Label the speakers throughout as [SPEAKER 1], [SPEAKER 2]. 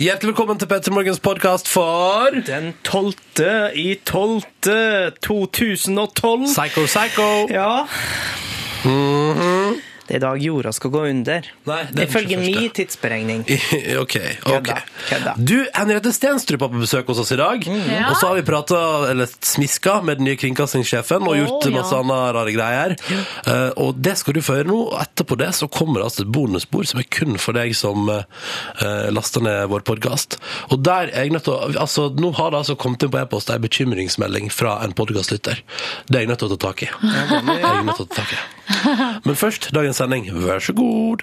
[SPEAKER 1] Hjertelig velkommen til Petter Morgens podkast for
[SPEAKER 2] Den 12. i 12. 2012.
[SPEAKER 1] Psycho Psycho.
[SPEAKER 2] Ja. Det er i dag jorda skal gå under.
[SPEAKER 1] Mhm. Nei, det er den
[SPEAKER 2] Ifølge
[SPEAKER 1] 21..
[SPEAKER 2] min tidsberegning.
[SPEAKER 1] OK. ok.
[SPEAKER 2] Kødda, kødda.
[SPEAKER 1] Du, Henriette Stenstrup er på besøk hos oss i dag.
[SPEAKER 3] Ja.
[SPEAKER 1] Og så har vi prata, eller smiska, med den nye kringkastingssjefen og gjort
[SPEAKER 3] Å, ja.
[SPEAKER 1] masse annet rare greier. Eh, og det skal du få høre nå. Og etterpå det så kommer det altså et bonusbord som er kun for deg som eh, eh, laster ned vår podkast. Og der er jeg nødt til å Altså, nå har det altså kommet inn på e-post ei bekymringsmelding fra en podkastlytter. Det er jeg nødt til å ta tak i. Det er jeg nødt til å ta tak i. Men først dagens sending. Vær så god.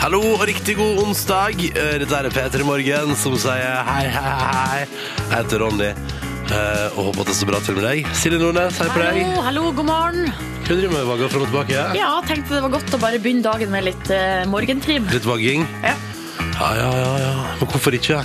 [SPEAKER 1] Hallo og riktig god onsdag. Eh, Dette er Peter i Morgen som sier hei, hei, hei. Jeg heter Ronny eh, og håper at det står bra til med deg. Silje Nordnes, hei på deg.
[SPEAKER 3] Hallo, hallo, god morgen.
[SPEAKER 1] Hva driver du med? Vagger fram og tilbake?
[SPEAKER 3] Ja, tenkte det var godt å bare begynne dagen med litt eh, morgentrim.
[SPEAKER 1] Litt vagging?
[SPEAKER 2] Ja.
[SPEAKER 1] Ja, ja, ja. ja. Men hvorfor ikke?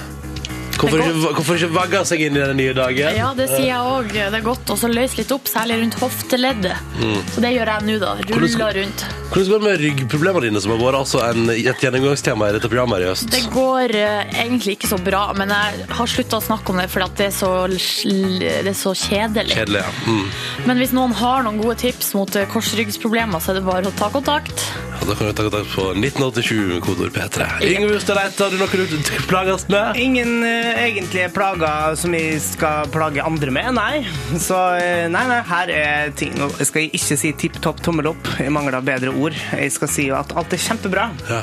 [SPEAKER 1] Hvorfor
[SPEAKER 3] Det er
[SPEAKER 1] ikke, hvorfor ikke vagge seg inn i den nye dagen?
[SPEAKER 3] Ja, det sier jeg òg. Det er godt å så løse litt opp, særlig rundt hofteleddet. Så det gjør jeg nå, da.
[SPEAKER 1] Hvordan skal-
[SPEAKER 3] Ruller rundt.
[SPEAKER 1] Eh, mm. Hvordan går det med ryggproblemene dine, som har vært altså en, et gjennomgangstema i dette programmet her i høst?
[SPEAKER 3] Det går eh, egentlig ikke så bra, men jeg har slutta å snakke om det fordi at det er så, sl- det er så kjedelig.
[SPEAKER 1] Kjedelig, ja. Mm.
[SPEAKER 3] Men hvis noen har noen gode tips mot eh, korsryggsproblemer, så er det bare å ta kontakt.
[SPEAKER 1] ja. Da kan du ta kontakt på 1987 kodord P3. Yngve Hustad Eite, har du noe du t- plages med?
[SPEAKER 2] Ingen eh, egentlige plager som jeg skal plage andre med, nei. Så eh, nei, nei, her er ting Nå skal jeg ikke si tipp topp tommel opp, jeg mangler bedre ord. Jeg skal si at alt er kjempebra.
[SPEAKER 1] Ja.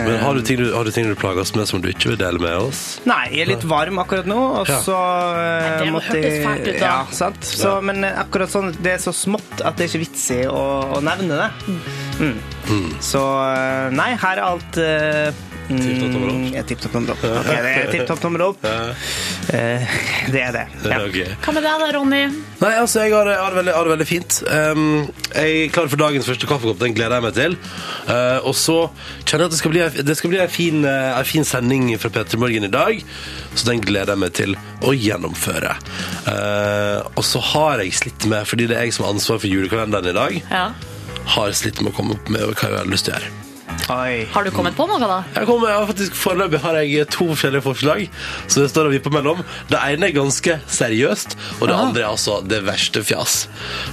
[SPEAKER 1] Men har du, ting du, har du ting du plages med som du ikke vil dele med oss?
[SPEAKER 2] Nei, jeg er litt varm akkurat nå, og
[SPEAKER 1] Ja.
[SPEAKER 2] så eh,
[SPEAKER 3] Nei, det hørtes fælt ut da.
[SPEAKER 2] Ja, sant? Så, men eh, akkurat sånn, det er så smått at det er ikke vits i å, å nevne det. Mm. Så eh, nei, her er alt eh, mm,
[SPEAKER 1] Tipp-topp tommel opp.
[SPEAKER 2] ja, Tipp topp tommel opp. Ok, det er tipp topp tommel opp. Eh, det er det. Ja.
[SPEAKER 1] Ok.
[SPEAKER 3] Hva med deg da, Ronny?
[SPEAKER 1] Nei, altså, jeg har, jeg har, det, veldig, jeg har det veldig fint. Um, jeg er klar for dagens første kaffekopp. Den gleder jeg meg til. Uh, og så kjenner jeg at det skal bli, ei- det skal bli en, fin, uh, en fin sending fra P3 Morgen i dag. Så den gleder jeg meg til å gjennomføre. Uh, og så har jeg slitt med, fordi det er jeg som har ansvar for julekalenderen i dag,
[SPEAKER 3] Ja.
[SPEAKER 1] har slitt med å komme opp med hva jeg har lyst til å gjøre.
[SPEAKER 2] Oi.
[SPEAKER 3] Har du kommet på noe, da?
[SPEAKER 1] Jeg kommer, jeg har faktisk Foreløpig har jeg to forskjellige forslag, så det står og vipper mellom. Det ene er ganske seriøst, og det andre er altså det verste fjas.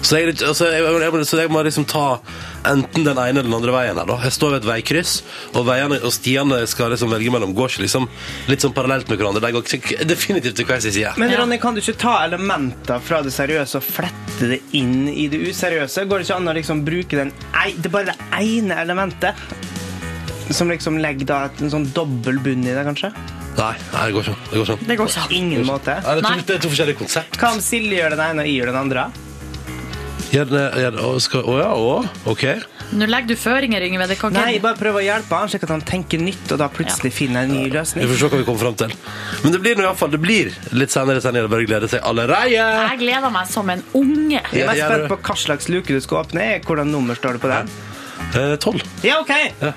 [SPEAKER 1] Så jeg, er litt- altså, jeg, jeg, jeg, så jeg må liksom ta enten den ene eller den andre veien. her da Jeg står ved et veikryss, og veiene og stiene skal liksom velge mellom går ikke liksom litt sånn parallelt med hverandre. De går ikke- definitivt til hver sin side.
[SPEAKER 2] Men
[SPEAKER 3] Ja.
[SPEAKER 2] Ronny, kan du ikke ta elementer fra det seriøse og flette det inn i det useriøse? Går det ikke an å liksom bruke den ei, det er bare det ene elementet? Som liksom legger da et- en sånn dobbel bunn i det, kanskje?
[SPEAKER 1] Nei, nei, det går ikke an. Det går ikke an.
[SPEAKER 3] Det går ikke an.
[SPEAKER 2] Ingen måte.
[SPEAKER 1] Nei, det, er
[SPEAKER 3] Nei.
[SPEAKER 1] to, det er to forskjellige konsept.
[SPEAKER 2] Hva om Silje gjør den ene, og jeg gjør den andre?
[SPEAKER 1] Gjerne, gjerne, å, skal, å ja, å, ok.
[SPEAKER 3] Nå legger du føringer, Yngve. Det kan ikke
[SPEAKER 2] Nei, jeg bare prøver å hjelpe han, slik at han tenker nytt, og da plutselig finner jeg en ny løsning.
[SPEAKER 1] Vi får se hva vi kommer fram til. Men det blir nå i hvert fall, det blir litt senere senere. Bare glede seg allerede.
[SPEAKER 3] Jeg gleder meg som en unge.
[SPEAKER 2] Jeg er mest
[SPEAKER 1] Ja, det
[SPEAKER 2] spent
[SPEAKER 1] gjør
[SPEAKER 2] på hva slags luke du skal åpne. Hvordan nummer står det på den?
[SPEAKER 1] Eh, Tolv.
[SPEAKER 2] Ja, OK!
[SPEAKER 1] Ja, ja.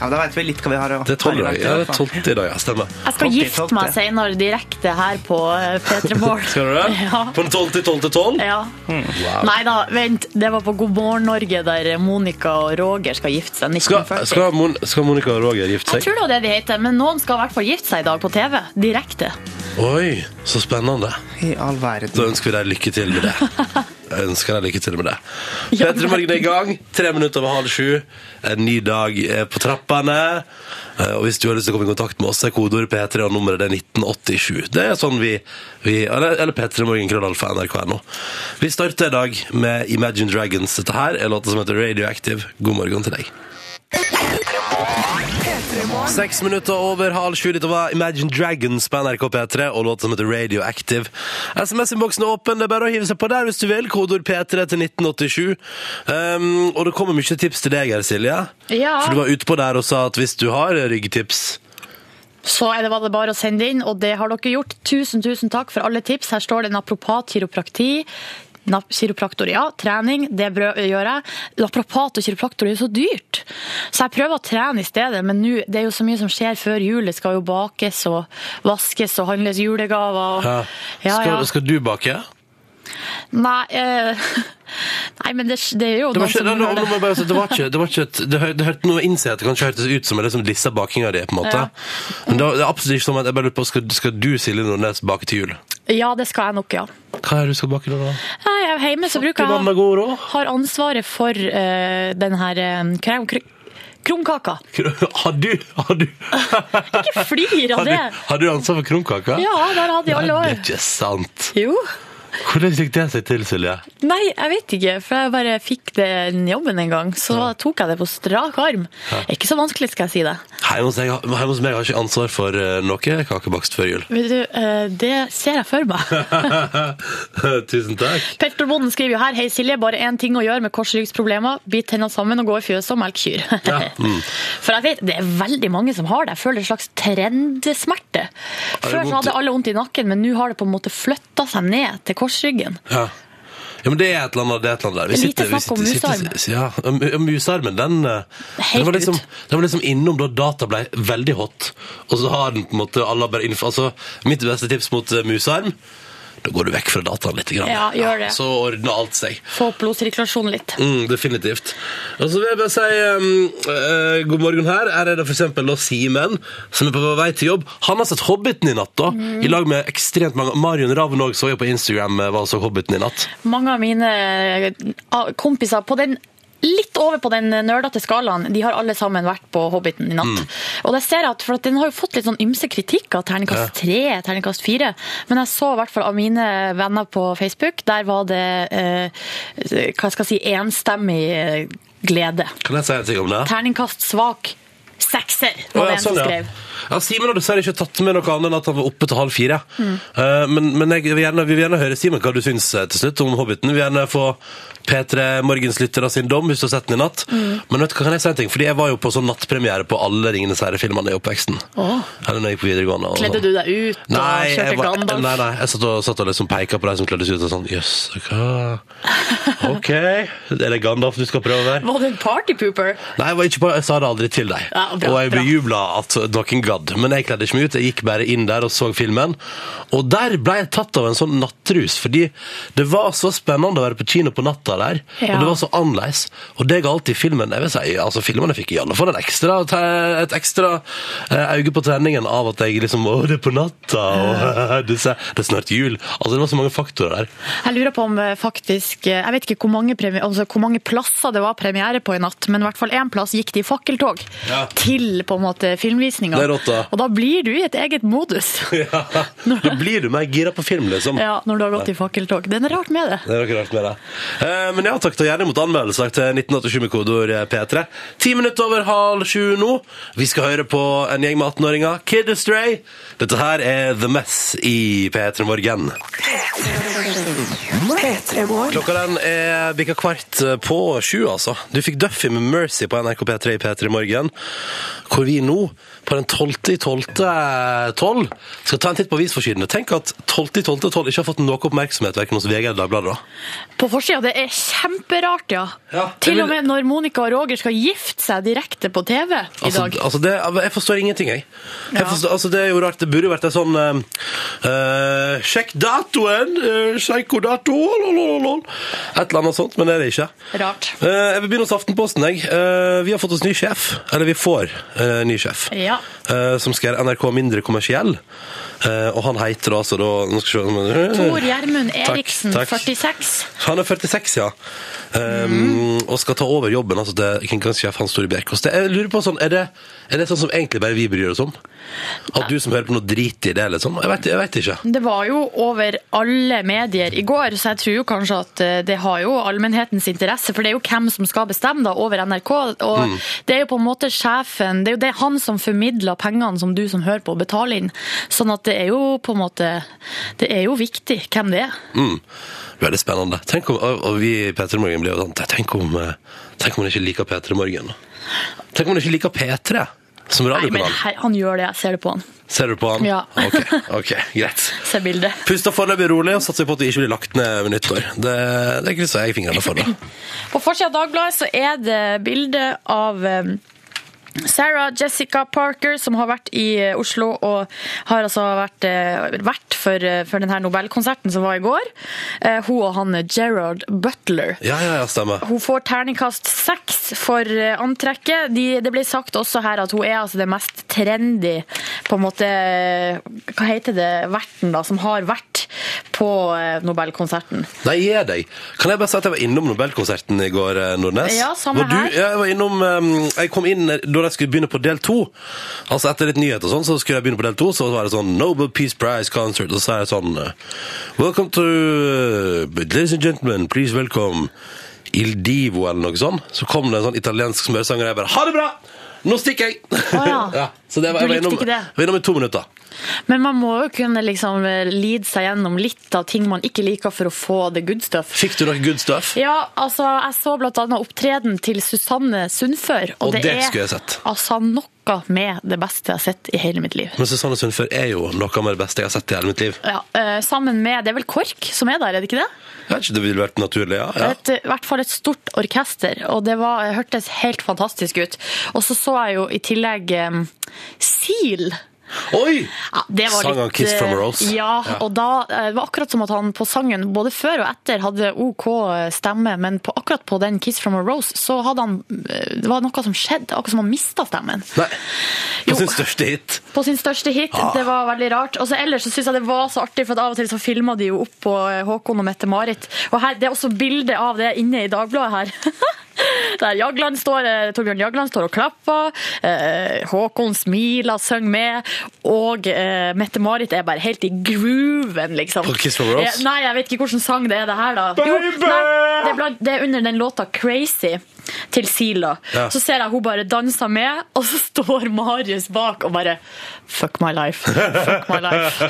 [SPEAKER 2] Ja, Da vet vi litt hva vi har å
[SPEAKER 1] Det er tolv i dag. Ja,
[SPEAKER 2] i
[SPEAKER 1] det
[SPEAKER 2] hvert
[SPEAKER 1] er
[SPEAKER 2] fall.
[SPEAKER 1] tolvte i dag, ja. Stemmer.
[SPEAKER 3] Jeg skal
[SPEAKER 2] Topp i
[SPEAKER 3] gifte
[SPEAKER 2] topp,
[SPEAKER 3] meg
[SPEAKER 2] det.
[SPEAKER 3] senere direkte her på eh, P3 Morgen.
[SPEAKER 1] Skal du det?
[SPEAKER 3] Ja.
[SPEAKER 1] På den tolv til tolv til tolv?
[SPEAKER 3] ja.
[SPEAKER 1] Hmm. Wow.
[SPEAKER 3] Nei da, vent. Det var på God morgen Norge, der Monica og Roger skal gifte seg.
[SPEAKER 1] Skal,
[SPEAKER 3] 1940.
[SPEAKER 1] skal, Mon skal Monica og Roger gifte
[SPEAKER 3] Jeg
[SPEAKER 1] seg?
[SPEAKER 3] tror det var det de heter, men noen skal i hvert fall gifte seg i dag på TV. Direkte.
[SPEAKER 1] Oi, så spennende.
[SPEAKER 2] I all
[SPEAKER 1] Da
[SPEAKER 2] verden.
[SPEAKER 1] ønsker vi deg lykke til med det. Jeg ønsker deg lykke til med det. Petter i morgen er i gang. Tre minutter over halv sju. En ny dag er på trappene. Eh, Og hvis du har lyst til å komme i kontakt med oss, er kodeordet P3 og nummeret det er 1987. Det er sånn vi, vi Eller, eller P3 Morgen krøllalfa nrk.no. Vi starter i dag med Imagine Dragons. Dette her er låta som heter Radioactive. God morgen til deg. Seks minutter over halv sju. Dette var Imagine Dragons på NRK P3 og låta som heter Radioactive. SMS-innboksen er åpen. Det er bare å hive seg på der hvis du vil. Kodeord P3 til 1987. Um, og det kommer mye tips til deg her, Silje.
[SPEAKER 3] Ja.
[SPEAKER 1] For du var utpå der og sa at hvis du har ryggtips
[SPEAKER 3] Så er det, var det bare å sende inn, og det har dere gjort. Tusen, tusen takk for alle tips. Her står det en apropos kiroprakti. Nap- Kiropraktor, ja. Trening, det brø- gjør jeg. Naprapat og kiropraktor er jo så dyrt. Så jeg prøver å trene i stedet, men nå, det er jo så mye som skjer før jul. Det skal jo bakes og vaskes og handles julegaver. Og...
[SPEAKER 1] Ja.
[SPEAKER 3] Ja,
[SPEAKER 1] skal,
[SPEAKER 3] ja.
[SPEAKER 1] skal du bake?
[SPEAKER 3] Nei, eh... Nei, men det, det er jo
[SPEAKER 1] Det
[SPEAKER 3] noen
[SPEAKER 1] var ikke,
[SPEAKER 3] som
[SPEAKER 1] det,
[SPEAKER 3] gjør
[SPEAKER 1] det,
[SPEAKER 3] det.
[SPEAKER 1] det, bare, si at det var ikke, det var ikke et, det, hø- det hørte noe innsett at det kanskje hørtes ut som en liksom lissa bakinga di, på en måte.
[SPEAKER 3] Ja.
[SPEAKER 1] Men det, var- det er absolutt ikke sånn at jeg bare lurer på, skal, skal du, Silje Nordnes, bake til jul?
[SPEAKER 3] Ja, det skal jeg nok, ja.
[SPEAKER 1] Hva er det du skal bake nå, da?
[SPEAKER 3] Nei, jeg er hjemme, så bruker jeg
[SPEAKER 1] Gamle god råd?
[SPEAKER 3] har ansvaret for eh, den her eh, krem, kr krumkaka.
[SPEAKER 1] Har du, har du,
[SPEAKER 3] Ikke flir av
[SPEAKER 1] har du,
[SPEAKER 3] det!
[SPEAKER 1] har du ansvar for krumkaka?
[SPEAKER 3] Ja, det har jeg hatt i alle
[SPEAKER 1] Nei, Det
[SPEAKER 3] år.
[SPEAKER 1] er ikke sant.
[SPEAKER 3] Jo.
[SPEAKER 1] Hvordan fikk det seg til, Silje?
[SPEAKER 3] Nei, jeg vet ikke, for jeg bare fikk den jobben en gang. Så tok jeg det på strak arm. Ikke så vanskelig, skal jeg si det.
[SPEAKER 1] Hjemme hos, jeg- hjemme hos meg har jeg ikke ansvar for eh, noe kakebakst før jul.
[SPEAKER 3] Vet du, eh, det ser jeg for meg.
[SPEAKER 1] Tusen takk.
[SPEAKER 3] Peltor Bonden skriver jo her Hei Silje, bare én ting å gjøre med korsryggproblemer. Bit tennene sammen og gå i fjøset og melk kyr.
[SPEAKER 1] Ja,
[SPEAKER 3] For jeg vet, det er veldig mange som har det. Jeg føler en slags trendsmerte. Før så
[SPEAKER 1] vondt-
[SPEAKER 3] hadde alle vondt i nakken, men nå har det på en måte flytta seg ned til korsryggen.
[SPEAKER 1] Ja. ja, men det er et eller annet, det er et eller annet der. Vi
[SPEAKER 3] Lite snakk om
[SPEAKER 1] sitter- ja, om- om musarmen, den, eh,
[SPEAKER 3] Helt
[SPEAKER 1] den, var liksom,
[SPEAKER 3] ut.
[SPEAKER 1] den var liksom innom da data ble veldig hot. Og så har den på en måte alle har bare innf- Altså, mitt beste tips mot eh, musarm da går du vekk fra dataen litt. Grann.
[SPEAKER 3] Ja, gjør det.
[SPEAKER 1] så ordner alt seg.
[SPEAKER 3] Få opp blodsirkulasjonen litt.
[SPEAKER 1] Mm, definitivt. Og så vil jeg bare si um, eh, god morgen her. Her er det for eksempel da Simen, som er på vei til jobb. Han har sett Hobbiten i natt, da. I lag med ekstremt mange. Marion Ravn òg så jeg på Instagram eh, var og så Hobbiten i natt.
[SPEAKER 3] Mange av mine eh, kompiser på den Litt over på den nerdete skalaen. De har alle sammen vært på Hobbiten i natt. Og der ser jeg at, for at Den har jo fått litt sånn ymse kritikk av terningkast tre, terningkast fire. Men jeg så i hvert fall av mine venner på Facebook, der var det eh, hva skal jeg si, enstemmig eh, glede.
[SPEAKER 1] Kan jeg si en ting om det?
[SPEAKER 3] Terningkast svak sekser,
[SPEAKER 1] Å,
[SPEAKER 3] var det
[SPEAKER 1] ja,
[SPEAKER 3] en
[SPEAKER 1] sånn,
[SPEAKER 3] som
[SPEAKER 1] ja.
[SPEAKER 3] skrev.
[SPEAKER 1] Ja, Simen har dessverre ikke tatt med noe annet enn at han var oppe til halv fire.
[SPEAKER 3] Mm.
[SPEAKER 1] Eh, men men jeg, vil gjerne, vi vil gjerne høre, Simen, hva du syns eh, til slutt om Hobbiten. Vi vil gjerne få P3 Morgens lytter av sin dom, hvis du har sett den i natt.
[SPEAKER 3] Mm.
[SPEAKER 1] Men vet du hva, kan jeg si en ting? Fordi jeg var jo på sånn nattpremiere på alle Ringenes herre-filmene i oppveksten.
[SPEAKER 3] Åh.
[SPEAKER 1] Eller når jeg gikk på videregående. og
[SPEAKER 3] Kledde
[SPEAKER 1] sånn.
[SPEAKER 3] du deg ut og
[SPEAKER 1] Nei, jeg,
[SPEAKER 3] kjørte
[SPEAKER 1] var,
[SPEAKER 3] Gandalf?
[SPEAKER 1] nei, nei, jeg satt og, satt og liksom peka på de som kledde seg ut og sånn Jøss, hva OK. Er det Gandalf du skal prøve der?
[SPEAKER 3] Var du en partypooper?
[SPEAKER 1] Nei, jeg, var ikke på, jeg sa det aldri til deg.
[SPEAKER 3] Ja, bra,
[SPEAKER 1] og jeg
[SPEAKER 3] bra.
[SPEAKER 1] bejubla at noen gadd. Men jeg kledde ikke meg ut. Jeg gikk bare inn der og så filmen. Og der ble jeg tatt av en sånn nattrus, fordi det var så spennende å være på kino på natta der.
[SPEAKER 3] Ja.
[SPEAKER 1] Og det var så annerledes. Og det ga alltid filmen Jeg vil si, altså filmene fikk i alle fall en ekstra, et ekstra eh, øye på treningen av at jeg liksom Å, det er på natta, og det er det er snart jul. Altså, det var så mange faktorer der.
[SPEAKER 3] Jeg lurer på om eh, faktisk eh, Jeg vet ikke hvor mange, premi- altså, hvor mange plasser det var premiere på i natt, men i hvert fall én plass gikk det i fakkeltog
[SPEAKER 1] Ja.
[SPEAKER 3] til på en måte filmvisninga.
[SPEAKER 1] Det er rått, da.
[SPEAKER 3] Og da blir du i et eget modus
[SPEAKER 1] Ja. Da blir du mer gira på film, liksom.
[SPEAKER 3] ja, når du har gått i fakkeltog. Det er noe rart med det.
[SPEAKER 1] Det er noe rart med det. Eh, Men ja, takk til gjerne mot anmeldelser til 1987 med kodeord P3. Ti minutter over halv sju nå. Vi skal høre på en gjeng med 18-åringer. Kid Astray. Dette her er The Mess i P3 Morgen. Klokka den er bikka kvart eh, på sju, altså. Du fikk Duffy med Mercy på NRK P3 i P3 Morgen, hvor vi nå, på den 12. i 12. 12, skal ta en titt på avisforsidene. Tenk at 12. i 12. 12 ikke har fått noe oppmerksomhet verken hos VG eller Dagbladet, da.
[SPEAKER 3] På forsida, det er kjemperart, ja.
[SPEAKER 1] Ja, det
[SPEAKER 3] til
[SPEAKER 1] vil-
[SPEAKER 3] og med når Monica og Roger skal gifte seg direkte på TV i
[SPEAKER 1] Altså,
[SPEAKER 3] dag.
[SPEAKER 1] altså det, jeg forstår ingenting, jeg. jeg
[SPEAKER 3] Ja.
[SPEAKER 1] forstår, altså det er jo rart. Det burde jo vært en sånn eh, eh, Sjekk datoen! eh, sjekk hvor dato lololol. Et eller annet sånt, men det er det ikke.
[SPEAKER 3] Rart.
[SPEAKER 1] Eh, jeg vil begynne hos Aftenposten. Jeg. Eh, vi har fått oss ny sjef. Eller vi får eh, ny sjef.
[SPEAKER 3] Ja.
[SPEAKER 1] Eh, som skal gjøre NRK mindre kommersiell. Eh, og han heter altså da Nå skal vi se
[SPEAKER 3] Tor Gjermund
[SPEAKER 1] Eh, Takk,
[SPEAKER 3] Eriksen,
[SPEAKER 1] takk.
[SPEAKER 3] 46.
[SPEAKER 1] han er 46, ja. Um,
[SPEAKER 3] Mm.
[SPEAKER 1] Og skal ta over jobben altså, til kringkastingssjef Hans Tore Bjerkås. Det- Jeg lurer på sånn, er det, er det sånn som egentlig bare vi bryr oss om? At du som hører på noe drit i det, liksom? Jeg vet, jeg vet ikke.
[SPEAKER 3] Det var jo over alle medier i går, så jeg tror jo kanskje at eh, det har jo allmennhetens interesse, for det er jo hvem som skal bestemme da over NRK. Og
[SPEAKER 1] Mm.
[SPEAKER 3] det er jo på en måte sjefen, det er jo det er han som formidler pengene som du som hører på betaler inn. Sånn at det er jo på en måte, det er jo viktig hvem det er.
[SPEAKER 1] Mm. Veldig spennende. Tenk om, og og vi i P3 Morgen blir jo sånn Tenk om, eh, tenk om man ikke liker P3 Morgen. da. Tenk om man ikke liker P3. Som
[SPEAKER 3] Nei, men
[SPEAKER 1] radiokanal?
[SPEAKER 3] her, han gjør det. Jeg ser det på han.
[SPEAKER 1] Ser du på han?
[SPEAKER 3] Ja.
[SPEAKER 1] Ok, ok, greit.
[SPEAKER 3] Ser bildet.
[SPEAKER 1] Pust deg foreløpig rolig, og satser på at du ikke blir lagt ned ved nyttår. Det, det krysser jeg fingrene for. da.
[SPEAKER 3] På forsida av Dagbladet så er det bilde av eh, Sarah Jessica Parker, som har vært i eh, Oslo og har altså vært eh, vert for, eh, for denne Nobelkonserten som var i går. Eh, Hun og han eh, Gerard Butler.
[SPEAKER 1] Ja, ja, ja, stemmer.
[SPEAKER 3] Hun får terningkast seks for eh, antrekket. De, det ble sagt også her at hun er altså det mest trendy på en måte eh, Hva heter det verten, da? Som har vært på eh, Nobelkonserten.
[SPEAKER 1] Nei, gi deg. Kan jeg bare si at jeg var innom Nobelkonserten i går, eh, Nordnes?
[SPEAKER 3] Ja, samme
[SPEAKER 1] Var du,
[SPEAKER 3] her.
[SPEAKER 1] Ja, jeg var innom eh, Jeg kom inn eh, da jeg skulle begynne på del to. Altså etter litt nyhet og sånn, så skulle jeg begynne på del to, så var det sånn Nobel Peace Prize Concert, og så er det sånn eh, Welcome to eh, Ladies and gentlemen, please welcome Il Divo, eller noe sånn. Så kom det en sånn italiensk smørsanger, og jeg bare Ha det bra! Nå stikker jeg!
[SPEAKER 3] ja.
[SPEAKER 1] så det var,
[SPEAKER 3] Du
[SPEAKER 1] jeg var
[SPEAKER 3] likte
[SPEAKER 1] innom,
[SPEAKER 3] ikke det?
[SPEAKER 1] jeg var innom i to minutter.
[SPEAKER 3] Men man må jo kunne liksom lide seg gjennom litt av ting man ikke liker for å få the good stuff.
[SPEAKER 1] Fikk du noe good stuff?
[SPEAKER 3] Ja, altså, jeg så blant annet opptreden til Susanne Sundfør, og,
[SPEAKER 1] Og det
[SPEAKER 3] er
[SPEAKER 1] skulle jeg sett.
[SPEAKER 3] altså noe med det beste jeg har sett i hele mitt liv.
[SPEAKER 1] Men Susanne Sundfør er jo noe av det beste jeg har sett i hele mitt liv.
[SPEAKER 3] Ja, eh, sammen med, det er vel KORK som er der, er det ikke det?
[SPEAKER 1] Jeg vet ikke, det ville vært naturlig, ja. ja.
[SPEAKER 3] Et, I hvert fall et stort orkester, og det var, hørtes helt fantastisk ut. Og så så jeg jo i tillegg um, Seal.
[SPEAKER 1] Oi!
[SPEAKER 3] Ja, det var
[SPEAKER 1] Sang
[SPEAKER 3] litt,
[SPEAKER 1] av Kiss from a
[SPEAKER 3] eh,
[SPEAKER 1] Rose.
[SPEAKER 3] Ja,
[SPEAKER 1] Ja.
[SPEAKER 3] og da eh, det var akkurat som at han på sangen både før og etter hadde OK eh, stemme, men på, akkurat på den Kiss from a Rose så hadde han eh, Det var noe som skjedde, akkurat som han mista stemmen.
[SPEAKER 1] Nei, på
[SPEAKER 3] Jo.
[SPEAKER 1] sin største hit.
[SPEAKER 3] På sin største hit.
[SPEAKER 1] Ah.
[SPEAKER 3] Det var veldig rart. Og så ellers så syns jeg det var så artig, for at av og til så filma de jo opp på eh, Håkon og Mette-Marit. Og her, det er også bilde av det inne i Dagbladet her. Der Jagland står, eh, Torbjørn Jagland står og klapper, eh, Håkon smiler, synger med, og eh, Mette-Marit er bare helt i grooven, liksom.
[SPEAKER 1] På Kiss from a Rose?
[SPEAKER 3] Eh, Nei, jeg vet ikke hvilken sang det er det her, da.
[SPEAKER 2] Baby!
[SPEAKER 3] nei, det, er blant, det er under den låta 'Crazy' til Sila.
[SPEAKER 1] Ja.
[SPEAKER 3] Så ser jeg hun bare danser med, og så står Marius bak og bare Fuck my life. Fuck my life.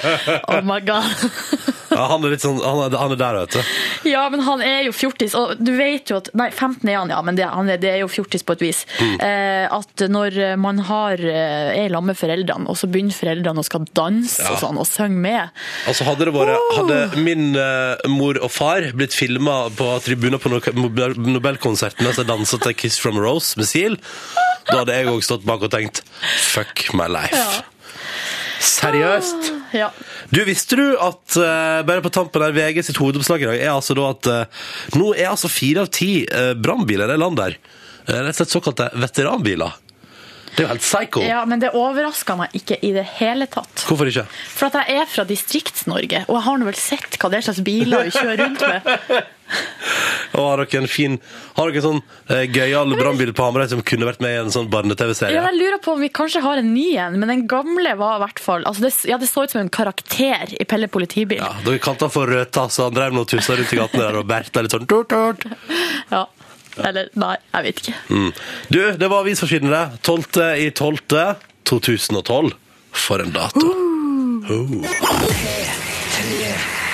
[SPEAKER 3] Oh my god.
[SPEAKER 1] Ja, han er litt sånn, han er, han er der, vet du.
[SPEAKER 3] Ja, men han er jo fjortis, og du vet jo at Nei, 15 er han, ja, men det, han er, det er jo fjortis på et vis. Eh, at når man har, eh, er sammen med foreldrene, og så begynner foreldrene å skal danse og sånn, og synge med
[SPEAKER 1] Altså, hadde det vært, hadde min eh, mor og far blitt filmet på tribuner på Nobel- Nobelkonserten mens jeg danset til Kiss from a Rose med Seal, da hadde jeg også stått bak og tenkt, fuck my life.
[SPEAKER 3] Ja.
[SPEAKER 1] Seriøst?
[SPEAKER 3] Ja.
[SPEAKER 1] Du, visste du at eh, bare på tampen der VG sitt hovedoppslag i dag er altså da at eh, nå er altså fire av ti uh, brannbiler i det landet der. Eh, rett og slett såkalte veteranbiler. Det er jo helt psycho.
[SPEAKER 3] ja, men det overraska meg ikke i det hele tatt.
[SPEAKER 1] Hvorfor ikke?
[SPEAKER 3] For at jeg er fra Distrikts-Norge, og jeg har nå vel sett hva det er slags biler vi kjører rundt med.
[SPEAKER 1] Og har dere en fin Har dere en sånn uh, gøyal brannbil på Hamarøy som kunne vært med i en sånn
[SPEAKER 3] Ja,
[SPEAKER 1] barne-TV-serie?
[SPEAKER 3] jeg lurer på om vi kanskje har en ny en, men den gamle var i hvert fall altså det, Ja, det så ut som en karakter i Pelle politibil.
[SPEAKER 1] Ja, Dere kalte han for Røta, så han drev noen tuser rundt i gatene der og berta litt sånn tut, tut.
[SPEAKER 3] Ja. Eller nei, jeg vet ikke.
[SPEAKER 1] Mm. Du, det var avisforsidene, det. 12. i 12. 2012. For en dato.
[SPEAKER 3] Uh.
[SPEAKER 1] Oh.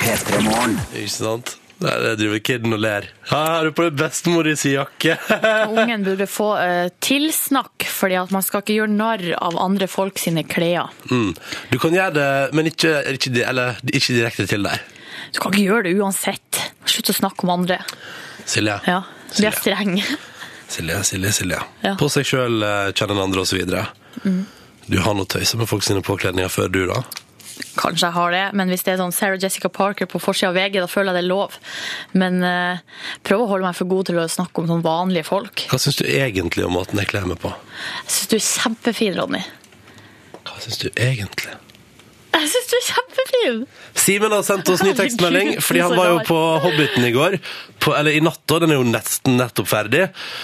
[SPEAKER 4] P3-morgen.
[SPEAKER 1] Ikke sant? Nei, det driver kidden og ler. Her har du på deg bestemor i sin jakke.
[SPEAKER 3] Ungen burde få eh, tilsnakk, fordi at man skal ikke gjøre narr av andre folk sine klær.
[SPEAKER 1] mm. Du kan gjøre det, men ikke, ikke, di- eller, ikke direkte til deg.
[SPEAKER 3] Du kan ikke gjøre det uansett. Slutt å snakke om andre.
[SPEAKER 1] Silje.
[SPEAKER 3] Ja, Vi er
[SPEAKER 1] Silje.
[SPEAKER 3] streng.
[SPEAKER 1] Silje, Silje, Silje.
[SPEAKER 3] Ja.
[SPEAKER 1] På seg sjøl kjenner en andre, osv. Mm. Du har noe tøysa med folk sine påkledninger før, du, da?
[SPEAKER 3] Kanskje jeg har det, men hvis det er sånn Sarah Jessica Parker på forsida av VG, da føler jeg det er lov. Men eh, prøv å holde meg for god til å snakke om sånn vanlige folk.
[SPEAKER 1] Hva syns du egentlig om måten jeg kler meg på?
[SPEAKER 3] Jeg syns du er kjempefin, Ronny.
[SPEAKER 1] Hva syns du egentlig?
[SPEAKER 3] Jeg syns du er kjempefin!
[SPEAKER 1] Simen har sendt oss ny tekstmelding,
[SPEAKER 3] Herregud,
[SPEAKER 1] fordi han
[SPEAKER 3] så
[SPEAKER 1] var jo
[SPEAKER 3] rar.
[SPEAKER 1] på Hobbiten i går. På, eller i natt, da. Den er jo nesten nettopp ferdig.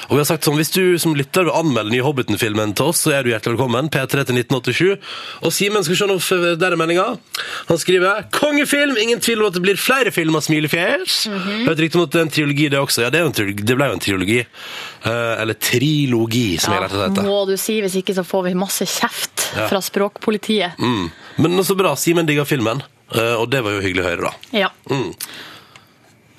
[SPEAKER 1] Og vi har sagt sånn, hvis du som lytter vil anmelde den nye Hobbiten-filmen til oss, så er du hjertelig velkommen. P3 til 1987. Og Simen skal se noe for der er meldinga. Han skriver 'Kongefilm'! Ingen tvil om at det blir flere filmer av Smilefjes.
[SPEAKER 3] Mhm.
[SPEAKER 1] Hørte riktig om at det er en trilogi, det også. Ja, det, er jo en trilogi. det ble jo en trilogi. Eh, eller trilogi, som jeg lærte det heter.
[SPEAKER 3] må du si, hvis ikke så får vi masse kjeft
[SPEAKER 1] Ja.
[SPEAKER 3] fra språkpolitiet.
[SPEAKER 1] Mm. Men så bra. Simen digger filmen. Eh, og det var jo hyggelig å høre, da.
[SPEAKER 3] Ja.
[SPEAKER 1] Mm.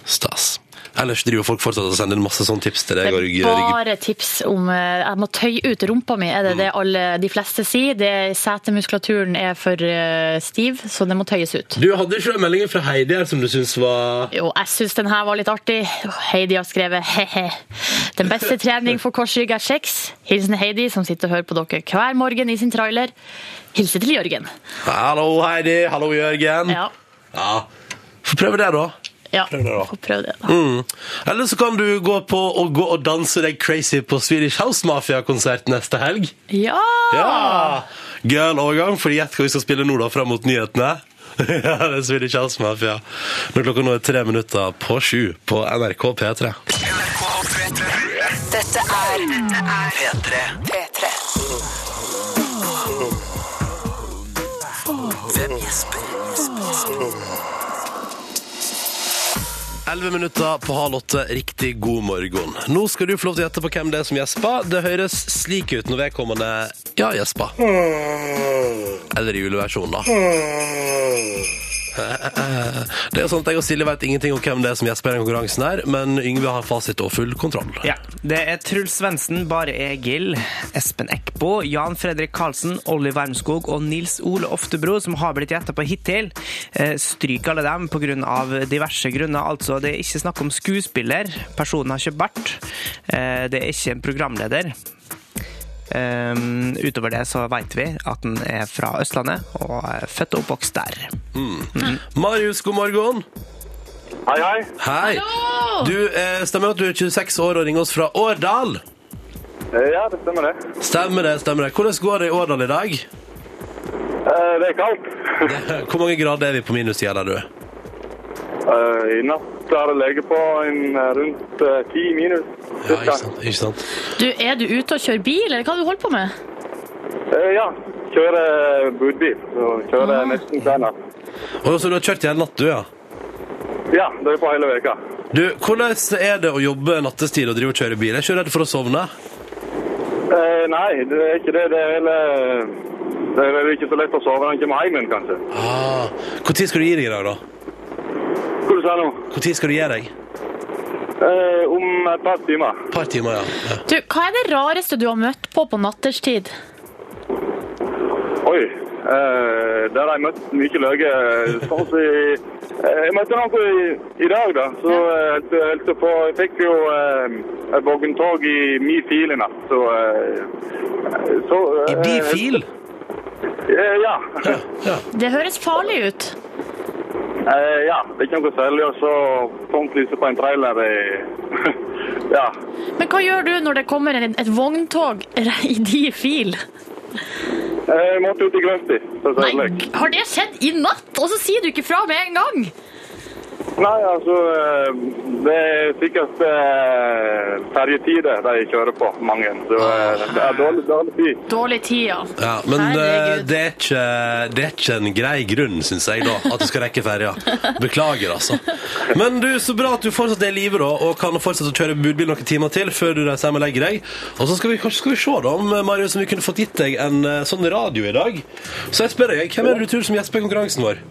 [SPEAKER 1] Stas. Ellers driver folk fortsatt og sender inn masse sånne tips til deg. og
[SPEAKER 3] Det
[SPEAKER 1] rygg-
[SPEAKER 3] er
[SPEAKER 1] rygg-
[SPEAKER 3] bare tips om eh, Jeg må tøye ut rumpa mi,
[SPEAKER 1] Mm.
[SPEAKER 3] er det det alle de fleste sier. Det, setemuskulaturen er for eh, stiv, så den må tøyes ut.
[SPEAKER 1] Du hadde ikke den meldingen fra Heidi her som du syns var
[SPEAKER 3] Jo, jeg syns den her var litt artig. Heidi har skrevet he-he. Den beste trening for korsrygg er sex. Hilsen Heidi, som sitter og hører på dere hver morgen i sin trailer. Hilse til Jørgen.
[SPEAKER 1] Hallo, Heidi. Hallo, Jørgen.
[SPEAKER 3] Ja.
[SPEAKER 1] ja. Få prøve det, da.
[SPEAKER 3] ja.
[SPEAKER 1] Prøv det da.
[SPEAKER 3] Får prøve det, da.
[SPEAKER 1] Mm. Eller så kan du gå på og, gå og danse deg crazy på Swedish House Mafia-konsert neste helg.
[SPEAKER 3] Ja!
[SPEAKER 1] Ja! Gøy overgang, for gjett hva vi skal spille nå da, fram mot nyhetene. ja, det er Swedish House Mafia. Når klokka nå er tre minutter på sju på NRK P3.
[SPEAKER 4] Dette er P3. P3. Hvem gjesper?
[SPEAKER 1] Elleve minutter på halv åtte. Riktig god morgen. Nå skal du få lov til å gjette på hvem det er som gjesper. Det høres slik ut når vedkommende ja gjesper. Eller i juleversjonen, da. Det er jo sånn at Jeg og Silje vet ingenting om hvem det er som gjesper i den konkurransen, her, men Yngve har fasit og full kontroll.
[SPEAKER 2] Ja, Det er Truls Svendsen, Bare Egil, Espen Eckbo, Jan Fredrik Karlsen, Olli Wermskog og Nils Ole Oftebro som har blitt gjetta på hittil. Eh, Stryk alle dem på grunn av diverse grunner. Altså, det er ikke snakk om skuespiller, personen har kjøpt bart. Eh, Det er ikke en programleder. Eh, utover det så veit vi at han er fra Østlandet og er født og oppvokst der.
[SPEAKER 1] Mm. Marius, god morgen.
[SPEAKER 5] Hei, hei.
[SPEAKER 1] Hei. Du eh, stemmer at du er 26 år og ringer oss fra Årdal.
[SPEAKER 5] Eh, Ja, det stemmer det.
[SPEAKER 1] Stemmer det, stemmer det. Hvordan går det i Årdal i dag?
[SPEAKER 5] Eh, Det er kaldt.
[SPEAKER 1] Hvor mange grader er vi på minussida der du er?
[SPEAKER 5] Eh, I natt har det ligget på en eh, rundt eh, 10 minus.
[SPEAKER 1] Ja, ikke
[SPEAKER 5] cirka.
[SPEAKER 1] sant. Ikke sant?
[SPEAKER 3] Du, er du ute og kjører bil, eller hva er det du holder på med?
[SPEAKER 5] Eh, Ja, kjører budbil. Så
[SPEAKER 1] Ah.
[SPEAKER 5] kjører nesten hver natt.
[SPEAKER 1] Og så du har kjørt i hele natt, du, ja.
[SPEAKER 5] Ja, det er på hele veka.
[SPEAKER 1] Du, Hvordan er det å jobbe nattestid og drive og kjøre bil? Jeg er ikke redd for å sovne.
[SPEAKER 5] Eh, Nei, det er ikke det. Det er vel eh, det er vel ikke så lett å sove når en kommer hjem igjen, kanskje.
[SPEAKER 1] Ah. Når skal du gi deg i dag, da?
[SPEAKER 5] Hva du sa nå?
[SPEAKER 1] Når skal du gi deg?
[SPEAKER 5] Eh, Om et par timer.
[SPEAKER 1] Et par timer, ja. ja.
[SPEAKER 3] Du, hva er det rareste du har møtt på på natterstid?
[SPEAKER 5] Oi. eh, Der har jeg møtt mye løye. Sånn som i eh, Jeg møtte noen i, i dag, da. Så eh, helt- helt på Jeg fikk jo eh, et vogntog i min fil i natt, så eh, Så eh,
[SPEAKER 1] I din fil?
[SPEAKER 5] eh, Ja.
[SPEAKER 1] Ja. ja.
[SPEAKER 3] Det høres farlig ut.
[SPEAKER 5] Eh, Ja. Det er ikke noe særlig. Og så tomt lyset på en trailer i Ja.
[SPEAKER 3] Men hva gjør du når det kommer en, et vogntog i de fil?
[SPEAKER 5] Eh, Jeg måtte ut i grøfta, for å si det
[SPEAKER 3] Nei,
[SPEAKER 5] slik.
[SPEAKER 3] har det skjedd i natt? Og så sier du ikke fra med en gang!
[SPEAKER 5] Nei, altså eh, Det er sikkert eh, ferjetider de kjører på, mange. Så eh,
[SPEAKER 1] Ah.
[SPEAKER 5] det er dårlig, dårlig tid.
[SPEAKER 3] Dårlig tid, ja.
[SPEAKER 1] ja men eh,
[SPEAKER 3] Herregud.
[SPEAKER 1] det er, ikke, det er ikke en grei grunn, syns jeg, da, at du skal rekke ferja. Beklager, altså. Men du, så bra at du fortsatt er i live, da, og kan fortsette å kjøre budbil noen timer til før du reiser hjem og legger deg. Og så skal vi, kanskje skal vi se, da, om eh, Marius, om vi kunne fått gitt deg en eh, sånn radio i dag. Så jeg spør deg, hvem er det du tror som gjesper i konkurransen vår?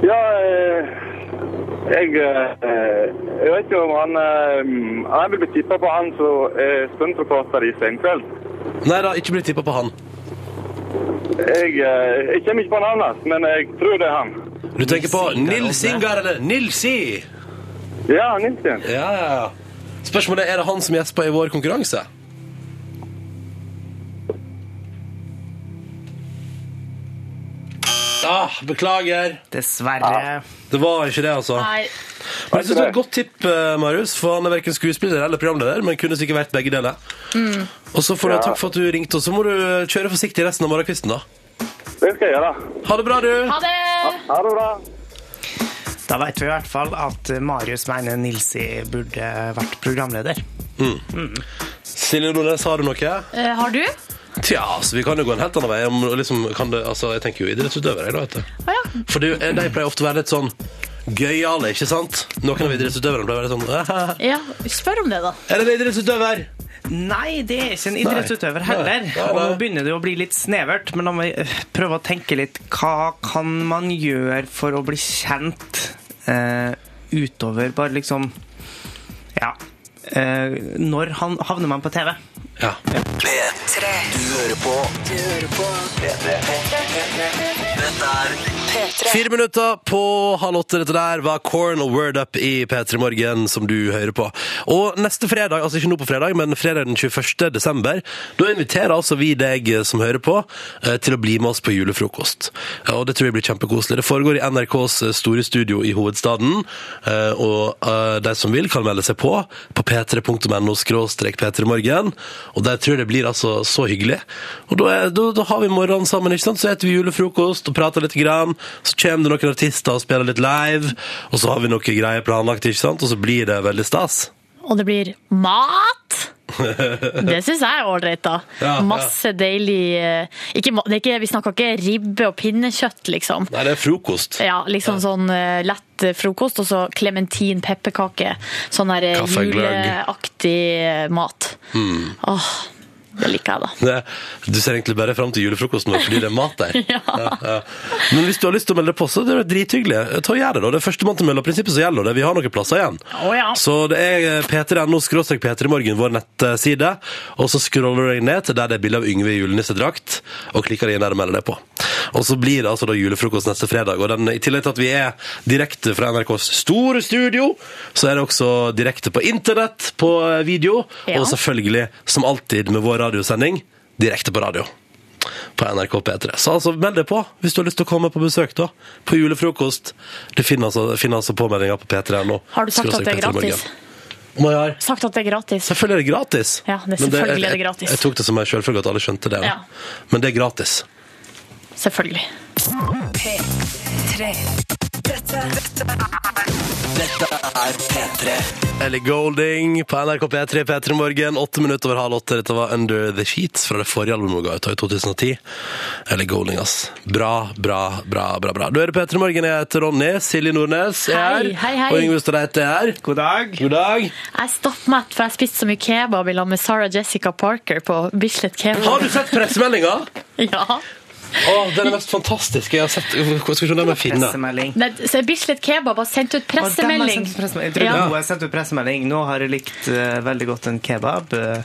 [SPEAKER 5] Ja, eh, jeg eh, Jeg vet ikke om han eh, Jeg vil bli tippa på han som er stuntreporter i Senkveld.
[SPEAKER 1] Nei da, ikke bli tippa på han.
[SPEAKER 5] Jeg, eh, jeg kommer ikke på navnet hans, men jeg tror det er han.
[SPEAKER 1] Du tenker på Nils
[SPEAKER 2] Ingar
[SPEAKER 1] Ingar eller Nilsi?
[SPEAKER 5] Ja, Nilsen.
[SPEAKER 1] Ja, ja, ja. Spørsmålet er er det han som gjesper i vår konkurranse? Ah, beklager.
[SPEAKER 2] Dessverre.
[SPEAKER 1] Det var ikke det, altså.
[SPEAKER 3] Nei,
[SPEAKER 1] Men jeg synes det var Et godt tipp, eh, Marius, for han er verken skuespiller eller programleder. Men kunne sikkert vært begge deler.
[SPEAKER 3] Mm.
[SPEAKER 1] Og så får du Takk for at du ringte, og så må du eh, kjøre forsiktig resten av morgenkvisten. da.
[SPEAKER 5] Det skal jeg gjøre.
[SPEAKER 1] Ha det bra, du!
[SPEAKER 3] ha det!
[SPEAKER 5] Ha det bra.
[SPEAKER 2] Da veit vi i hvert fall at Marius mener Nilsi burde vært programleder. Mm.
[SPEAKER 1] Silje Nordnes, har du noe?
[SPEAKER 3] Eh, har du?
[SPEAKER 1] Tja, altså, vi kan jo gå en helt annen vei. Om, liksom, kan det, altså, jeg tenker jo idrettsutøvere, da, vet du.
[SPEAKER 3] Å ja.
[SPEAKER 1] For det, de pleier ofte å være litt sånn gøyale, ikke sant? Noen av idrettsutøverne pleier å være litt sånn «Æ, hæ,
[SPEAKER 3] ja. Spør om det, da.
[SPEAKER 1] Er det en idrettsutøver?
[SPEAKER 2] Nei, det er ikke en idrettsutøver
[SPEAKER 1] Nei.
[SPEAKER 2] heller.
[SPEAKER 1] Nei, nei,
[SPEAKER 2] Og nå
[SPEAKER 1] nei.
[SPEAKER 2] begynner det å bli litt snevert, men da må vi øh, prøve å tenke litt. Hva kan man gjøre for å bli kjent eh, utover bare liksom Ja. Eh, når han havner man på TV?
[SPEAKER 1] Ja.
[SPEAKER 4] P3. Du hører på. Du hører på. P3. Dette er P3.
[SPEAKER 1] Fire minutter på halv åtte. Dette der var Corn og Word Up i P3 Morgen, som du hører på. Og neste fredag, altså ikke nå på fredag, men fredag den 21. desember, da inviterer altså vi deg som hører på, eh, til å bli med oss på julefrokost. Eh, Og det tror jeg blir kjempekoselig. Det foregår i NRKs eh, store studio i hovedstaden, eh, og eh, de som vil kan melde seg på på p3.no skråstrek p3morgen, og der tror jeg det blir altså så hyggelig. Og da, er, da, da har vi morgenen sammen, ikke sant? Så etter vi julefrokost og prater litt grann, så kommer det noen artister og spiller litt live, og så har vi noe greier planlagt, ikke sant? Og så blir det veldig stas.
[SPEAKER 3] Og det blir mat! Det syns jeg er ålreit, da.
[SPEAKER 1] Ja, ja.
[SPEAKER 3] Masse deilig eh, ikke, ma- det er ikke, Vi snakker ikke ribbe og pinnekjøtt, liksom.
[SPEAKER 1] Nei, det er frokost.
[SPEAKER 3] Ja, liksom sånn eh, lett eh, frokost, og så klementin, pepperkake. Sånn der eh,
[SPEAKER 1] Kaffegløgg.
[SPEAKER 3] juleaktig eh, mat. Åh, det liker jeg, da.
[SPEAKER 1] Det- Du ser egentlig bare fram til julefrokosten vår fordi det er mat der.
[SPEAKER 3] Ja.
[SPEAKER 1] ja. Men hvis du har lyst til å melde deg på, så er det drithyggelig. Ta og Gjør det, da. Det er førstemann til mølla. Prinsippet som gjelder, og det. Vi har noen plasser igjen.
[SPEAKER 3] Å, ja.
[SPEAKER 1] Så det er eh, p3.no skråstrek p3morgen, vår nettside. Og så scroller du deg ned til der det er bilde av Yngve i julenissedrakt, og klikker deg inn der og melder deg på. Og så blir det altså da julefrokost neste fredag. Og den, i tillegg til at vi er direkte fra NRKs store studio, så er det også direkte på internett, på eh, video,
[SPEAKER 3] Ja.
[SPEAKER 1] og selvfølgelig, som alltid med vår radiosending, direkte på radio på NRK P3. Så altså, meld deg på hvis du har lyst til å komme på besøk da, på julefrokost. Du finner altså, finner altså påmeldinga på P3 nå.
[SPEAKER 3] Har du sagt at det er gratis?
[SPEAKER 1] Om jeg har?
[SPEAKER 3] Sagt at det er gratis.
[SPEAKER 1] Selvfølgelig er det gratis.
[SPEAKER 3] Ja, det er
[SPEAKER 1] Men
[SPEAKER 3] selvfølgelig
[SPEAKER 1] jeg-
[SPEAKER 3] er det gratis.
[SPEAKER 1] Jeg, jeg tok det som en selvfølge at alle skjønte det. da.
[SPEAKER 3] Ja.
[SPEAKER 1] Men det er gratis.
[SPEAKER 3] Selvfølgelig.
[SPEAKER 4] P3. Dette, dette er Dette er P3.
[SPEAKER 1] Ellie Golding på NRK P3 P3 Morgen, åtte minutter over halv åtte. Dette var Under The Sheets fra det forrige albumet hun ga ut da i 2010. Ellie Golding, ass. Bra, bra, bra, bra. bra. Du hører P3 Morgen, jeg heter Ronny. Silje Nordnes er her.
[SPEAKER 3] Hei, hei, hei.
[SPEAKER 1] Og Yngve Stareite er her.
[SPEAKER 2] God dag.
[SPEAKER 1] God dag.
[SPEAKER 3] Jeg stappmett, for jeg spiste så mye kebab i lag med Sarah Jessica Parker på Bislett
[SPEAKER 1] Har
[SPEAKER 3] Kebab.
[SPEAKER 1] du sett pressemeldinga?
[SPEAKER 3] Ja.
[SPEAKER 1] Åh, den er mest fantastiske jeg har sett. Hva skal vi se om den er finne?
[SPEAKER 2] Pressemelding.
[SPEAKER 3] Nei, så Bislett Kebab har sendt ut
[SPEAKER 2] Og dem har
[SPEAKER 3] pressemelding.
[SPEAKER 2] sendt pressemelding. Jeg trodde
[SPEAKER 3] Ja.
[SPEAKER 2] hun hadde sendt ut pressemelding. Nå har jeg likt eh, veldig godt en kebab. eh,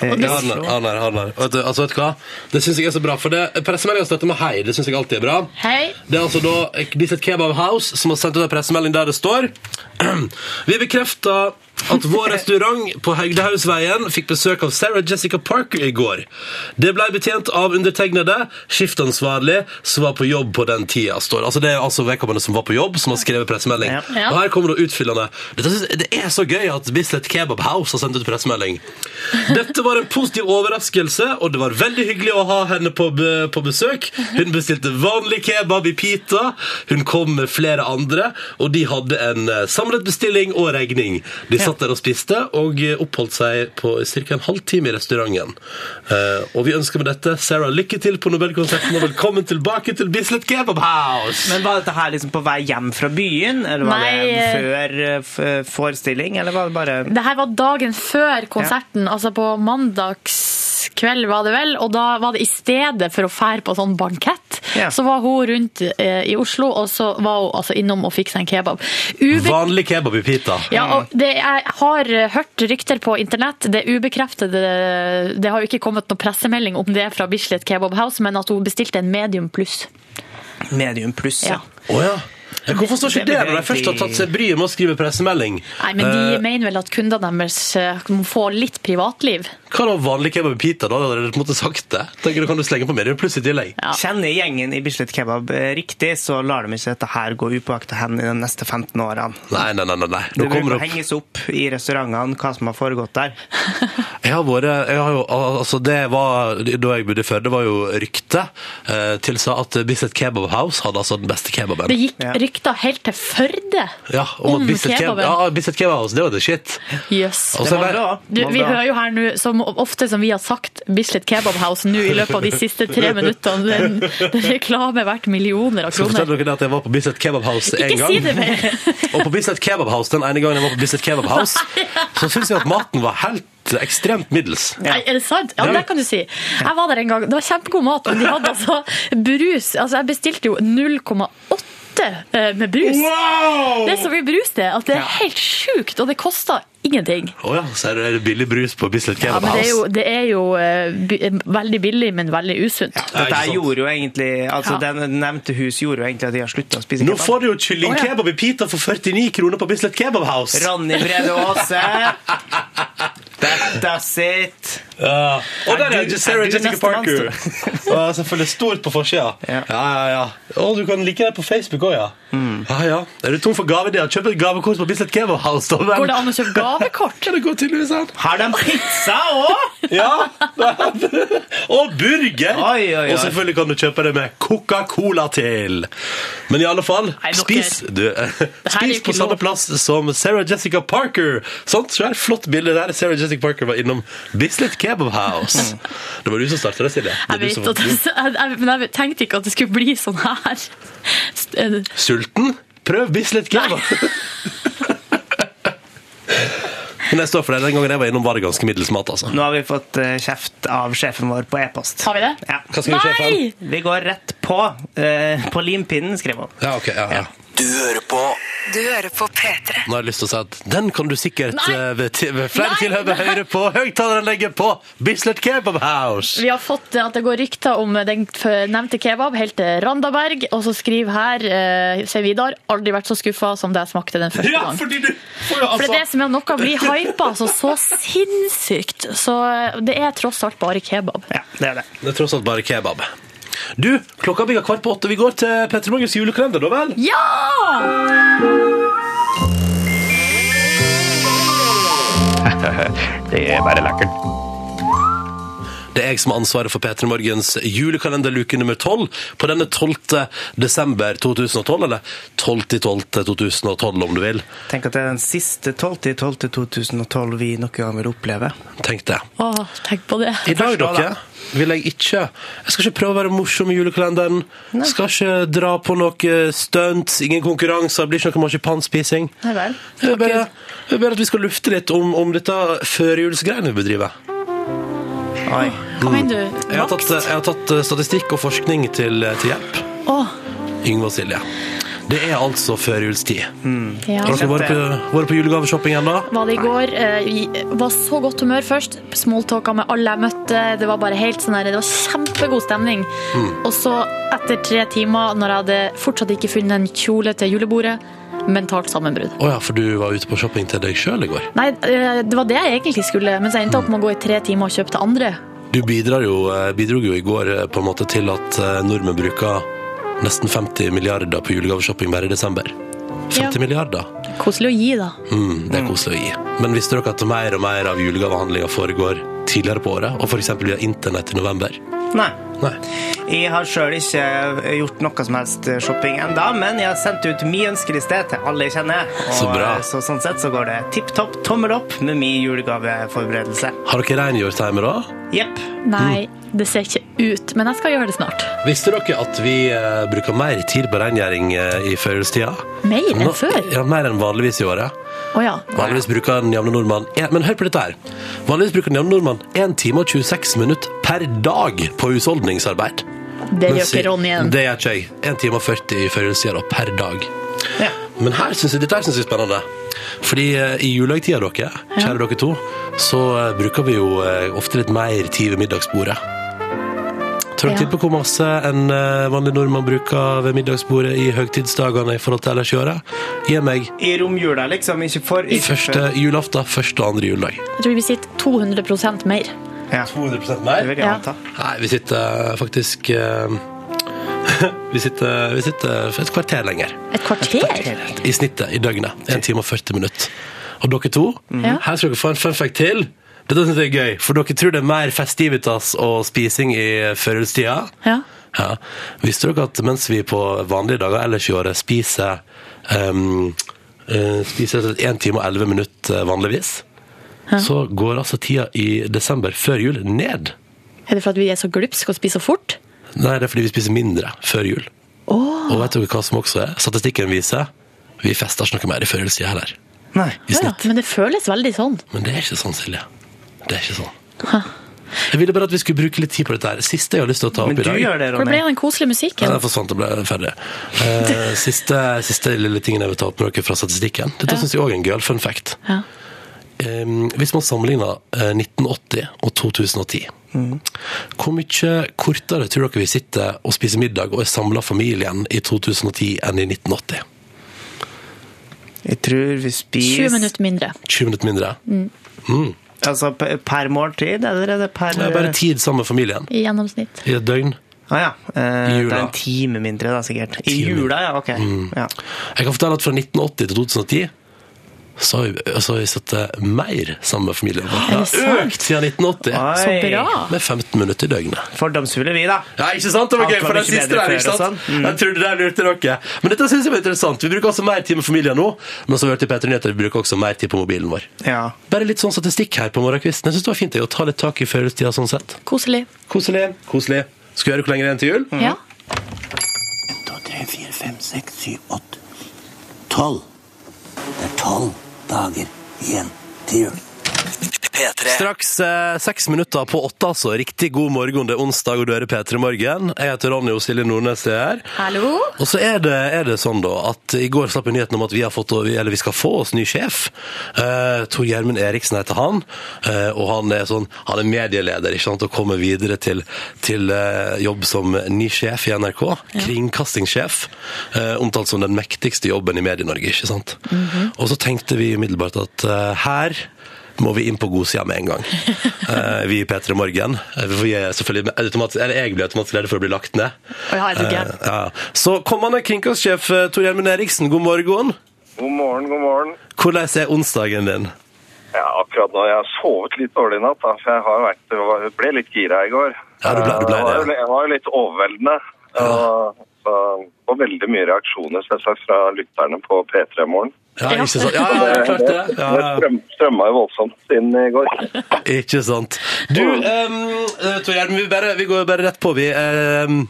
[SPEAKER 2] eh,
[SPEAKER 3] Og det-
[SPEAKER 2] i
[SPEAKER 1] Ja, han er,
[SPEAKER 2] Oslo.
[SPEAKER 1] han er, han er. Vet du, altså, vet du hva? Det syns jeg er så bra. For det pressemeldinga støtter med hei. Det synes jeg alltid er bra.
[SPEAKER 3] Hei.
[SPEAKER 1] Det er altså da Bislett Kebab House som har sendt ut en pressemelding der det står Vi bekrefter at vår restaurant på Hegdehaugsveien fikk besøk av Sarah Jessica Parker i går. Det ble betjent av undertegnede, skiftansvarlig, som var på jobb på den tida. Står. det. Altså, det er altså vedkommende som var på jobb, som har skrevet pressemelding.
[SPEAKER 2] Ja.
[SPEAKER 3] Ja.
[SPEAKER 1] Og her kommer det utfyllende. Dette synes, det er så gøy at Bislett Kebab House har sendt ut pressemelding. Dette var en positiv overraskelse, og det var veldig hyggelig å ha henne på, be- på besøk. Hun bestilte vanlig kebab i pita. Hun kom med flere andre, og de hadde en eh, samlet bestilling og regning. De satt der og spiste, og eh, oppholdt seg på ca. en halvtime i restauranten. Eh, og vi ønsker med dette Sarah lykke til på Nobelkonserten, og velkommen tilbake til Bislett Kebab House!
[SPEAKER 2] Men Var dette her liksom på vei hjem fra byen, eller var
[SPEAKER 3] Nei,
[SPEAKER 2] det
[SPEAKER 3] eh,
[SPEAKER 2] før eh, f- forestilling? Eller var det bare
[SPEAKER 3] Det her var dagen før konserten, altså på mandagskveld var det vel, og da var det i stedet for å fære på sånn bankett,
[SPEAKER 2] Ja.
[SPEAKER 3] så var hun rundt eh, i Oslo, og så var hun altså innom og fikk seg en kebab. Ube
[SPEAKER 1] Vanlig kebab i pita.
[SPEAKER 3] ja, og det, jeg har eh, hørt rykter på internett, det er ubekreftede, det har jo ikke kommet noen pressemelding om det fra Bislett Kebab House, men at hun bestilte en medium pluss.
[SPEAKER 2] medium pluss?
[SPEAKER 3] Ja.
[SPEAKER 2] Ja.
[SPEAKER 1] Å ja. Ja, Hvorfor står ikke
[SPEAKER 2] Det
[SPEAKER 1] det
[SPEAKER 2] blir
[SPEAKER 1] når de først har
[SPEAKER 2] egentlig-
[SPEAKER 1] tatt seg bryet med å skrive pressemelding?
[SPEAKER 3] Nei, men de
[SPEAKER 1] Eh,
[SPEAKER 3] mener vel at kundene deres eh, må få litt privatliv.
[SPEAKER 1] Hva da vanlig kebab i pita? Da hadde dere på en måte sagt det. Tenker du kan du slenge på mer pluss i tillegg.
[SPEAKER 3] Ja.
[SPEAKER 2] Kjenner gjengen i Bislett Kebab eh, riktig, så lar de ikke dette her gå upåakta hen i de neste 15 årene.
[SPEAKER 1] Nei, nei, nei. nei, nei.
[SPEAKER 2] Det
[SPEAKER 1] Nå
[SPEAKER 2] bruker
[SPEAKER 1] kommer det
[SPEAKER 2] å
[SPEAKER 1] opp.
[SPEAKER 2] henges opp i restaurantene hva som har foregått der.
[SPEAKER 1] Jeg har vært jeg har jo, al- altså det var, Da jeg bodde i Førde, var jo rykte eh, tilsa at Bislett Kebab House hadde altså den beste kebaben.
[SPEAKER 3] Det gikk
[SPEAKER 2] Ja.
[SPEAKER 3] rykter helt til Førde
[SPEAKER 1] Ja, om,
[SPEAKER 3] om
[SPEAKER 1] at Bislett Kebab,
[SPEAKER 3] kebaben.
[SPEAKER 1] ja, Bislett Kebab House, det var the shit.
[SPEAKER 3] Jøss.
[SPEAKER 1] Og
[SPEAKER 2] Det
[SPEAKER 1] så
[SPEAKER 2] var
[SPEAKER 1] er det-
[SPEAKER 2] bra.
[SPEAKER 3] Du,
[SPEAKER 2] var
[SPEAKER 3] vi
[SPEAKER 2] bra.
[SPEAKER 3] hører jo her nå, som ofte som vi har sagt, Bislett Kebab House nå i løpet av de siste tre minuttene. Den, den reklame verdt millioner av
[SPEAKER 1] Skal jeg
[SPEAKER 3] kroner.
[SPEAKER 1] fortelle dere det at jeg var på Bislett Kebab House en
[SPEAKER 3] Ikke
[SPEAKER 1] gang.
[SPEAKER 3] si det mer!
[SPEAKER 1] Og på Bislett Kebab House, den ene gangen jeg var på Bislett Kebab House, så syntes jeg at maten var helt ekstremt middels.
[SPEAKER 3] Nei, er det sant? Ja,
[SPEAKER 1] Ja.
[SPEAKER 3] det kan du si. Jeg var der en gang. Det var kjempegod mat, men de hadde altså brus. Altså, jeg bestilte jo 0,8 flaske eh, med brus.
[SPEAKER 2] Wow!
[SPEAKER 3] Det er så mye brus det, at det er
[SPEAKER 2] Ja.
[SPEAKER 3] helt sjukt, og det koster ingenting.
[SPEAKER 1] Å ja, så er det billig brus på Bislett
[SPEAKER 3] Ja,
[SPEAKER 1] Kebab
[SPEAKER 3] men det er jo,
[SPEAKER 1] House.
[SPEAKER 3] det er jo eh, bi- eh, veldig billig, men veldig usunt.
[SPEAKER 1] Ja, ikke
[SPEAKER 2] Dette her
[SPEAKER 1] sant.
[SPEAKER 2] gjorde jo egentlig Altså,
[SPEAKER 3] Ja.
[SPEAKER 2] Den nevnte hus gjorde jo egentlig at de har slutta å spise
[SPEAKER 1] Nå
[SPEAKER 2] kebab.
[SPEAKER 1] får du jo kyllingkebab i pita for 49 kroner på Bislett Kebab House.
[SPEAKER 2] Ronny Brede Aase. Dette sitt.
[SPEAKER 1] Ja. Og der
[SPEAKER 2] Er
[SPEAKER 1] er
[SPEAKER 2] du-
[SPEAKER 1] jo Sarah
[SPEAKER 2] er du
[SPEAKER 1] Jessica
[SPEAKER 2] neste mann,
[SPEAKER 1] Parker. Og selvfølgelig stort på forsida.
[SPEAKER 2] Ja.
[SPEAKER 1] Ja, ja, ja. Og du kan like det på Facebook òg, ja.
[SPEAKER 2] Mm.
[SPEAKER 1] ja. ja. Er du tom for gaveideer, kjøp et gavekort på Bislett Kebab House. Da,
[SPEAKER 3] Går det an å kjøpe gavekort?
[SPEAKER 1] Ja, det går tydeligvis an.
[SPEAKER 2] Har de pizza òg?
[SPEAKER 1] Ja. og burger!
[SPEAKER 2] Oi, oi, oi.
[SPEAKER 1] Og selvfølgelig kan du kjøpe det med Coca-Cola til. Men i alle fall,
[SPEAKER 3] dere-
[SPEAKER 1] spis, du,
[SPEAKER 3] er jo
[SPEAKER 1] spis
[SPEAKER 3] ikke
[SPEAKER 1] på samme
[SPEAKER 3] lov.
[SPEAKER 1] plass som Sarah Jessica Parker. Sant? Så er det flott bilde der. Sarah Jessica Parker var innom Bislett Kebab House. Det var du som starta det, Silje. Det er
[SPEAKER 3] Jeg vet
[SPEAKER 1] du som-
[SPEAKER 3] at, jeg, jeg, men jeg tenkte ikke at det skulle bli sånn her. St-
[SPEAKER 1] Sulten? Prøv Bislett Kebab. Men jeg står for det. Den gangen jeg var innom, var det ganske middels mat, altså.
[SPEAKER 2] Nå har vi fått eh, kjeft av sjefen vår på e-post.
[SPEAKER 3] Har vi det?
[SPEAKER 2] Ja.
[SPEAKER 1] Hva skal vi se frem?
[SPEAKER 3] Nei!
[SPEAKER 2] Vi går rett på. eh, på limpinnen, skrev hun.
[SPEAKER 1] Ja, ok, ja, ja.
[SPEAKER 4] Du hører på Du hører på P3.
[SPEAKER 1] Nå har jeg lyst til å si at den kan du sikkert
[SPEAKER 3] Nei!
[SPEAKER 1] eh, ved, ti- ved flere
[SPEAKER 3] Nei!
[SPEAKER 1] tilhøve høre på høyttaleranlegget på Bislett Kebab House.
[SPEAKER 3] Vi har fått eh, at det går rykter om den f- nevnte kebab helt til Randaberg, og så skriver her, eh, sier Vidar, aldri vært så skuffa som da jeg smakte den første gang.
[SPEAKER 1] fordi du får jo
[SPEAKER 3] For det er det som er at noe blir hypa altså, så sinnssykt. Så eh, det er tross alt bare kebab.
[SPEAKER 2] Ja, det er det.
[SPEAKER 1] Det er tross alt bare kebab. Du, klokka blir kvart på åtte. Vi går til Petter Morgens julekalender, da vel?
[SPEAKER 3] Ja!
[SPEAKER 1] Det er jeg som har ansvaret for P3 Morgens julekalender luke nummer 12 på denne 12. desember 2012, eller 12. 12. 2012 om du vil.
[SPEAKER 2] Tenk at det er den siste 12.12.2012 vi noen gang vil oppleve.
[SPEAKER 1] Tenk det.
[SPEAKER 3] Å, tenk på det.
[SPEAKER 1] I dag,
[SPEAKER 2] Først da,
[SPEAKER 1] dere, vil jeg ikke Jeg skal ikke prøve å være morsom i julekalenderen. Skal ikke dra på noe stunts, ingen konkurranser, blir ikke noe marsipanspising.
[SPEAKER 3] Nei vel.
[SPEAKER 1] Jeg vil bare, jeg vil bare at vi skal lufte litt om, om dette førjulsgreiene vi bedriver.
[SPEAKER 2] Oi.
[SPEAKER 3] Hva mener du?
[SPEAKER 1] Jeg har tatt, jeg har tatt eh, statistikk og forskning til, eh, til hjelp.
[SPEAKER 3] Åh,
[SPEAKER 1] Yngve og Silje. Det er altså førjulstid.
[SPEAKER 3] ja.
[SPEAKER 1] Har dere vært på, vært på julegaveshopping ennå?
[SPEAKER 3] Var det i går. eh, i- var så godt humør først. Smalltalka med alle jeg møtte. Det var bare helt sånn der, det var kjempegod stemning. Og så, etter tre timer, når jeg hadde fortsatt ikke funnet en kjole til julebordet, mentalt sammenbrudd.
[SPEAKER 1] Å ja, for du var ute på shopping til deg sjøl i går.
[SPEAKER 3] Nei, eh, det var det jeg egentlig skulle, mens jeg endte opp med å gå i tre timer og kjøpe til andre.
[SPEAKER 1] Du bidrar jo, eh, bidro jo i går eh, på en måte til at eh, nordmenn bruker nesten 50 milliarder på julegaveshopping bare i desember. 50
[SPEAKER 3] Ja.
[SPEAKER 1] milliarder.
[SPEAKER 3] Koselig å gi, da.
[SPEAKER 1] Mm, det er koselig å gi. Men visste dere at mer og mer av julegavehandlinga foregår tidligere på året, og f.eks. via internett i november?
[SPEAKER 2] Nei.
[SPEAKER 1] Nei.
[SPEAKER 2] Jeg har sjøl ikke eh, gjort noe som helst shopping enda, men jeg har sendt ut min ønskeliste til alle jeg kjenner. Og
[SPEAKER 1] Så bra.
[SPEAKER 2] eh, Så sånn sett så går det tipp topp tommel opp med min julegaveforberedelse.
[SPEAKER 1] Har dere rengjørtimer òg?
[SPEAKER 2] Jepp.
[SPEAKER 3] Nei, det ser ikke ut, men jeg skal gjøre det snart.
[SPEAKER 1] Visste dere at vi eh, bruker mer tid på rengjøring eh, i førjulstida?
[SPEAKER 3] Mer enn
[SPEAKER 1] Nå-
[SPEAKER 3] før?
[SPEAKER 1] Ja, mer enn vanligvis i året.
[SPEAKER 3] Å ja.
[SPEAKER 1] Vanligvis bruker den jevne nordmann en, Men hør på dette her Vanligvis bruker den jevne nordmann 1 time og 26 minutter per dag På husholdningsarbeid
[SPEAKER 3] Det
[SPEAKER 1] Men
[SPEAKER 3] gjør
[SPEAKER 1] si-
[SPEAKER 3] ikke Ronny igjen.
[SPEAKER 1] Det gjør ikke jeg 1 time og 40 i førjulstida da, per dag
[SPEAKER 2] Ja.
[SPEAKER 1] Men her synes jeg, dette her synes jeg er spennende Fordi eh, i julehøytida dere Kjære dere to Så eh, bruker vi jo eh, ofte litt mer tid ved middagsbordet Tror
[SPEAKER 3] Ja.
[SPEAKER 1] du tippe hvor masse en eh, vanlig nordmann bruker ved middagsbordet i høytidsdagene i forhold til ellers i året? Gi meg
[SPEAKER 2] I romjula, liksom. Ikke for ikke
[SPEAKER 1] første julaften, første og andre juledag.
[SPEAKER 3] Jeg tror vi sitter 200 mer.
[SPEAKER 2] for- Ja,
[SPEAKER 1] 200
[SPEAKER 2] det vil jeg
[SPEAKER 3] Ja.
[SPEAKER 2] anta.
[SPEAKER 1] Nei, vi sitter faktisk eh, vi, sitter, vi sitter for et kvarter lenger
[SPEAKER 3] Et kvarter?
[SPEAKER 1] i snittet i døgnet. 1 time og 40 minutter. Og dere to,
[SPEAKER 3] Ja.
[SPEAKER 1] her skal dere få en fun fact til. Dette synes jeg er gøy, for dere tror det er mer festivitas og spising i førjulstida.
[SPEAKER 3] Ja.
[SPEAKER 1] Ja. Visste dere at mens vi på vanlige dager ellers i året spiser um, uh, Spiser 1 time og 11 minutter vanligvis, så går altså tida i desember før jul ned.
[SPEAKER 3] Er det for at vi er så glupske og spiser så fort?
[SPEAKER 1] Nei, det er fordi vi spiser mindre før jul.
[SPEAKER 3] Åh.
[SPEAKER 1] Og vet dere hva som også er? Statistikken viser vi fester ikke noe mer i førjulstida heller.
[SPEAKER 2] Nei.
[SPEAKER 1] I
[SPEAKER 3] Ja,
[SPEAKER 1] snitt.
[SPEAKER 3] men det føles veldig sånn.
[SPEAKER 1] Men det er ikke sånn, Silje. Det er ikke sånn. Jeg ville bare at vi skulle bruke litt tid på dette her. Siste jeg har lyst til å ta opp
[SPEAKER 2] Men
[SPEAKER 1] i
[SPEAKER 2] du
[SPEAKER 1] dag.
[SPEAKER 2] gjør det,
[SPEAKER 3] For det ble
[SPEAKER 2] Ronny.
[SPEAKER 3] jo den koselige
[SPEAKER 1] Ja,
[SPEAKER 3] musikken.
[SPEAKER 1] jeg forsvant og ble ferdig. Eh, siste, siste lille tingen jeg vil ta opp med dere fra statistikken. Dette synes jeg også er en gøyal fun fact.
[SPEAKER 3] Ja.
[SPEAKER 1] Eh, hvis man sammenligner eh, 1980 og 2010,
[SPEAKER 4] Mm.
[SPEAKER 1] hvor mye kortere tror dere vi sitter og spiser middag og er samla familien i 2010 enn i 1980?
[SPEAKER 2] Jeg tror vi
[SPEAKER 3] 20
[SPEAKER 2] spiser
[SPEAKER 3] minutter mindre. Mm,
[SPEAKER 1] 20 minutter mindre?
[SPEAKER 2] Altså p- per måltid, eller er det per
[SPEAKER 1] Det er bare tid sammen med familien
[SPEAKER 3] I gjennomsnitt.
[SPEAKER 1] i et døgn.
[SPEAKER 2] Ah, ja. Eh,
[SPEAKER 1] I
[SPEAKER 2] Det er
[SPEAKER 1] jula.
[SPEAKER 2] en time mindre, da, sikkert. I
[SPEAKER 1] Time.
[SPEAKER 2] jula, ja. Ok. Ja.
[SPEAKER 1] Mm. Jeg kan fortelle at fra 1980 til 2010 så har vi, så har vi sittet mer sammen med familien. Det
[SPEAKER 3] det
[SPEAKER 1] har
[SPEAKER 3] sant?
[SPEAKER 1] økt siden 1980
[SPEAKER 3] Så
[SPEAKER 2] Oi.
[SPEAKER 3] bra!
[SPEAKER 1] med 15 minutter i døgnet.
[SPEAKER 2] Fordomsfulle vi, da.
[SPEAKER 1] Ja, ikke sant? Det var
[SPEAKER 2] Alt
[SPEAKER 1] gøy
[SPEAKER 2] var
[SPEAKER 1] for den
[SPEAKER 2] mye
[SPEAKER 1] siste
[SPEAKER 2] bedre
[SPEAKER 1] der,
[SPEAKER 2] før
[SPEAKER 1] ikke
[SPEAKER 2] og
[SPEAKER 1] sant?
[SPEAKER 2] sånn. Mm.
[SPEAKER 1] Jeg trodde der lurte dere. Men dette synes jeg var interessant. Vi bruker altså mer tid med familien nå, men som vi hørte i Petter Nyheter, vi bruker også mer tid på mobilen vår.
[SPEAKER 2] Ja.
[SPEAKER 1] Bare litt sånn statistikk her på morgenkvisten. Jeg synes det var fint jeg, å ta litt tak i førjulstida sånn sett.
[SPEAKER 3] Koselig.
[SPEAKER 1] Koselig, koselig. Skal vi høre hvor lenge det er igjen til jul?
[SPEAKER 3] Ja.
[SPEAKER 6] 2, 3, 4, 5, 6, 7, 8 12 Det er 12 dager igjen til jul
[SPEAKER 4] P3.
[SPEAKER 1] Straks eh, seks minutter på åtte, altså. Riktig god morgen, det er onsdag, og du hører P3 Morgen. Jeg heter Ronny og Silje Nordnes er her.
[SPEAKER 3] Hallo?
[SPEAKER 1] Og så er det, er det sånn da, at i går slapp vi nyheten om at vi, har fått, eller vi skal få oss ny sjef. Eh, Tor Gjermund Eriksen heter han, eh, og han er, sånn, han er medieleder ikke sant? og kommer videre til, til eh, jobb som ny sjef i NRK. Kringkastingssjef. eh, omtalt som den mektigste jobben i Medie-Norge, ikke sant. Og så tenkte vi umiddelbart at eh, her må vi inn på godsida med en gang. Eh, vi i P3 Morgen. eh, Vi er selvfølgelig automatisk, eller jeg blir automatisk leder for å bli lagt ned.
[SPEAKER 3] Å ja, er du gæren?
[SPEAKER 1] Eh, ja. Så kommende kringkastingssjef eh, Tor Gjermund Eriksen, god morgen.
[SPEAKER 7] God morgen, god morgen.
[SPEAKER 1] Hvordan er onsdagen din?
[SPEAKER 7] Ja, akkurat nå. Jeg har sovet litt dårlig i natt, da, for jeg har vært, det var- ble litt gira i går.
[SPEAKER 1] Ja, du ble- du ble
[SPEAKER 7] Eh, var
[SPEAKER 1] det, ja.
[SPEAKER 7] jo- Jeg var jo litt overveldende. Og, så, og veldig mye reaksjoner selvsagt fra lytterne på P3-morgen.
[SPEAKER 1] Ja,
[SPEAKER 3] Ja.
[SPEAKER 1] ikke sant? Ja, ja, ja, klart det. Ja, ja.
[SPEAKER 7] Det strømma jo voldsomt inn i går.
[SPEAKER 1] Ikke sant. Du, ehm, eh, Tor Gjermund, vi, bare- vi går bare rett på, vi. Ehm,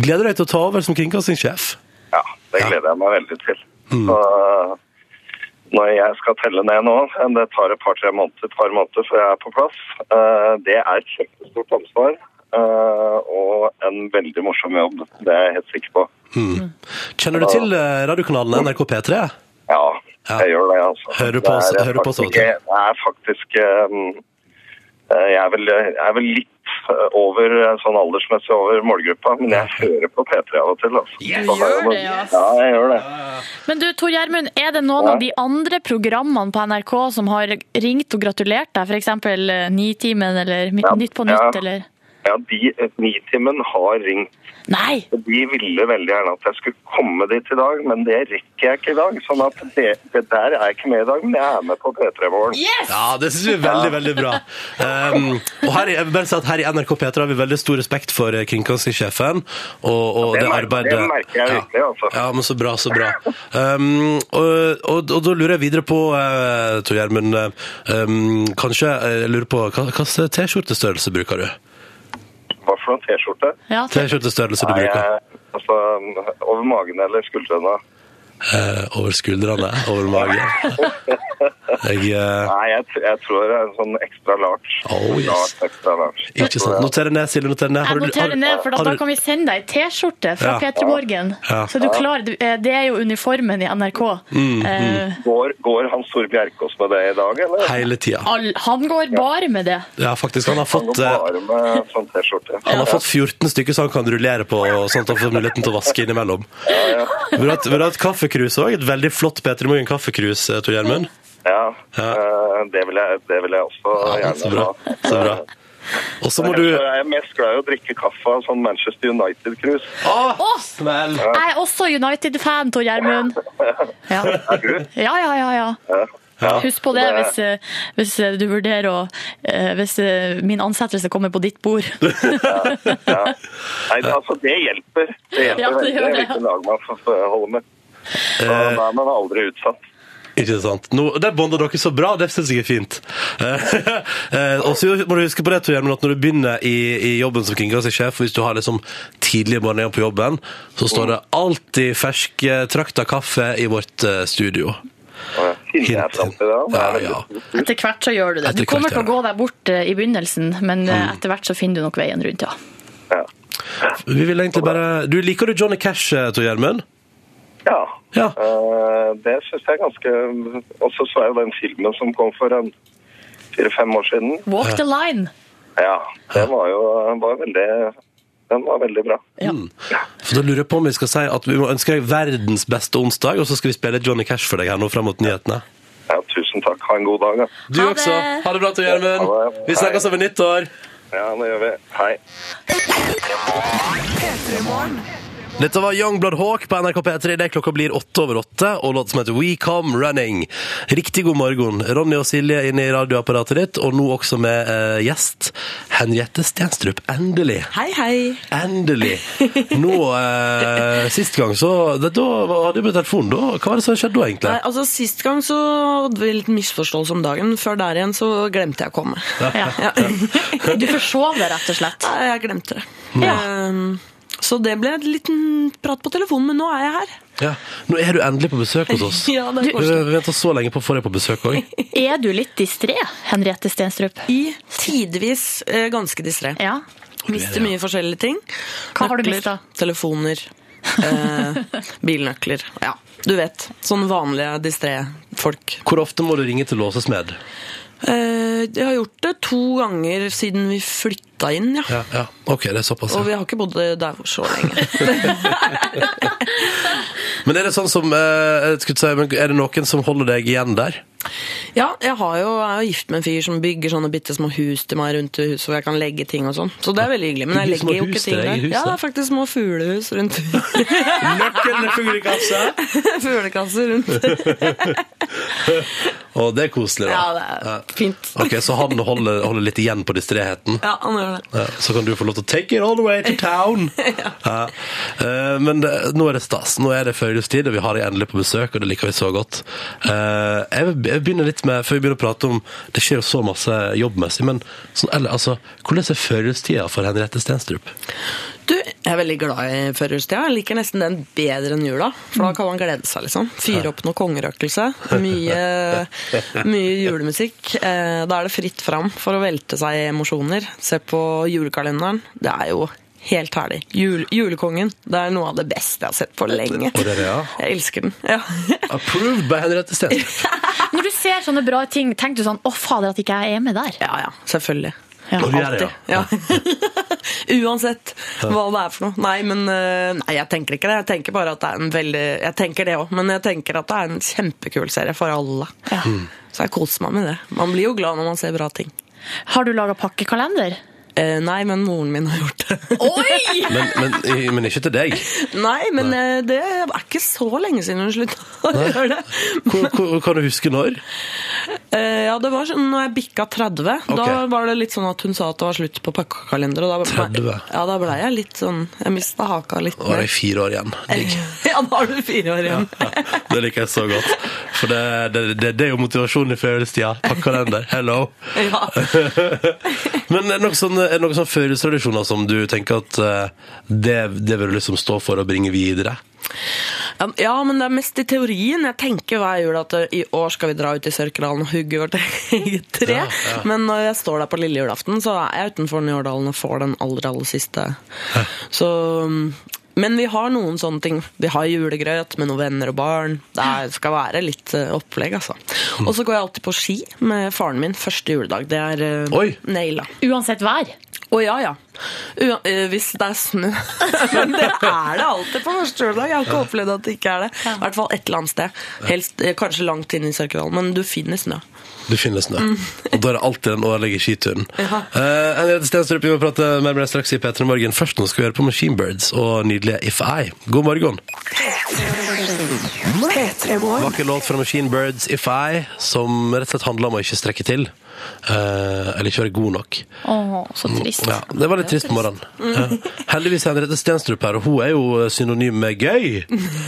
[SPEAKER 1] gleder deg til å ta over som kringkastingssjef?
[SPEAKER 7] Ja, det gleder jeg meg veldig til.
[SPEAKER 1] Mm.
[SPEAKER 7] Så, når jeg skal telle ned nå, det tar et par-tre måneder, et par måneder før jeg er på plass, eh, det er et kjempestort ansvar. eh, og en veldig morsom jobb, det er jeg helt sikker på.
[SPEAKER 1] Hmm.
[SPEAKER 7] Mm.
[SPEAKER 1] Kjenner du til eh, radiokanalen NRK P3?
[SPEAKER 7] Ja,
[SPEAKER 1] Ja.
[SPEAKER 7] jeg gjør det, altså.
[SPEAKER 1] Hører du på oss-
[SPEAKER 7] Det er
[SPEAKER 1] hører du på oss av og
[SPEAKER 7] faktisk- Det er faktisk um, eh, jeg, er vel, jeg er vel litt eh, over, eh, sånn aldersmessig over målgruppa, men jeg hører på P3 av og til. Altså. Så har
[SPEAKER 3] gjør
[SPEAKER 7] jeg noe-
[SPEAKER 3] det, ja.
[SPEAKER 7] Ja, jeg gjør det.
[SPEAKER 3] Men du, Tor Gjermund, er det noen av de andre programmene på NRK som har ringt og gratulert deg? F.eks. Nitimen eller Mi-
[SPEAKER 7] Ja.
[SPEAKER 3] Nytt på
[SPEAKER 7] Ja.
[SPEAKER 3] nytt, eller?
[SPEAKER 7] Ja, de, eh, Nitimen har ringt.
[SPEAKER 3] Nei!
[SPEAKER 7] og De ville veldig gjerne at jeg skulle komme dit i dag, men det rekker jeg ikke i dag. Sånn at det, det der er jeg ikke med i dag, men jeg er med på P3-morgen.
[SPEAKER 1] Ja, det syns vi er veldig, veldig bra. Ehm, og her, i- jeg vil bare si at her i NRK P3 har vi veldig stor respekt for eh, kringkastingssjefen og, og
[SPEAKER 7] Ja, det
[SPEAKER 1] det,
[SPEAKER 7] merker-
[SPEAKER 1] arbeidet
[SPEAKER 7] det merker jeg virkelig, altså.
[SPEAKER 1] Ja, men så bra, så bra. Ehm, og, og, og da lurer jeg videre på, uh, Tor Gjermund, eh, ehm, kanskje eh, jeg lurer på hva hvilken T-skjortestørrelse bruker du?
[SPEAKER 7] Hva for noen T-skjorte?
[SPEAKER 3] Ja,
[SPEAKER 1] T-skjortestørrelse du
[SPEAKER 7] Nei,
[SPEAKER 1] bruker?
[SPEAKER 7] jeg- altså, over magen eller skuldrene.
[SPEAKER 1] Eh, over skuldrene? Over magen? Jeg eh,
[SPEAKER 7] Nei, jeg, tr- jeg tror det er en sånn ekstra large.
[SPEAKER 1] Oh, yes.
[SPEAKER 7] Large, ekstra large.
[SPEAKER 1] Ikke sant. Noter det ned, Silje. Noter det ned. Har
[SPEAKER 3] Jeg
[SPEAKER 1] du- har
[SPEAKER 3] noterer
[SPEAKER 1] du-
[SPEAKER 3] ned, for
[SPEAKER 1] har
[SPEAKER 3] at da
[SPEAKER 1] du-
[SPEAKER 3] kan vi sende deg ei T-skjorte fra
[SPEAKER 1] Ja.
[SPEAKER 3] P3 Morgen.
[SPEAKER 1] Ja.
[SPEAKER 3] Så er du klar. Du- eh, Det er jo uniformen i NRK.
[SPEAKER 1] Mm,
[SPEAKER 3] Eh,
[SPEAKER 7] Går, går Hans Tore Bjerkås med det i dag, eller?
[SPEAKER 1] Hele tida.
[SPEAKER 3] all- Han går bare med det.
[SPEAKER 1] Ja, faktisk. Han har
[SPEAKER 7] Han
[SPEAKER 1] fått
[SPEAKER 7] går
[SPEAKER 1] eh,
[SPEAKER 7] bare med sånn T-skjorte.
[SPEAKER 1] Han har fått 14 stykker som han kan rullere på, og sånn at han får muligheten til å vaske innimellom. Vil du ha et- vil du ha et kaffekrus òg? Et veldig flott Peter Morgen kaffekrus, eh, Tor Gjermund.
[SPEAKER 7] Ja,
[SPEAKER 1] Ja.
[SPEAKER 7] eh, det vil jeg, det vil jeg også
[SPEAKER 1] Ja,
[SPEAKER 7] gjerne
[SPEAKER 1] så bra.
[SPEAKER 7] ha.
[SPEAKER 1] Så bra. Og så må
[SPEAKER 7] Jeg
[SPEAKER 1] du
[SPEAKER 7] tror Jeg er mest glad i å drikke kaffe av sånn Manchester United-krus.
[SPEAKER 1] Å,
[SPEAKER 3] Å,
[SPEAKER 1] Ah! smell!
[SPEAKER 3] jeg er også United-fan, Tor Gjermund. Ja.
[SPEAKER 7] altså.
[SPEAKER 3] ja, ja, ja. ja.
[SPEAKER 1] Ja.
[SPEAKER 3] Husk på det hvis, eh, hvis eh, du vurderer å eh, Hvis eh, min ansettelse kommer på ditt bord.
[SPEAKER 7] Nei, det, altså, det hjelper. Det hjelper
[SPEAKER 3] Ja, det gjør
[SPEAKER 7] veldig
[SPEAKER 3] det.
[SPEAKER 7] hvilken lag man får får holde med. Og da er man aldri utsatt.
[SPEAKER 1] Eh, Ikke sant. Nå, der bonder dere så bra, det syns jeg er fint. Eh, eh, og så må du huske på det, Tor Gjermund, at når du begynner i, i jobben som kringkastingssjef, hvis du har liksom tidlige morgener på jobben,
[SPEAKER 7] Mm.
[SPEAKER 1] så står det alltid fersk eh, trakta kaffe i vårt eh, studio.
[SPEAKER 7] Ja. finner jeg
[SPEAKER 1] Hint,
[SPEAKER 7] fram
[SPEAKER 1] hint.
[SPEAKER 7] til det. da.
[SPEAKER 1] Ja,
[SPEAKER 7] Det er
[SPEAKER 1] ja.
[SPEAKER 7] veldig stort.
[SPEAKER 3] Etter hvert så gjør du det.
[SPEAKER 1] Etter
[SPEAKER 3] Du kommer
[SPEAKER 1] hvert Mm.
[SPEAKER 3] til å gå
[SPEAKER 1] gjør
[SPEAKER 3] deg bort eh, i begynnelsen, men eh, etter hvert så finner du nok veien rundt, ja.
[SPEAKER 7] Ja.
[SPEAKER 1] Vi vil
[SPEAKER 7] Sånn
[SPEAKER 1] egentlig bare Du Liker du Johnny Cash, eh, Tor Gjermund?
[SPEAKER 7] ja.
[SPEAKER 1] Ja.
[SPEAKER 7] Eh, det syns jeg er ganske Og så så jeg jo den filmen som kom for en fire-fem år siden.
[SPEAKER 3] Walk the line.
[SPEAKER 7] Ja, det var jo var veldig Den var veldig bra.
[SPEAKER 3] Ja.
[SPEAKER 1] Mm. For da lurer jeg på om vi skal si at vi må ønske deg verdens beste onsdag, og så skal vi spille Johnny Cash for deg her nå fram mot nyhetene.
[SPEAKER 7] Ja, tusen takk. Ha en god dag, da.
[SPEAKER 1] Du
[SPEAKER 3] Ha det.
[SPEAKER 1] også. Ha det bra, Tor Gjermund.
[SPEAKER 7] Ha det.
[SPEAKER 1] Vi snakkes over nyttår.
[SPEAKER 7] Ja, det gjør vi. Hei.
[SPEAKER 1] Dette var Youngblood Hawk på NRK P3. Det er klokka blir åtte over åtte, og låten som heter We Come Running. Riktig god morgen. Ronny og Silje er inne i radioapparatet ditt, og nå også med eh, gjest Henriette Stenstrup. Endelig.
[SPEAKER 8] Hei, hei.
[SPEAKER 1] Endelig. Nå, eh, sist gang, så det, Da hadde du på telefonen, da. Hva var det som skjedde da, egentlig?
[SPEAKER 8] Nei, altså Sist gang så hadde vi litt misforståelse om dagen. Før der igjen så glemte jeg å komme.
[SPEAKER 3] Ja.
[SPEAKER 8] Ja.
[SPEAKER 3] Du forsov det, rett og slett.
[SPEAKER 8] Nei, jeg glemte det.
[SPEAKER 3] Ja.
[SPEAKER 8] Ehm, Så det ble en liten prat på telefonen, men nå er jeg her.
[SPEAKER 1] Ja. Nå er du endelig på besøk hos oss.
[SPEAKER 8] Ja, det er
[SPEAKER 1] Vi
[SPEAKER 8] koselig.
[SPEAKER 1] venta så lenge på å få deg på besøk òg.
[SPEAKER 3] Er du litt distré, Henriette Stenstrup?
[SPEAKER 8] I tidvis eh, ganske distré.
[SPEAKER 3] Ja.
[SPEAKER 8] Mister mye forskjellige ting.
[SPEAKER 3] Hva har du
[SPEAKER 8] Nøkler,
[SPEAKER 3] mistet?
[SPEAKER 8] Telefoner. Eh, bilnøkler. Ja, du vet. Sånn vanlige distré folk.
[SPEAKER 1] Hvor ofte må du ringe til låsesmed?
[SPEAKER 8] Eh, jeg har gjort det to ganger siden vi flytta inn, ja.
[SPEAKER 1] Ja, ja. OK, det er såpass.
[SPEAKER 8] Og
[SPEAKER 1] Ja.
[SPEAKER 8] vi har ikke bodd der så lenge.
[SPEAKER 1] Men er det sånn som eh, jeg skulle si, men Er det noen som holder deg igjen der?
[SPEAKER 8] Ja, jeg har jo, jeg er jo gift med en fyr som bygger sånne bitte små hus til meg rundt i huset, hvor jeg kan legge ting og sånn. Så det er veldig hyggelig. Men jeg
[SPEAKER 1] Bygger små
[SPEAKER 8] legger jo ikke
[SPEAKER 1] hus til
[SPEAKER 8] ting
[SPEAKER 1] deg i
[SPEAKER 8] der.
[SPEAKER 1] huset?
[SPEAKER 8] Ja, det er faktisk små fuglehus rundt
[SPEAKER 1] Nøkkelen fungerer ikke
[SPEAKER 8] Fuglekasser rundt.
[SPEAKER 1] Å, det er koselig, da.
[SPEAKER 8] Ja, det er fint.
[SPEAKER 1] OK, så han holder, holder litt igjen på distréheten?
[SPEAKER 8] Ja, han gjør det.
[SPEAKER 1] Ja, Så kan du få lov til å take it all the way to town. ja. Eh, men det, nå er det stas. Nå er det førjulstid, og vi har deg endelig på besøk, og det liker vi så godt. Eh, jeg vil- jeg begynner litt med, Før vi begynner å prate om Det skjer jo så masse jobbmessig, men sånn, eller, altså, hvordan er førjulstida for Henriette Stenstrup?
[SPEAKER 8] Du, jeg er veldig glad i førjulstida. Jeg liker nesten den bedre enn jula. For da kan man glede seg, liksom. Fyre opp noe kongerøkelse. Mye, mye julemusikk. Eh, Da er det fritt fram for å velte seg i emosjoner. Se på julekalenderen. Det er jo helt herlig. Jul, julekongen. Det er noe av det beste jeg har sett på lenge.
[SPEAKER 1] Og det er det, ja.
[SPEAKER 8] Jeg elsker den. Ja.
[SPEAKER 1] Approved by Henriette Stenstrup.
[SPEAKER 3] Når du ser sånne bra ting, tenker du sånn 'Å, fader, at ikke jeg er med der'.
[SPEAKER 8] ja, ja. Selvfølgelig.
[SPEAKER 3] Ja.
[SPEAKER 1] Og du er det, ja.
[SPEAKER 8] Ja. Uansett hva det er for noe. Nei, men eh, Nei, jeg tenker ikke det. Jeg tenker bare at det er en veldig Jeg tenker det òg, men jeg tenker at det er en kjempekul serie for alle. Mm. Så jeg koser meg med det. Man blir jo glad når man ser bra ting.
[SPEAKER 3] Har du laga pakkekalender?
[SPEAKER 8] Eh, nei, men moren min har gjort det.
[SPEAKER 3] Oi!
[SPEAKER 1] Men, men, men ikke til deg.
[SPEAKER 8] nei, men eh, det er ikke så lenge siden hun slutta å gjøre det.
[SPEAKER 1] Hvor, hvor, kan du huske når?
[SPEAKER 8] Eh, ja, det var sånn når jeg bikka 30. Da
[SPEAKER 1] Ok.
[SPEAKER 8] var det litt sånn at hun sa at det var slutt på pakkekalender. Og da ble,
[SPEAKER 1] 30?
[SPEAKER 8] Ja, da ble jeg litt sånn Jeg mista haka litt.
[SPEAKER 1] Da var
[SPEAKER 8] mer.
[SPEAKER 1] jeg fire år igjen. Digg.
[SPEAKER 8] ja, da har du fire år igjen.
[SPEAKER 1] Ja, det liker jeg så godt. For det, det, det, det er jo motivasjonen i førjulstida. Pakkekalender. Hello.
[SPEAKER 8] Ja.
[SPEAKER 1] Men er det noen sånne, er det noen sånne førjulstradisjoner som du tenker at eh, det, det vil du liksom stå for å bringe videre?
[SPEAKER 8] Ja, Ja, men det er mest i teorien. Jeg tenker hver jul at eh, i år skal vi dra ut i Sørkedalen og hugge vårt eget tre.
[SPEAKER 1] Ja, ja.
[SPEAKER 8] Men når jeg står der på lille julaften, så er jeg utenfor Njårdalen og får den aller, aller siste. Så mm, men vi har noen sånne ting. Vi har julegrøt med noen venner og barn. Det er- skal være litt eh, opplegg, altså.
[SPEAKER 1] Mm.
[SPEAKER 8] Og så går jeg alltid på ski med faren min første juledag. Det er eh,
[SPEAKER 1] Oi.
[SPEAKER 8] naila.
[SPEAKER 3] Uansett vær.
[SPEAKER 8] Å ja, ja. Ua, eh, hvis det er snø. Men det er det alltid på første juledag. Jeg har ikke opplevd at det ikke er det. I hvert fall et eller annet sted. Helst, eh, kanskje langt inn i Sørkedalen, men du finner snø.
[SPEAKER 1] Du finner snø. Og da er det alltid den årlige skituren.
[SPEAKER 8] Mm. Ja.
[SPEAKER 1] Eh, Henriette Stenstrup, vi må prate mer med deg straks i P3 Morgen. Først nå skal vi høre på Machine Birds og nydelige If I. God morgen. Vakker låt fra Machine Birds, If I, som rett og slett handler om å ikke strekke til. Eh, eller ikke være god nok.
[SPEAKER 3] Å, så trist.
[SPEAKER 1] Mm. Ja, det var litt trist på morgenen. Ja.
[SPEAKER 8] Mm.
[SPEAKER 1] Heldigvis er Henriette Stenstrup her, og hun er jo eh, synonym med gøy.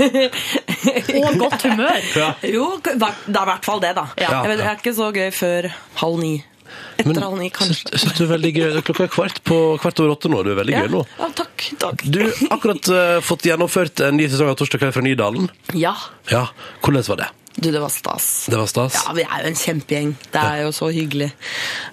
[SPEAKER 3] Og godt humør.
[SPEAKER 8] Jo, det er i hvert fall det, da.
[SPEAKER 1] Ja.
[SPEAKER 8] Jeg vet, det er ikke så gøy før halv ni. Etter
[SPEAKER 1] Men
[SPEAKER 8] halv ni,
[SPEAKER 1] syns
[SPEAKER 8] kanskje.
[SPEAKER 1] syns du er veldig gøy. Klokka er kvart, på, kvart over åtte nå. Du er veldig
[SPEAKER 8] Ja.
[SPEAKER 1] gøy nå.
[SPEAKER 8] ja, takk. takk.
[SPEAKER 1] Du har akkurat eh, fått gjennomført en ny sesong av Torsdag kveld fra Nydalen.
[SPEAKER 8] Ja.
[SPEAKER 1] Ja, Hvordan var det?
[SPEAKER 8] Du, det var stas.
[SPEAKER 1] Det var stas.
[SPEAKER 8] Ja, vi er jo en kjempegjeng. Det er jo så hyggelig.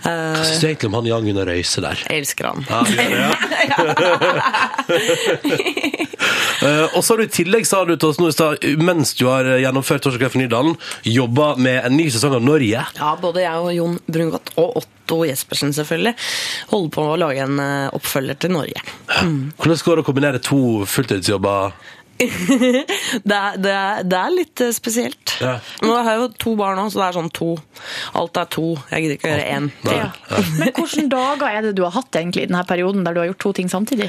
[SPEAKER 8] Eh,
[SPEAKER 1] Hva syns du egentlig om han Jan Gunnar Røise der?
[SPEAKER 8] jeg elsker han.
[SPEAKER 1] Ja, vi gjør det, ja. Eh, og så har du i tillegg, sa du til oss nå i stad, mens du har eh, gjennomført Torsdag for Nydalen, jobba med en ny sesong av Norge.
[SPEAKER 8] Ja, både jeg og Jon Brungot, og Otto Jespersen selvfølgelig, holder på å lage en eh, oppfølger til Norge.
[SPEAKER 1] Hvordan går det å kombinere to fulltidsjobber?
[SPEAKER 8] Det er, det er, det er litt eh, spesielt.
[SPEAKER 1] Ja.
[SPEAKER 8] Men jeg har jo to barn nå, så det er sånn to. Alt er to. Jeg gidder ikke å gjøre én.
[SPEAKER 1] Nei.
[SPEAKER 8] ting.
[SPEAKER 3] Men hvilke dager er det du har hatt egentlig i denne perioden der du har gjort to ting samtidig?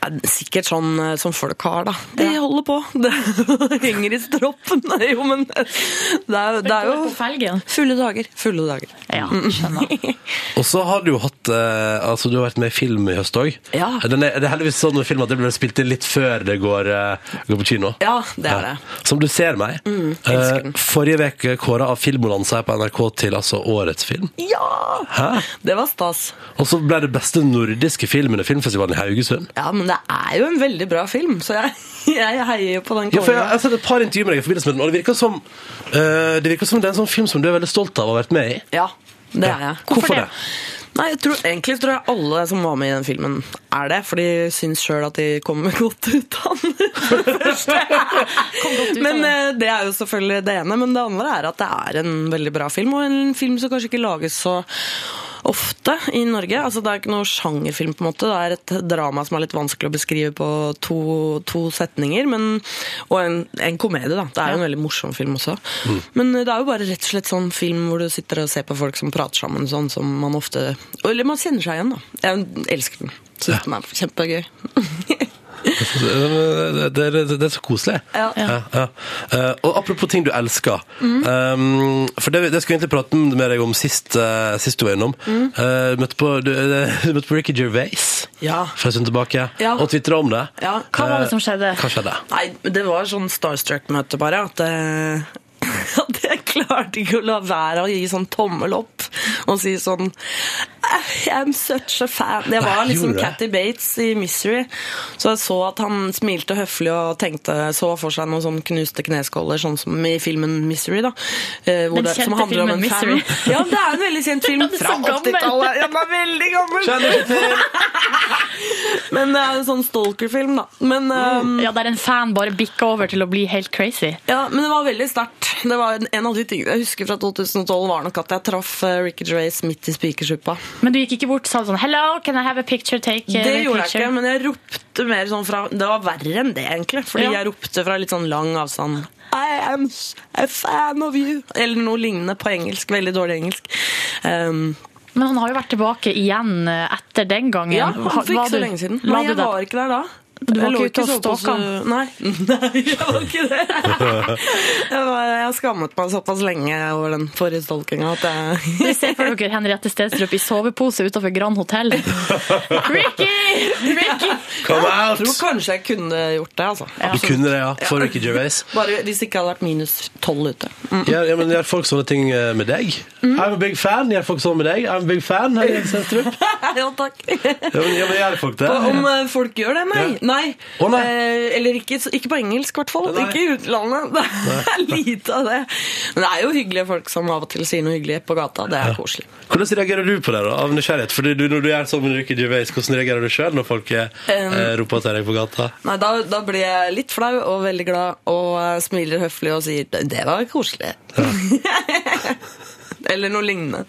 [SPEAKER 8] Er det Sikkert sånn eh, som folk har, da. De holder på. Det henger i stroppen. Nei, jo, men det er, det er jo
[SPEAKER 3] På felgen.
[SPEAKER 8] fulle dager. Fulle dager. Mm.
[SPEAKER 3] Ja, skjønner.
[SPEAKER 1] Og så har du jo hatt eh, Altså, du har vært med i film i høst òg.
[SPEAKER 8] Ja.
[SPEAKER 1] Det er heldigvis sånn med film at det blir spilt inn litt før det går, eh, går på kino.
[SPEAKER 8] Ja, det er det.
[SPEAKER 1] Ja.
[SPEAKER 8] Mm.
[SPEAKER 1] Som du ser meg.
[SPEAKER 8] elsker den.
[SPEAKER 1] eh, forrige uke kåra av Filmbalanse her på NRK til altså årets film.
[SPEAKER 8] Ja!
[SPEAKER 1] Hæ?
[SPEAKER 8] Det var stas.
[SPEAKER 1] Og så ble det beste nordiske filmen i filmfestivalen i Haugesund.
[SPEAKER 8] Ja, men det er jo en veldig bra film, så jeg, jeg heier jo på den
[SPEAKER 1] Ja, for jeg, jeg
[SPEAKER 8] kongen.
[SPEAKER 1] har sett et par intervjuer med deg i forbindelse med den, og det virker som, eh, det virker som det er en sånn film som du er veldig stolt av å ha vært med i.
[SPEAKER 8] Ja, det er jeg.
[SPEAKER 1] Hvorfor det?
[SPEAKER 8] Nei, jeg tror, Egentlig tror jeg alle som var med i den filmen, er det. For de syns sjøl at de kommer godt ut av den. for det første.
[SPEAKER 3] godt ut av
[SPEAKER 8] men
[SPEAKER 3] den.
[SPEAKER 8] eh, det er jo selvfølgelig det ene. Men det andre er at det er en veldig bra film, og en film som kanskje ikke lages så ofte i Norge. Altså, det er ikke noe sjangerfilm, på en måte. Det er et drama som er litt vanskelig å beskrive på to, to setninger. Men, og en, en komedie, da. Det er jo en veldig morsom film også. Men det er jo bare rett og slett sånn film hvor du sitter og ser på folk som prater sammen, sånn som man ofte Eller man kjenner seg igjen, da. Jeg elsker den. Syns den er kjempegøy.
[SPEAKER 1] Det, det, det, det er så koselig.
[SPEAKER 8] Ja. Mm.
[SPEAKER 1] ja. Eh, og apropos ting du elsker. Um, for det, det skulle jeg egentlig prate med deg om sist, eh, sist du var innom.
[SPEAKER 8] Mm.
[SPEAKER 1] Eh, møtte på, du, du møtte på Ricky Gervais
[SPEAKER 8] Ja.
[SPEAKER 1] for en stund tilbake,
[SPEAKER 8] Ja.
[SPEAKER 1] og tvitra om det. Eh,
[SPEAKER 8] Ja.
[SPEAKER 3] Hva var det som skjedde?
[SPEAKER 1] Hva skjedde?
[SPEAKER 8] Nei, det var sånn starstruck-møte bare, at, eh, at jeg klarte ikke å la være å gi sånn tommel opp og si sånn "Eh, I'm such a fan. Jeg var
[SPEAKER 1] Nei,
[SPEAKER 8] liksom
[SPEAKER 1] gjorde du det?
[SPEAKER 8] Cathy Bates i Misery, så jeg så at han smilte høflig og tenkte så for seg noen sånn knuste kneskåler, sånn som i filmen Misery, da. eh, Hvor
[SPEAKER 3] Den kjente filmen
[SPEAKER 8] fan.
[SPEAKER 3] Misery.
[SPEAKER 8] Ja, det er en veldig kjent film
[SPEAKER 3] Den er så
[SPEAKER 8] fra
[SPEAKER 3] gammel.
[SPEAKER 8] 80-tallet. Ja, Den er veldig gammel! Men det er en sånn stalker-film, da. Men eh,
[SPEAKER 3] Mm. Ja, der en fan bare bikker over til å bli helt crazy.
[SPEAKER 8] Ja, men det var veldig sterkt. Det var en- en av de tingene jeg husker fra 2012, var nok at jeg traff eh, Ricky Gervais midt i spikersuppa.
[SPEAKER 3] Men du gikk ikke bort og sa sånn Hello, can I have a picture? Take eh,
[SPEAKER 8] Det
[SPEAKER 3] a
[SPEAKER 8] gjorde jeg
[SPEAKER 3] picture.
[SPEAKER 8] ikke, men jeg ropte mer sånn fra Det var verre enn det, egentlig. Fordi
[SPEAKER 3] Ja.
[SPEAKER 8] jeg ropte fra litt sånn lang avstand. I am s- a fan of you. Eller noe lignende på engelsk. Veldig dårlig engelsk. Um,
[SPEAKER 3] Men han har jo vært tilbake igjen eh, etter den gangen.
[SPEAKER 8] ja, for ikke
[SPEAKER 3] Var
[SPEAKER 8] så
[SPEAKER 3] du-
[SPEAKER 8] lenge siden.
[SPEAKER 3] La
[SPEAKER 8] Nei,
[SPEAKER 3] du
[SPEAKER 8] jeg
[SPEAKER 3] det?
[SPEAKER 8] var ikke der da.
[SPEAKER 3] Du var
[SPEAKER 8] Jeg lå
[SPEAKER 3] ikke ute og
[SPEAKER 8] og sov på
[SPEAKER 3] stalka
[SPEAKER 8] så- Nei. Nei, jeg var ikke det.
[SPEAKER 2] eh,
[SPEAKER 8] Jeg, var, jeg har skammet meg såpass lenge over den forrige stalkinga at jeg
[SPEAKER 3] Vi ser for dere Henriette Stedstrup i sovepose utenfor Grand Hotel. Ricky! Ricky!
[SPEAKER 1] Come
[SPEAKER 8] Jeg tror
[SPEAKER 1] out!
[SPEAKER 8] kanskje jeg kunne gjort det, altså.
[SPEAKER 1] Du
[SPEAKER 8] Absolutt.
[SPEAKER 1] kunne det, ja. For Ricky Gervais.
[SPEAKER 8] Bare hvis det ikke hadde vært minus tolv ute.
[SPEAKER 1] Ja, ja, men Gjør folk sånne ting eh, med deg?
[SPEAKER 8] Mm.
[SPEAKER 1] I'm a big fan. Gjør folk sånn med deg? I'm a big fan. Hei, Senstrup.
[SPEAKER 8] ja, takk.
[SPEAKER 1] Ja, men, ja, men gjør folk det?
[SPEAKER 8] Og Om eh, folk gjør det? Nei.
[SPEAKER 1] Ja.
[SPEAKER 8] nei.
[SPEAKER 1] Å, nei.
[SPEAKER 8] Eh, eller ikke, ikke på engelsk, i hvert fall.
[SPEAKER 1] Nei.
[SPEAKER 8] Ikke i utlandet. Det er lite av det. Men det er jo hyggelige folk som av og til sier noe hyggelig på gata. Det er koselig.
[SPEAKER 1] Hvordan reagerer du på det, da? Av nysgjerrighet? Fordi du, når du er sånn med Ricky Gervais, hvordan reagerer du sjøl når folk eh,
[SPEAKER 8] Um.
[SPEAKER 1] eh, roper til deg på gata?
[SPEAKER 8] Nei, da, da blir jeg litt flau og veldig glad og eh, smiler høflig og sier 'det det var koselig'. Eller noe lignende.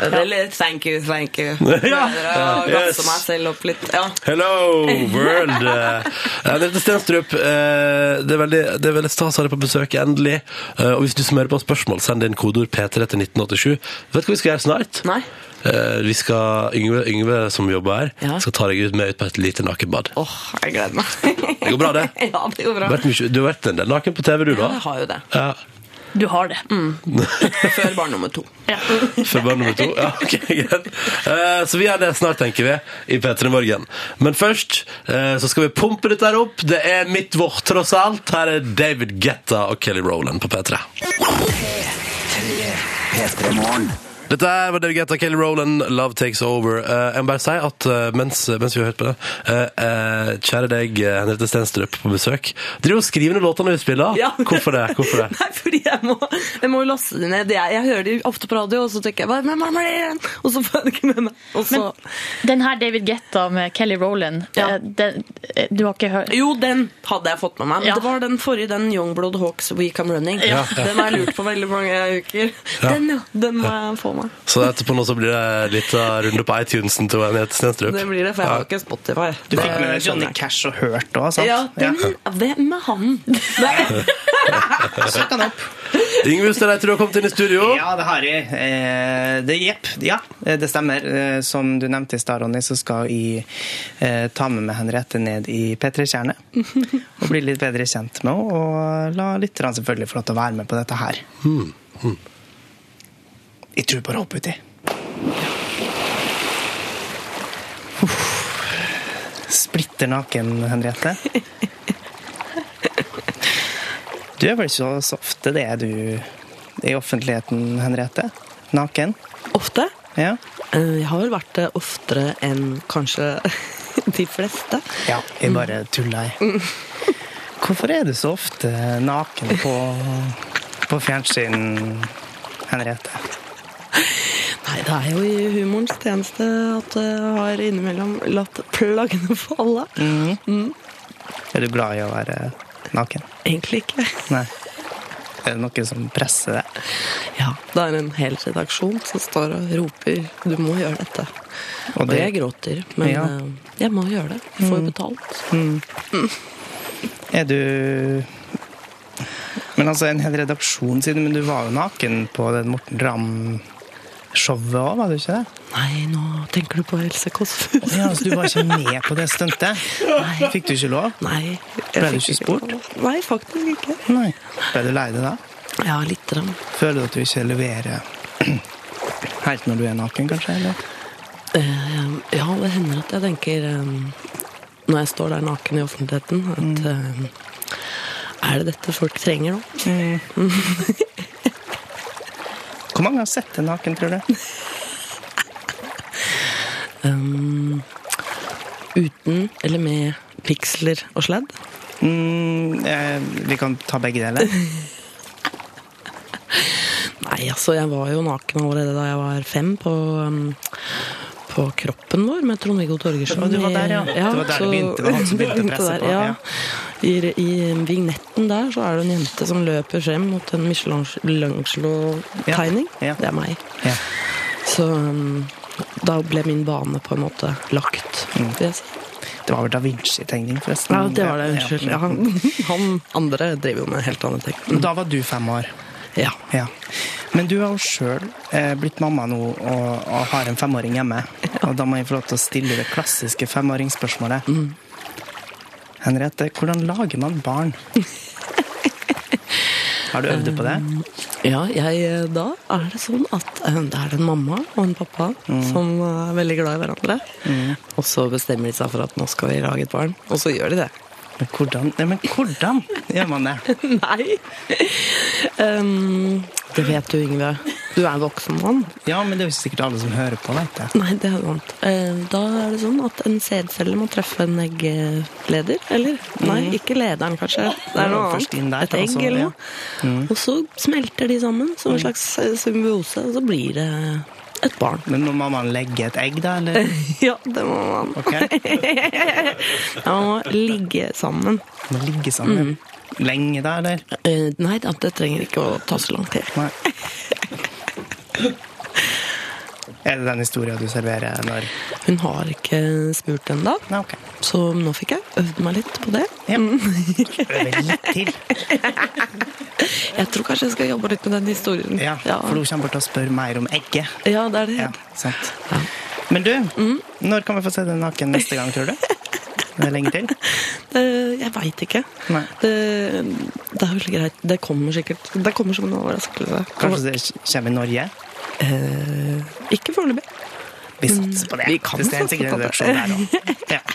[SPEAKER 8] Eller 'thank you, thank you'.
[SPEAKER 1] Ja.
[SPEAKER 8] Prøver å
[SPEAKER 1] Yes.
[SPEAKER 8] gasse meg selv opp litt. Ja.
[SPEAKER 1] Hello, world! Eh, Henriette Stenstrup, eh, det er veldig, det er veldig stas å ha deg på besøk, endelig. Eh, Og hvis du smører på spørsmål, send inn kodeord P3 til 1987. Vet du hva vi skal gjøre snart?
[SPEAKER 8] Nei.
[SPEAKER 1] Eh, Vi skal, Yngve, Yngve som jobber her,
[SPEAKER 8] Ja.
[SPEAKER 1] skal ta deg ut med ut på et lite nakenbad.
[SPEAKER 8] Åh, jeg gleder meg. Det
[SPEAKER 1] går bra, det.
[SPEAKER 8] Ja, det går bra.
[SPEAKER 1] Du har vært mye- du har vært en del naken på TV, du, da?
[SPEAKER 8] Ja, jeg har jo det. Mm.
[SPEAKER 1] Ja.
[SPEAKER 3] Du har det.
[SPEAKER 8] Før barn nummer to.
[SPEAKER 3] Ja.
[SPEAKER 1] Før barn nummer to? Ja, ok, greit. Eh, så vi gjør det snart, tenker vi, i P3 Morgen. Men først eh, så skal vi pumpe dette her opp. Det er mitt vårt, tross alt. Her er David Guetta og Kelly Rowland på P3.
[SPEAKER 6] P3 Morgen.
[SPEAKER 1] Dette er var Delgata Kelly Rowland, 'Love Takes Over'. Eh, jeg må bare si at eh, mens, mens vi har hørt på det eh, eh, Kjære deg, eh, Henriette Stenstrup, på besøk. Driver og skriver ned låtene vi spiller.
[SPEAKER 8] Ja.
[SPEAKER 1] Hvorfor det? Hvorfor det?
[SPEAKER 8] Nei, fordi jeg må, jeg må jo laste det ned. Jeg, jeg hører det ofte på radio, og så tenker jeg bare, "Hvem er det igjen?" Og så får jeg det ikke med meg. Og så,
[SPEAKER 3] Den her David Guetta med Kelly Rowland,
[SPEAKER 8] Ja.
[SPEAKER 3] eh, den, eh, du har ikke hørt
[SPEAKER 8] jo, den hadde jeg fått med meg. Men
[SPEAKER 3] Ja.
[SPEAKER 8] det var den forrige, den Youngblood Hawks We Come Running.
[SPEAKER 1] Ja.
[SPEAKER 8] Den har jeg lurt på veldig mange uker. Den, ja. Den må jeg få meg.
[SPEAKER 1] Så etterpå nå så blir det litt av runde på iTunesen til Henriette Stenstrup.
[SPEAKER 8] Det blir det, for jeg har ikke Spotify.
[SPEAKER 2] Du fikk med
[SPEAKER 8] Det
[SPEAKER 2] deg Johnny
[SPEAKER 8] skjønner jeg.
[SPEAKER 2] Cash og hørt òg, sant?
[SPEAKER 8] Ja, den, hvem er han? Nei.
[SPEAKER 2] Søk han opp.
[SPEAKER 1] Yngve Ustad Reite, du har kommet inn i studio.
[SPEAKER 2] Ja, det har jeg. Eh, det, jepp. Ja, eh, det stemmer. Eh, som du nevnte i stad, Ronny, så skal jeg eh, ta med meg Henriette ned i P3-kjernet. Og bli litt bedre kjent med henne. Og la lytterne selvfølgelig få lov til å være med på dette her. Jeg tror bare hopp uti. Uff. Splitter naken, Henriette. Du er vel ikke så- så ofte det er du i offentligheten, Henriette? Naken?
[SPEAKER 8] Ofte?
[SPEAKER 2] Ja.
[SPEAKER 8] Eh, Jeg har vel vært det oftere enn kanskje de fleste. Mm.
[SPEAKER 2] ja jeg bare tuller, jeg. Hvorfor er du så ofte naken på, på fjernsyn, Henriette?
[SPEAKER 8] Nei, det er jo i humorens tjeneste at jeg har innimellom latt plaggene falle.
[SPEAKER 2] Mhm.
[SPEAKER 8] Mm.
[SPEAKER 2] Er du glad i å være naken?
[SPEAKER 8] Egentlig ikke.
[SPEAKER 2] Nei. Er det noe som presser deg?
[SPEAKER 8] Ja, det er en hel redaksjon som står og roper 'du må gjøre dette'.
[SPEAKER 2] Og
[SPEAKER 8] Og
[SPEAKER 2] det-
[SPEAKER 8] jeg gråter, men
[SPEAKER 2] Ja. Mm.
[SPEAKER 8] eh, jeg må gjøre det. Jeg får jo betalt.
[SPEAKER 2] Er du Men altså, en hel redaksjon siden, men du var jo naken på den Morten Ramm-showet òg, var du ikke det?
[SPEAKER 8] Nei, nå tenker du på Else Kåss Furuseth.
[SPEAKER 2] Ja, altså, du var ikke med på det stuntet? Nei. Fikk du ikke lov?
[SPEAKER 8] Nei. jeg
[SPEAKER 2] Ble du
[SPEAKER 8] fikk
[SPEAKER 2] ikke spurt?
[SPEAKER 8] lov. Nei, faktisk ikke.
[SPEAKER 2] Nei. Ble du lei deg da?
[SPEAKER 8] Ja, lite grann.
[SPEAKER 2] Føler du at du ikke leverer helt når du er naken, kanskje? Eller?
[SPEAKER 8] Eh, ja, det hender at jeg tenker eh, når jeg står der naken i offentligheten,
[SPEAKER 2] Mm.
[SPEAKER 8] at eh, er det dette folk trenger nå?
[SPEAKER 2] Mm. Hvor mange har sett deg naken, tror du?
[SPEAKER 8] Um, uten eller med piksler og sledd?
[SPEAKER 2] Mm, eh, vi kan ta begge deler.
[SPEAKER 8] Nei, altså, jeg var jo naken allerede da jeg var fem på um, på kroppen vår med Trond-Viggo Torgersen.
[SPEAKER 2] Ja, du var
[SPEAKER 8] i-
[SPEAKER 2] der, ja. Det var der det begynte, det var han som begynte å presse på,
[SPEAKER 8] Ja.
[SPEAKER 2] ja.
[SPEAKER 8] I, I um, vignetten der så er det en jente som løper frem mot en Michelangelo-tegning.
[SPEAKER 2] Ja, ja.
[SPEAKER 8] Det er meg.
[SPEAKER 2] Ja.
[SPEAKER 8] Så um, da ble min bane på en måte lagt. vil jeg si.
[SPEAKER 2] Mm. Det var vel da Vinci-tegning, forresten.
[SPEAKER 8] Ja, det var det. Unnskyld. Ja,
[SPEAKER 2] Ja.
[SPEAKER 8] han, han andre driver jo med helt andre ting.
[SPEAKER 2] Da var du fem år.
[SPEAKER 8] Ja.
[SPEAKER 2] Ja. Men du har jo sjøl eh, blitt mamma nå og, og har en femåring hjemme. Og da må jeg få lov til å stille det klassiske femåringsspørsmålet.
[SPEAKER 8] Mm.
[SPEAKER 2] Henriette, hvordan lager man barn? Har du øvd på det?
[SPEAKER 8] Um, ja jeg, eh, da er det sånn at eh, det er en mamma og en pappa
[SPEAKER 2] Mm.
[SPEAKER 8] som eh, er veldig glad i hverandre. Og så bestemmer de seg for at nå skal vi lage et barn, og så gjør de det.
[SPEAKER 2] Men hvordan, ja, men hvordan gjør man det?
[SPEAKER 8] Nei! Um, det vet du, Yngve. Du er en voksen mann.
[SPEAKER 2] Ja, men det er jo sikkert alle som hører på, vet jeg.
[SPEAKER 8] Nei, det er sant. Eh, Da er det sånn at en sædcelle må treffe en eggleder, eller? Nei, ikke lederen, kanskje. Det er noe
[SPEAKER 2] Mm. Ja, først
[SPEAKER 8] annet.
[SPEAKER 2] inn der,
[SPEAKER 8] Et egg
[SPEAKER 2] altså,
[SPEAKER 8] eller
[SPEAKER 2] ja. Mm.
[SPEAKER 8] noe. Og så smelter de sammen som en slags eh, symbiose, og så blir det et barn.
[SPEAKER 2] Men må mammaen legge et egg, da? Eller?
[SPEAKER 8] Ja, det må man.
[SPEAKER 2] Ok,
[SPEAKER 8] Man må ligge sammen. Mm.
[SPEAKER 2] må ligge sammen. Lenge, da, eller?
[SPEAKER 8] Eh, Nei, det det trenger ikke å ta så lang tid.
[SPEAKER 2] Nei. Er det den historien du serverer når
[SPEAKER 8] Hun har ikke spurt ennå,
[SPEAKER 2] Nei, ok.
[SPEAKER 8] så nå fikk jeg øvd meg litt på det.
[SPEAKER 2] Ja. Øver litt til.
[SPEAKER 8] Jeg tror kanskje jeg skal jobbe litt med den historien.
[SPEAKER 2] Ja,
[SPEAKER 8] ja.
[SPEAKER 2] for hun kommer bort og spør mer om egget.
[SPEAKER 8] ja det er det.
[SPEAKER 2] Ja, sant.
[SPEAKER 8] Ja. Mm.
[SPEAKER 2] Men du, når kan vi få se deg naken neste gang, tror du? Er det lenge til?
[SPEAKER 8] Eh, Jeg veit ikke.
[SPEAKER 2] Nei.
[SPEAKER 8] Det, det er vel greit. Det kommer sikkert Det kommer som en overraskelse.
[SPEAKER 2] Kanskje det kommer i Norge?
[SPEAKER 8] Eh, ikke foreløpig. Mm.
[SPEAKER 2] Vi satser på det.
[SPEAKER 8] Vi kan
[SPEAKER 2] Hvis det er en
[SPEAKER 8] satse
[SPEAKER 2] sikker
[SPEAKER 8] på det.
[SPEAKER 2] redaksjon der også. Ja.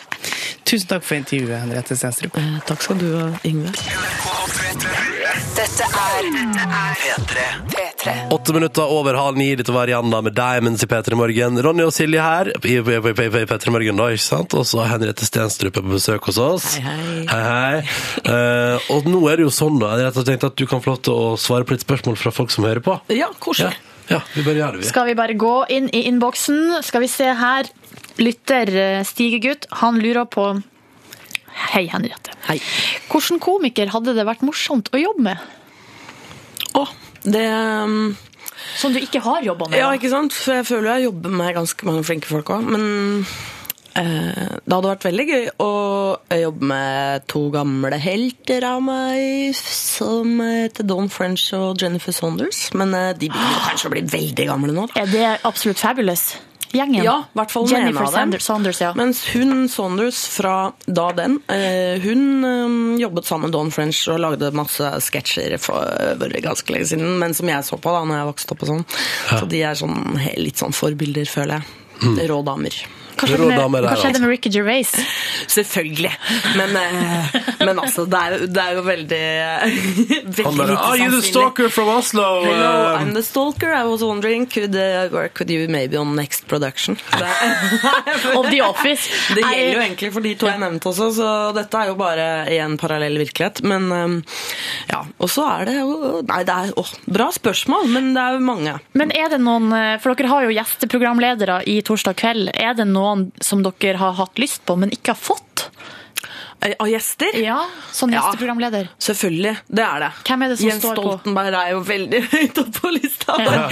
[SPEAKER 2] Tusen takk for intervjuet, Henriette Stenstrup.
[SPEAKER 8] Eh, Takk skal du ha, Yngve.
[SPEAKER 4] Dette er P3.
[SPEAKER 1] Åtte minutter over halv ni. Dette var Rihanna med Diamonds i P3 Morgen. Ronny og Silje her i, i, i, i, i P3 Morgen, da, ikke sant? Og så Henriette Stenstrup er på besøk hos oss.
[SPEAKER 8] Hei, hei.
[SPEAKER 1] hei. Eh, og nå er det jo sånn, da, Henriette, at jeg tenkte at du kan få lov til å svare på litt spørsmål fra folk som hører på.
[SPEAKER 8] Ja,
[SPEAKER 1] Ja,
[SPEAKER 8] koselig.
[SPEAKER 1] ja vi bare gjør det, vi.
[SPEAKER 3] Skal vi bare gå inn i innboksen? Skal vi se her. Lytter eh, Stigegutt, han lurer på Hei, Henriette.
[SPEAKER 8] Hei.
[SPEAKER 3] Hvilken komiker hadde det vært morsomt å jobbe med?
[SPEAKER 8] Å, det um,
[SPEAKER 3] Som du ikke har jobba med?
[SPEAKER 8] Ja,
[SPEAKER 3] da?
[SPEAKER 8] ikke sant? For jeg føler jeg jobber med ganske mange flinke folk òg. Men eh, det hadde vært veldig gøy å jobbe med to gamle helter av meg, som heter Don French og Jennifer Saunders. Men eh, de begynner jo kanskje å bli veldig gamle nå. da.
[SPEAKER 3] Er det absolutt fabulous? Gjengen?
[SPEAKER 8] Ja, i hvert fall den ene
[SPEAKER 3] Jennifer
[SPEAKER 8] av dem.
[SPEAKER 3] Sanders, Saunders, ja.
[SPEAKER 8] Mens hun Saunders fra da den, eh, hun eh, jobbet sammen med Don French og lagde masse sketsjer for for ganske lenge siden, men som jeg så på da når jeg vokste opp og sånn. Så de er sånn, he- litt sånn forbilder, føler jeg. Rå damer.
[SPEAKER 3] Hva
[SPEAKER 1] Mm. Rå
[SPEAKER 3] skjedde med,
[SPEAKER 1] dame der,
[SPEAKER 3] hva skjedde
[SPEAKER 1] altså.
[SPEAKER 3] med Ricky Gervais?
[SPEAKER 8] Selvfølgelig. Men, eh, men altså, det er, jo- det er jo veldig, veldig
[SPEAKER 1] Han bare
[SPEAKER 8] lite
[SPEAKER 1] Are you the
[SPEAKER 8] sannsynlig.
[SPEAKER 1] stalker from Oslo?
[SPEAKER 8] Hello,
[SPEAKER 1] Eh,
[SPEAKER 8] I'm the stalker. I was wondering, could uh, work with you maybe on next production?
[SPEAKER 3] Of The Office?
[SPEAKER 8] Det gjelder jo
[SPEAKER 3] Nei,
[SPEAKER 8] egentlig for de to jeg nevnte også, så dette er jo bare en parallell virkelighet. Men um, ja, og så er det jo Nei, det er åh, bra spørsmål, men det er jo mange.
[SPEAKER 3] Men er det noen, eh, for dere har jo gjesteprogramledere i torsdag kveld, er det noen som dere har hatt lyst på, men ikke har fått?
[SPEAKER 8] Eh, Av gjester?
[SPEAKER 3] Ja, sånn
[SPEAKER 8] Ja.
[SPEAKER 3] gjesteprogramleder.
[SPEAKER 8] Selvfølgelig, det er det.
[SPEAKER 3] Hvem er det som
[SPEAKER 8] Jens
[SPEAKER 3] står på?
[SPEAKER 8] Stoltenberg er jo veldig høyt oppe på lista.
[SPEAKER 3] Ja.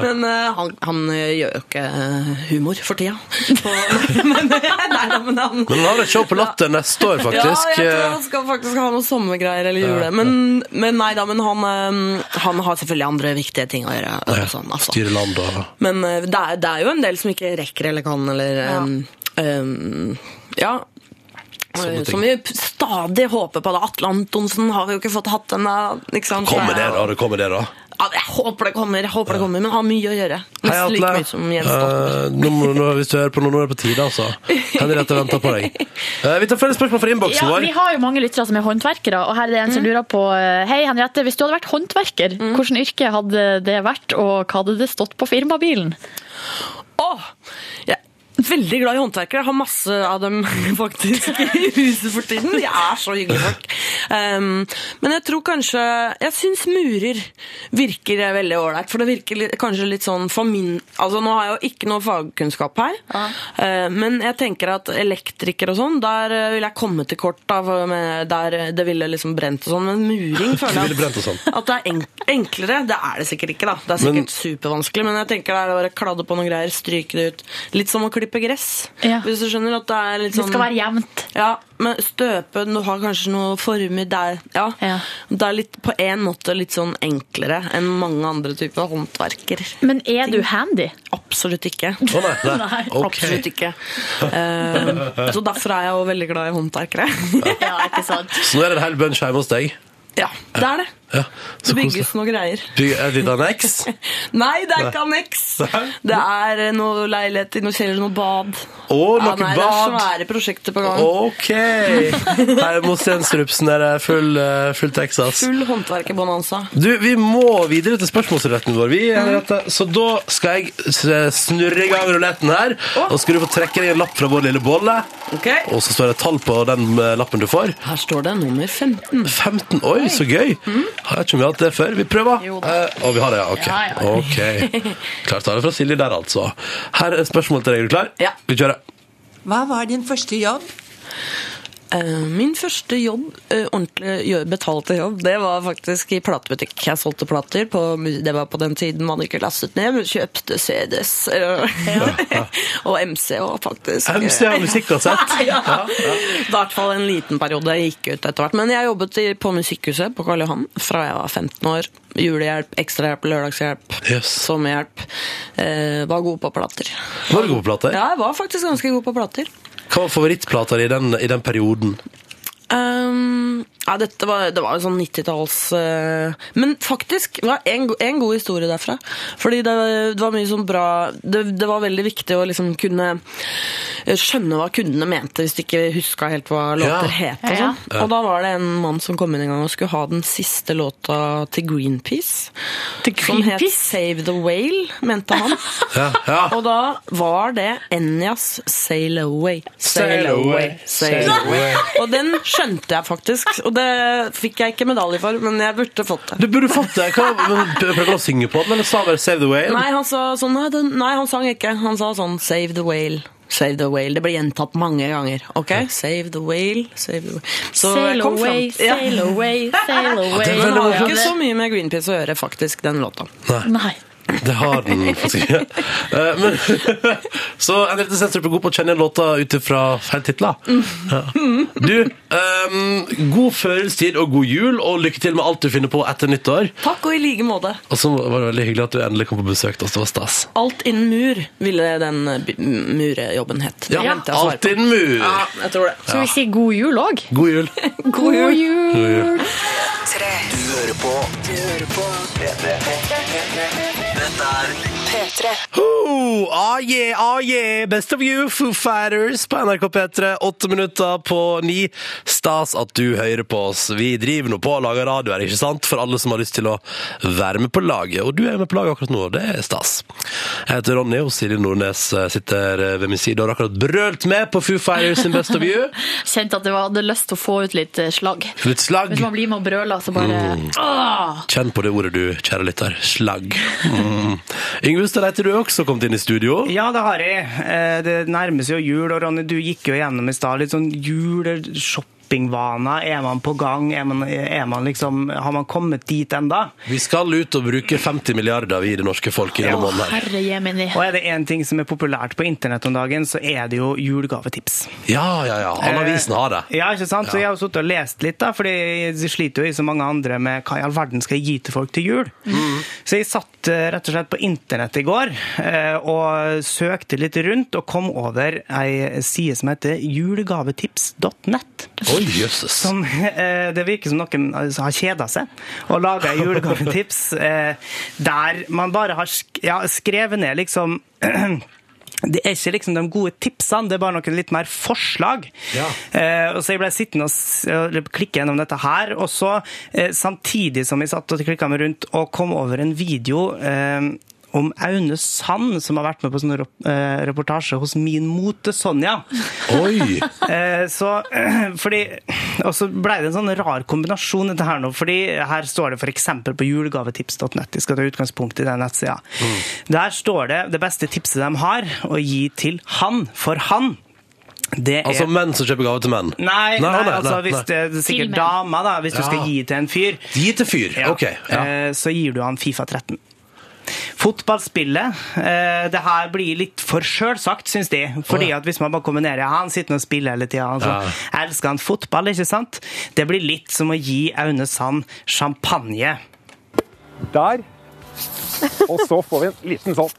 [SPEAKER 8] Men eh, han, han eh, gjør jo ikke eh, humor for tida. Så- men, nei, da, men han,
[SPEAKER 1] Men han har et show på Latter neste år, faktisk.
[SPEAKER 8] Ja,
[SPEAKER 1] eh.
[SPEAKER 8] jeg tror han skal faktisk ha noen sommergreier eller jule. Men, men nei da, men han, eh, han har selvfølgelig andre viktige ting å gjøre. og Sånn, altså.
[SPEAKER 1] Styre land og
[SPEAKER 8] Men eh, det er, det er jo en del som ikke rekker eller kan, eller
[SPEAKER 3] Ja.
[SPEAKER 8] eh, eh, ja.
[SPEAKER 1] Sånne
[SPEAKER 8] Eh,
[SPEAKER 1] ting.
[SPEAKER 8] Som vi p- stadig håper på. da Atle Antonsen har vi jo ikke fått hatt ennå. ikke sant?
[SPEAKER 1] Kommer det,
[SPEAKER 8] Så-
[SPEAKER 1] da? Det kommer det, da.
[SPEAKER 8] Ja, jeg håper det kommer, jeg håper det kommer, men har mye å gjøre.
[SPEAKER 1] Hei,
[SPEAKER 8] Nesten like
[SPEAKER 1] Atle.
[SPEAKER 8] mye som Jens Stoltenberg.
[SPEAKER 1] Eh, nå, må- nå, hvis du hører på nå, nå er det på tide, altså. Henriette venter på deg. Eh, vi tar flere spørsmål fra innboksen
[SPEAKER 3] Ja,
[SPEAKER 1] vår.
[SPEAKER 3] vi har jo mange lyttere som er håndverkere, og her er det en som
[SPEAKER 8] Mm.
[SPEAKER 3] lurer på eh, Hei, Henriette, hvis du hadde vært håndverker, hvilket yrke hadde det vært, og hva hadde det stått på firmabilen?
[SPEAKER 8] Åh, jeg er veldig glad i håndverkere. Jeg har masse av dem faktisk i huset for tiden. De er så hyggelige folk. Um, men jeg tror kanskje Jeg syns murer virker veldig ålreit. For det virker litt, kanskje litt sånn for min Altså Nå har jeg jo ikke noe fagkunnskap her, eh, men jeg tenker at elektriker og sånn, der eh, ville jeg kommet til kort av med, der det ville liksom brent og sånn. Men muring føler
[SPEAKER 1] ville brent og
[SPEAKER 8] jeg
[SPEAKER 1] sånn.
[SPEAKER 8] at at det er enk enklere, det er det sikkert ikke, da. Det er sikkert
[SPEAKER 1] Men-
[SPEAKER 8] supervanskelig, men jeg tenker det er å bare kladde på noen greier, stryke det ut. Litt som å klippe gress,
[SPEAKER 3] Ja.
[SPEAKER 8] hvis du skjønner at det er litt
[SPEAKER 3] Det
[SPEAKER 8] sånn
[SPEAKER 3] skal være jevnt.
[SPEAKER 8] ja, men støpe, du har kanskje noen former der. Ja.
[SPEAKER 3] Ja.
[SPEAKER 8] Det er litt, på en måte litt sånn enklere enn mange andre typer håndverker.
[SPEAKER 3] Men er du handy?
[SPEAKER 8] Absolutt ikke.
[SPEAKER 1] Å, nei, nei. Ok.
[SPEAKER 8] Absolutt ikke. Eh, så derfor er jeg jo veldig glad i håndverkere.
[SPEAKER 3] Ja, ikke sant?
[SPEAKER 1] Så nå er det en hel bunch hjemme hos deg.
[SPEAKER 8] ja, det er det.
[SPEAKER 1] Ja,
[SPEAKER 8] Det
[SPEAKER 1] så koselig.
[SPEAKER 8] bygges noen greier.
[SPEAKER 1] Bygg et lite anneks.
[SPEAKER 8] Nei, det er ikke anneks. Det er eh, noe leilighet i noe kjeller, noe bad.
[SPEAKER 1] Å,
[SPEAKER 8] Ja,
[SPEAKER 1] noe
[SPEAKER 8] nei, Det er
[SPEAKER 1] bad.
[SPEAKER 8] svære prosjekter på gang.
[SPEAKER 1] Ok! Her mot Senstrupsen er det full, eh, full Texas.
[SPEAKER 8] Full håndverkerbonanza.
[SPEAKER 1] Du, vi må videre til spørsmålsruletten vår. Vi, Henriette, så da skal jeg s- snurre i gang ruletten her. Og skal du få trekke deg en lapp fra vår lille bolle.
[SPEAKER 8] Ok.
[SPEAKER 1] Og så står det et tall på den eh, lappen du får.
[SPEAKER 8] Her står det nummer Mm. 15.
[SPEAKER 1] 15 Oi, så gøy! Har jeg ikke om vi har hatt det før? Vi prøver.
[SPEAKER 8] Jo da.
[SPEAKER 1] Eh, og vi har det, ja. Ok. Ok. Klart det er fra Silje der, altså. Her er et spørsmål til deg. Er du klar?
[SPEAKER 8] Ja.
[SPEAKER 1] Vi kjører.
[SPEAKER 9] Hva var din første jobb?
[SPEAKER 8] Eh, Min første jobb, eh, ordentlig jo- betalte jobb, det var faktisk i platebutikk. Jeg solgte plater, på, mu- det var på den tiden man ikke lastet ned, men kjøpte CDs. eh, og MC òg, faktisk.
[SPEAKER 1] MC har musikkassett.
[SPEAKER 8] ja. I hvert fall en liten periode. Jeg gikk ut etter hvert. Men jeg jobbet i, på Musikkhuset på Karl Johan fra jeg var 15 år. Julehjelp, ekstrahjelp, lørdagshjelp,
[SPEAKER 1] Yes.
[SPEAKER 8] sommerhjelp. Eh, var god på plater.
[SPEAKER 1] Var du god på plater?
[SPEAKER 8] Ja, jeg var faktisk ganske god på plater.
[SPEAKER 1] Hva var favorittplata di i den, i den perioden?
[SPEAKER 8] Um, ja, dette var, det var jo sånn 90-talls eh, Men faktisk, det var en, go- en god historie derfra. Fordi det, det var mye sånn bra det, det var veldig viktig å liksom kunne eh, skjønne hva kundene mente, hvis du ikke huska helt hva låter
[SPEAKER 1] Ja.
[SPEAKER 8] het. Og, sånn. og da var det en mann som kom inn en gang og skulle ha den siste låta til Greenpeace. Som het
[SPEAKER 3] Greenpeace?
[SPEAKER 8] Save the Whale, mente han.
[SPEAKER 1] Ja, ja.
[SPEAKER 8] Og da var det Enjas Sail Away.
[SPEAKER 1] Sail away,
[SPEAKER 8] Sail away. Og den skjønte jeg faktisk. Og det fikk jeg ikke medalje for, men jeg burde fått det.
[SPEAKER 1] Du burde fått det. Hva, men prøvde han å synge på den, eller sa han bare 'Save the Whale'?
[SPEAKER 8] Nei, han sa sånn Nei, den, nei han sang ikke. Han sa sånn Save the whale. Save the whale. Det ble gjentatt mange ganger. Ok? Save the whale, save the whale. Så jeg
[SPEAKER 3] Sail
[SPEAKER 8] kom fram-
[SPEAKER 3] away,
[SPEAKER 8] Ja.
[SPEAKER 3] sail away, sail away.
[SPEAKER 1] veldig
[SPEAKER 8] Den har jo
[SPEAKER 1] morsomt.
[SPEAKER 8] ikke så mye med Greenpeace å gjøre, faktisk, den låta.
[SPEAKER 3] Nei.
[SPEAKER 1] Det har den faktisk ikke. Eh, Men, så Henriette Senstrup er god på å kjenne igjen låta ut ifra feil titler. Ja. Du, ehm, god førjulstid og god jul, og lykke til med alt du finner på etter nyttår.
[SPEAKER 8] Takk, og i like måte.
[SPEAKER 1] Og så var det veldig hyggelig at du endelig kom på besøk til oss. Det var stas.
[SPEAKER 8] Alt innen mur ville den eh, b- murejobben het. Det
[SPEAKER 1] Ja,
[SPEAKER 8] glemte jeg å svare på.
[SPEAKER 1] alltid en mur.
[SPEAKER 8] Ja, jeg tror det.
[SPEAKER 3] Skal vi si god jul òg?
[SPEAKER 1] God jul.
[SPEAKER 3] God jul!
[SPEAKER 1] God jul.
[SPEAKER 4] Tre. Du hører på. Du hører på. Dette. Dette er P3.
[SPEAKER 1] Oh, ah yeah, ah yeah, best of you, Foo Fighters på NRK P3. Åtte minutter på ni. Stas at du hører på oss. Vi driver nå på og lager radio her, ikke sant? For alle som har lyst til å være med på laget. Og du er med på laget akkurat nå, og det er stas. Jeg heter Ronny, og Silje Nordnes eh, sitter eh, ved min side og har akkurat brølt med på Foo Fighters sin Best of you.
[SPEAKER 3] Kjente at jeg hadde lyst til å få ut litt eh, slagg.
[SPEAKER 1] Litt slag.
[SPEAKER 3] Hvis man blir med og brøler, så bare
[SPEAKER 1] Mm.
[SPEAKER 3] Åh!
[SPEAKER 2] Ah.
[SPEAKER 1] Kjenn på det ordet du, kjære lytter. Slag. Mm. Yngve Ustad heter du også, kommet inn i studio.
[SPEAKER 2] Ja, det har jeg. Eh, Det nærmer seg jo jul, og Ronny, du gikk jo gjennom i stad litt sånn juleshoppingvaner. Er man på gang? Er man, er man liksom, har man kommet dit enda?
[SPEAKER 1] Vi skal ut og bruke 50 milliarder, vi i det norske folk, i denne
[SPEAKER 3] Å,
[SPEAKER 1] måneden her.
[SPEAKER 3] herre jemini.
[SPEAKER 2] Og er det én ting som er populært på internett om dagen, så er det jo julegavetips.
[SPEAKER 1] Ja, ja, ja. Alle avisene har det.
[SPEAKER 2] Ja, ikke sant? Så jeg har jo sittet og lest litt, da, fordi jeg sliter jo i så mange andre med hva i all verden skal jeg gi til folk til jul. Så jeg satt eh, rett og slett på internett i går eh, og søkte litt rundt, og kom over ei side som heter julegavetips.nett.
[SPEAKER 1] Oi, jøsses.
[SPEAKER 2] Som, eh, det virker som noen altså, har kjeda seg og laga julegavetips eh, der man bare har sk ja, skrevet ned liksom Det er ikke liksom de gode tipsene, det er bare noen litt mer forslag.
[SPEAKER 1] Ja.
[SPEAKER 2] Eh, og så jeg ble sittende og s- og klikke gjennom dette her, og så eh, samtidig som jeg satt og klikka meg rundt og kom over en video eh, om Aune Sand, som har vært med på sånn rep- eh, reportasje hos Min Mote Sonja.
[SPEAKER 1] Oi!
[SPEAKER 2] Eh, så, fordi, og så ble det en sånn rar kombinasjon dette her nå, fordi her står det for eksempel på julegavetips.net, de skal ta utgangspunkt i den nettsida. Der står det det beste tipset de har å gi til han, for han. Det er
[SPEAKER 1] Altså menn som kjøper gave til menn.
[SPEAKER 2] eh. Nei, nei, altså hvis
[SPEAKER 1] nei.
[SPEAKER 2] det er sikkert
[SPEAKER 3] Til menn.
[SPEAKER 2] dama, da, hvis
[SPEAKER 1] Ja.
[SPEAKER 2] du skal gi til en fyr.
[SPEAKER 1] Gi til fyr.
[SPEAKER 2] Ja.
[SPEAKER 1] Ok. Ja.
[SPEAKER 2] Eh, Så gir du han Fifa 13. Fotballspillet eh, Det her blir litt for sjølsagt, syns de. Fordi
[SPEAKER 1] Å, ja.
[SPEAKER 2] at hvis man bare kombinerer ja, Han sitter og spiller hele tida. Han sånn, elsker han fotball, ikke sant? Det blir litt som å gi Aune Sand champagne.
[SPEAKER 5] Der. Og så får vi en liten sånn.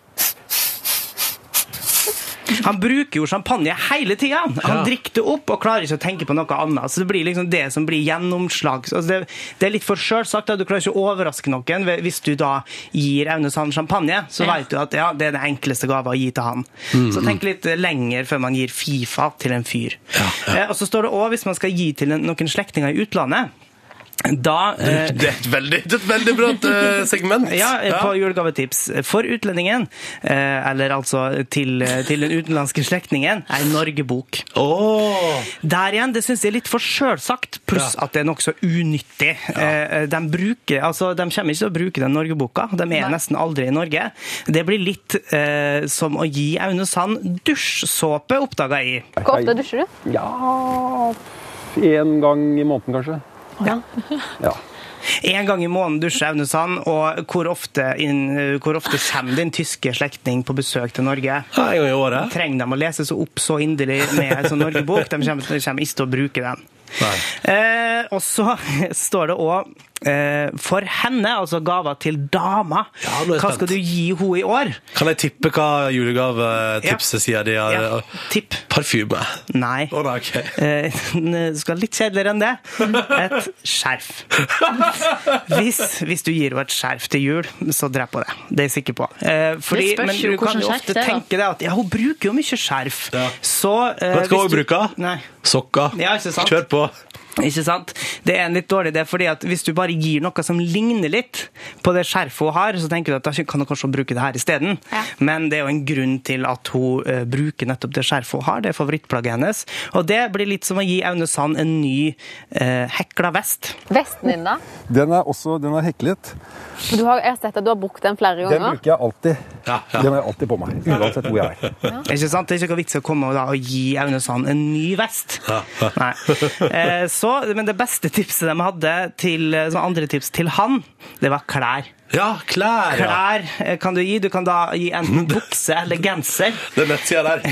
[SPEAKER 2] Han bruker jo champagne hele tida! Han
[SPEAKER 1] Ja.
[SPEAKER 2] drikker det opp og klarer ikke å tenke på noe annet. Så det blir liksom det som blir gjennomslag. Altså det, det er litt for sjølsagt. da. Du klarer ikke å overraske noen ved- hvis du da gir Aune Sand champagne. Så
[SPEAKER 3] Ja.
[SPEAKER 2] vet du at ja, det er den enkleste gava å gi til han. Så tenk litt lenger før man gir Fifa til en fyr. Eh, og så står det òg, hvis man skal gi til en- noen slektninger i utlandet, da eh,
[SPEAKER 1] Det er et veldig, det er et veldig bra eh, segment.
[SPEAKER 2] ja, på julegavetips for utlendingen, eh, eller altså til, til den utenlandske slektningen, ei Norgebok.
[SPEAKER 1] Åh.
[SPEAKER 2] Der igjen, det syns jeg er litt for sjølsagt, pluss
[SPEAKER 1] Ja.
[SPEAKER 2] at det er nokså unyttig. Eh, De, bruker, altså, de kommer ikke til å bruke den Norgeboka, de er nesten aldri i Norge. Det blir litt eh, som å gi Aune Sand dusjsåpe, oppdaga jeg.
[SPEAKER 10] Hvor ofte dusjer du?
[SPEAKER 5] Ja En gang i måneden, kanskje.
[SPEAKER 2] En gang i måneden dusjer Aune Sand, og hvor ofte, inn, hvor ofte kommer din tyske slektning på besøk til Norge?
[SPEAKER 1] Ja, en gang i året.
[SPEAKER 2] Trenger de å lese seg opp så inderlig med en sånn Norgebok? De kommer, de kommer ikke til å bruke den.
[SPEAKER 1] Nei.
[SPEAKER 2] Eh, og så står det òg eh, for henne, altså gaver til dama.
[SPEAKER 1] Ja, nå er
[SPEAKER 2] Hva
[SPEAKER 1] jeg spent.
[SPEAKER 2] skal du gi henne i år?
[SPEAKER 1] Kan jeg tippe hva julegavetipset sier de har? eh,
[SPEAKER 2] Ja, tipp.
[SPEAKER 1] Parfyme.
[SPEAKER 2] Nei.
[SPEAKER 1] Å, nei, ok.
[SPEAKER 2] Eh, det skal litt kjedeligere enn det. Et skjerf. Hvis, hvis du gir henne et skjerf til jul, så dreper hun det. Det er jeg sikker på. Eh, fordi,
[SPEAKER 3] Det spørs
[SPEAKER 2] men
[SPEAKER 3] jo
[SPEAKER 2] du kan
[SPEAKER 3] hvordan
[SPEAKER 2] jo
[SPEAKER 3] skjerf
[SPEAKER 2] ofte
[SPEAKER 3] det er, da.
[SPEAKER 2] tenke deg at ja, hun bruker jo mye skjerf.
[SPEAKER 1] Ja.
[SPEAKER 2] Så eh,
[SPEAKER 1] Vet du hva
[SPEAKER 2] hvis
[SPEAKER 1] hun bruker?
[SPEAKER 2] Nei.
[SPEAKER 1] Sokker.
[SPEAKER 2] Ja, ikke sant?
[SPEAKER 1] Kjør på.
[SPEAKER 2] Ikke sant? Det er en litt dårlig idé, fordi at hvis du bare gir noe som ligner litt på det skjerfet hun har, så tenker du at da kan hun kanskje bruke det her isteden.
[SPEAKER 3] Ja.
[SPEAKER 2] Men det er jo en grunn til at hun eh, bruker nettopp det skjerfet hun har, det er favorittplagget hennes. Og det blir litt som å gi Aune Sand en ny eh, hekla vest.
[SPEAKER 10] Vesten din, da?
[SPEAKER 11] Den er også den er heklet.
[SPEAKER 10] Du har, jeg har sett at du har brukt den flere
[SPEAKER 11] Den
[SPEAKER 10] ganger.
[SPEAKER 11] bruker jeg alltid.
[SPEAKER 1] Ja, ja.
[SPEAKER 11] Den har jeg alltid på meg, uansett hvor jeg er.
[SPEAKER 2] Ikke sant? Det er ikke noe vits i å komme og, da, og gi Aune Sand en ny vest.
[SPEAKER 1] Ja.
[SPEAKER 2] Nei. Eh, så, men det beste tipset de hadde til, som andre tips til han, det var klær.
[SPEAKER 1] Ja, klær, ja.
[SPEAKER 2] Klær eh, kan du gi. Du kan da gi enten bukse eller genser.
[SPEAKER 1] Det er nettsida der.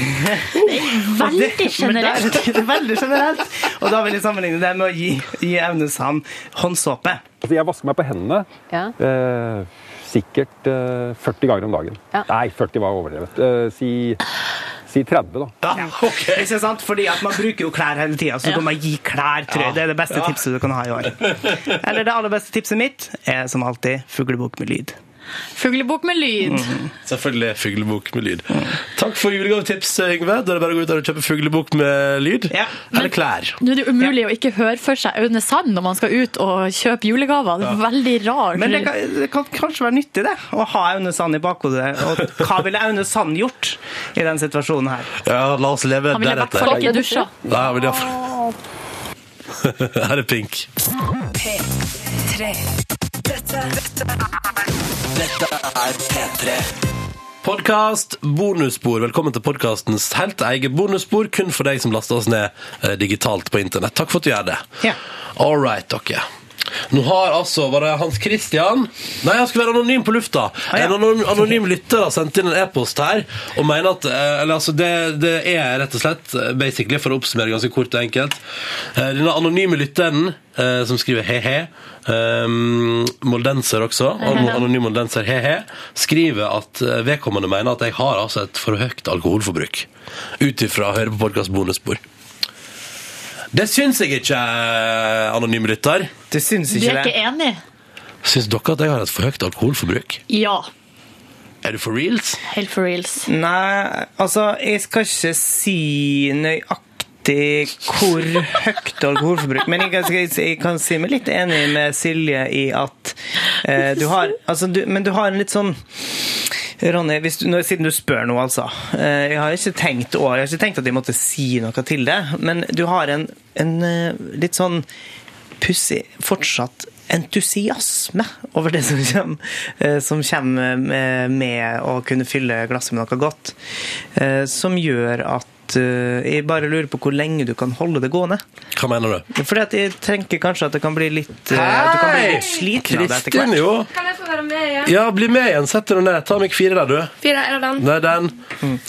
[SPEAKER 3] Veldig
[SPEAKER 2] Men det
[SPEAKER 3] generelt.
[SPEAKER 2] er- det er veldig generelt. Og da vil jeg sammenligne det med å gi, gi Aune Sand håndsåpe.
[SPEAKER 11] Altså, jeg vasker meg på hendene
[SPEAKER 10] Ja.
[SPEAKER 11] eh, sikkert eh, 40 ganger om dagen.
[SPEAKER 10] Ja.
[SPEAKER 11] Nei, 40 var overdrevet. Eh, si, si 30, da.
[SPEAKER 1] Ja, ok.
[SPEAKER 2] Ikke sant? Fordi at man bruker jo klær hele tida, så du må gi klær, tror jeg. Det er det beste tipset du kan ha i år. Eller det aller beste tipset mitt er som alltid fuglebok med lyd.
[SPEAKER 3] Fuglebok med lyd.
[SPEAKER 1] Selvfølgelig fuglebok med lyd. Takk for julegavetips, Yngve. Da er det bare å gå ut der og kjøpe fuglebok med lyd.
[SPEAKER 2] Ja.
[SPEAKER 1] Eller klær.
[SPEAKER 3] Nå er det jo umulig å ikke høre for seg Aune Sand når man skal ut og kjøpe julegaver. Det er veldig rart.
[SPEAKER 2] Men det kan, det kan kanskje være nyttig, det. Å ha Aune Sand i bakhodet. Og hva ville Aune Sand gjort i den situasjonen her?
[SPEAKER 1] Ja, la oss leve
[SPEAKER 3] Han ville i hvert fall ikke dusja.
[SPEAKER 1] Nei, han ville i hvert fall Her er Pink. Podkast bonusspor. Velkommen til podkastens helt eget bonusspor, kun for deg som laster oss ned eh, digitalt på internett. Takk for at du gjør det.
[SPEAKER 2] Ja.
[SPEAKER 1] All right, dere. Nå har altså Var det Hans Christian? Nei, han skulle være anonym på lufta.
[SPEAKER 2] Ah, ja.
[SPEAKER 1] En anonym, anonym lytter har sendt inn en e-post her og mener at eh, Eller altså, det, det er rett og slett eh, basically, for å oppsummere ganske kort og enkelt eh, Denne anonyme lytteren eh, som skriver he-he, um, moldenser også, an- anonym moldenser he-he, skriver at eh, vedkommende mener at jeg har altså et for høyt alkoholforbruk. Ut ifra å høre på podkast bonusspor. Det syns jeg ikke, eh, anonym lytter.
[SPEAKER 2] Du syns
[SPEAKER 3] Du er
[SPEAKER 2] ikke det?
[SPEAKER 3] ikke enig?
[SPEAKER 1] Syns dere at jeg har et for høyt alkoholforbruk?
[SPEAKER 3] Ja.
[SPEAKER 1] Er det for reals?
[SPEAKER 3] Helt for reals.
[SPEAKER 2] Nei, altså, jeg skal ikke si nøyaktig hvor høyt alkoholforbruk Men jeg kan, jeg, jeg kan si meg litt enig med Silje i at eh, du har altså, du, Men du har en litt sånn Ronny, hvis du, nå, siden du spør noe, altså. eh, Jeg har ikke tenkt å- jeg har ikke tenkt at jeg måtte si noe til det, men du har en, en eh, litt sånn pussig fortsatt entusiasme over det som kommer, eh, som kommer med, med å kunne fylle glasset med noe godt. eh, Som gjør at eh, jeg bare lurer på hvor lenge du kan holde det gående.
[SPEAKER 1] Hva mener du?
[SPEAKER 2] Fordi at jeg tenker kanskje at det kan bli litt, eh, at du kan bli litt sliten av det etter
[SPEAKER 1] Kristin,
[SPEAKER 2] hvert.
[SPEAKER 1] jo.
[SPEAKER 12] Kan jeg få være med igjen?
[SPEAKER 1] Ja, bli med igjen. Sett deg ned. Ta meg fire der, du.
[SPEAKER 12] Fire er den.
[SPEAKER 1] Nei, den.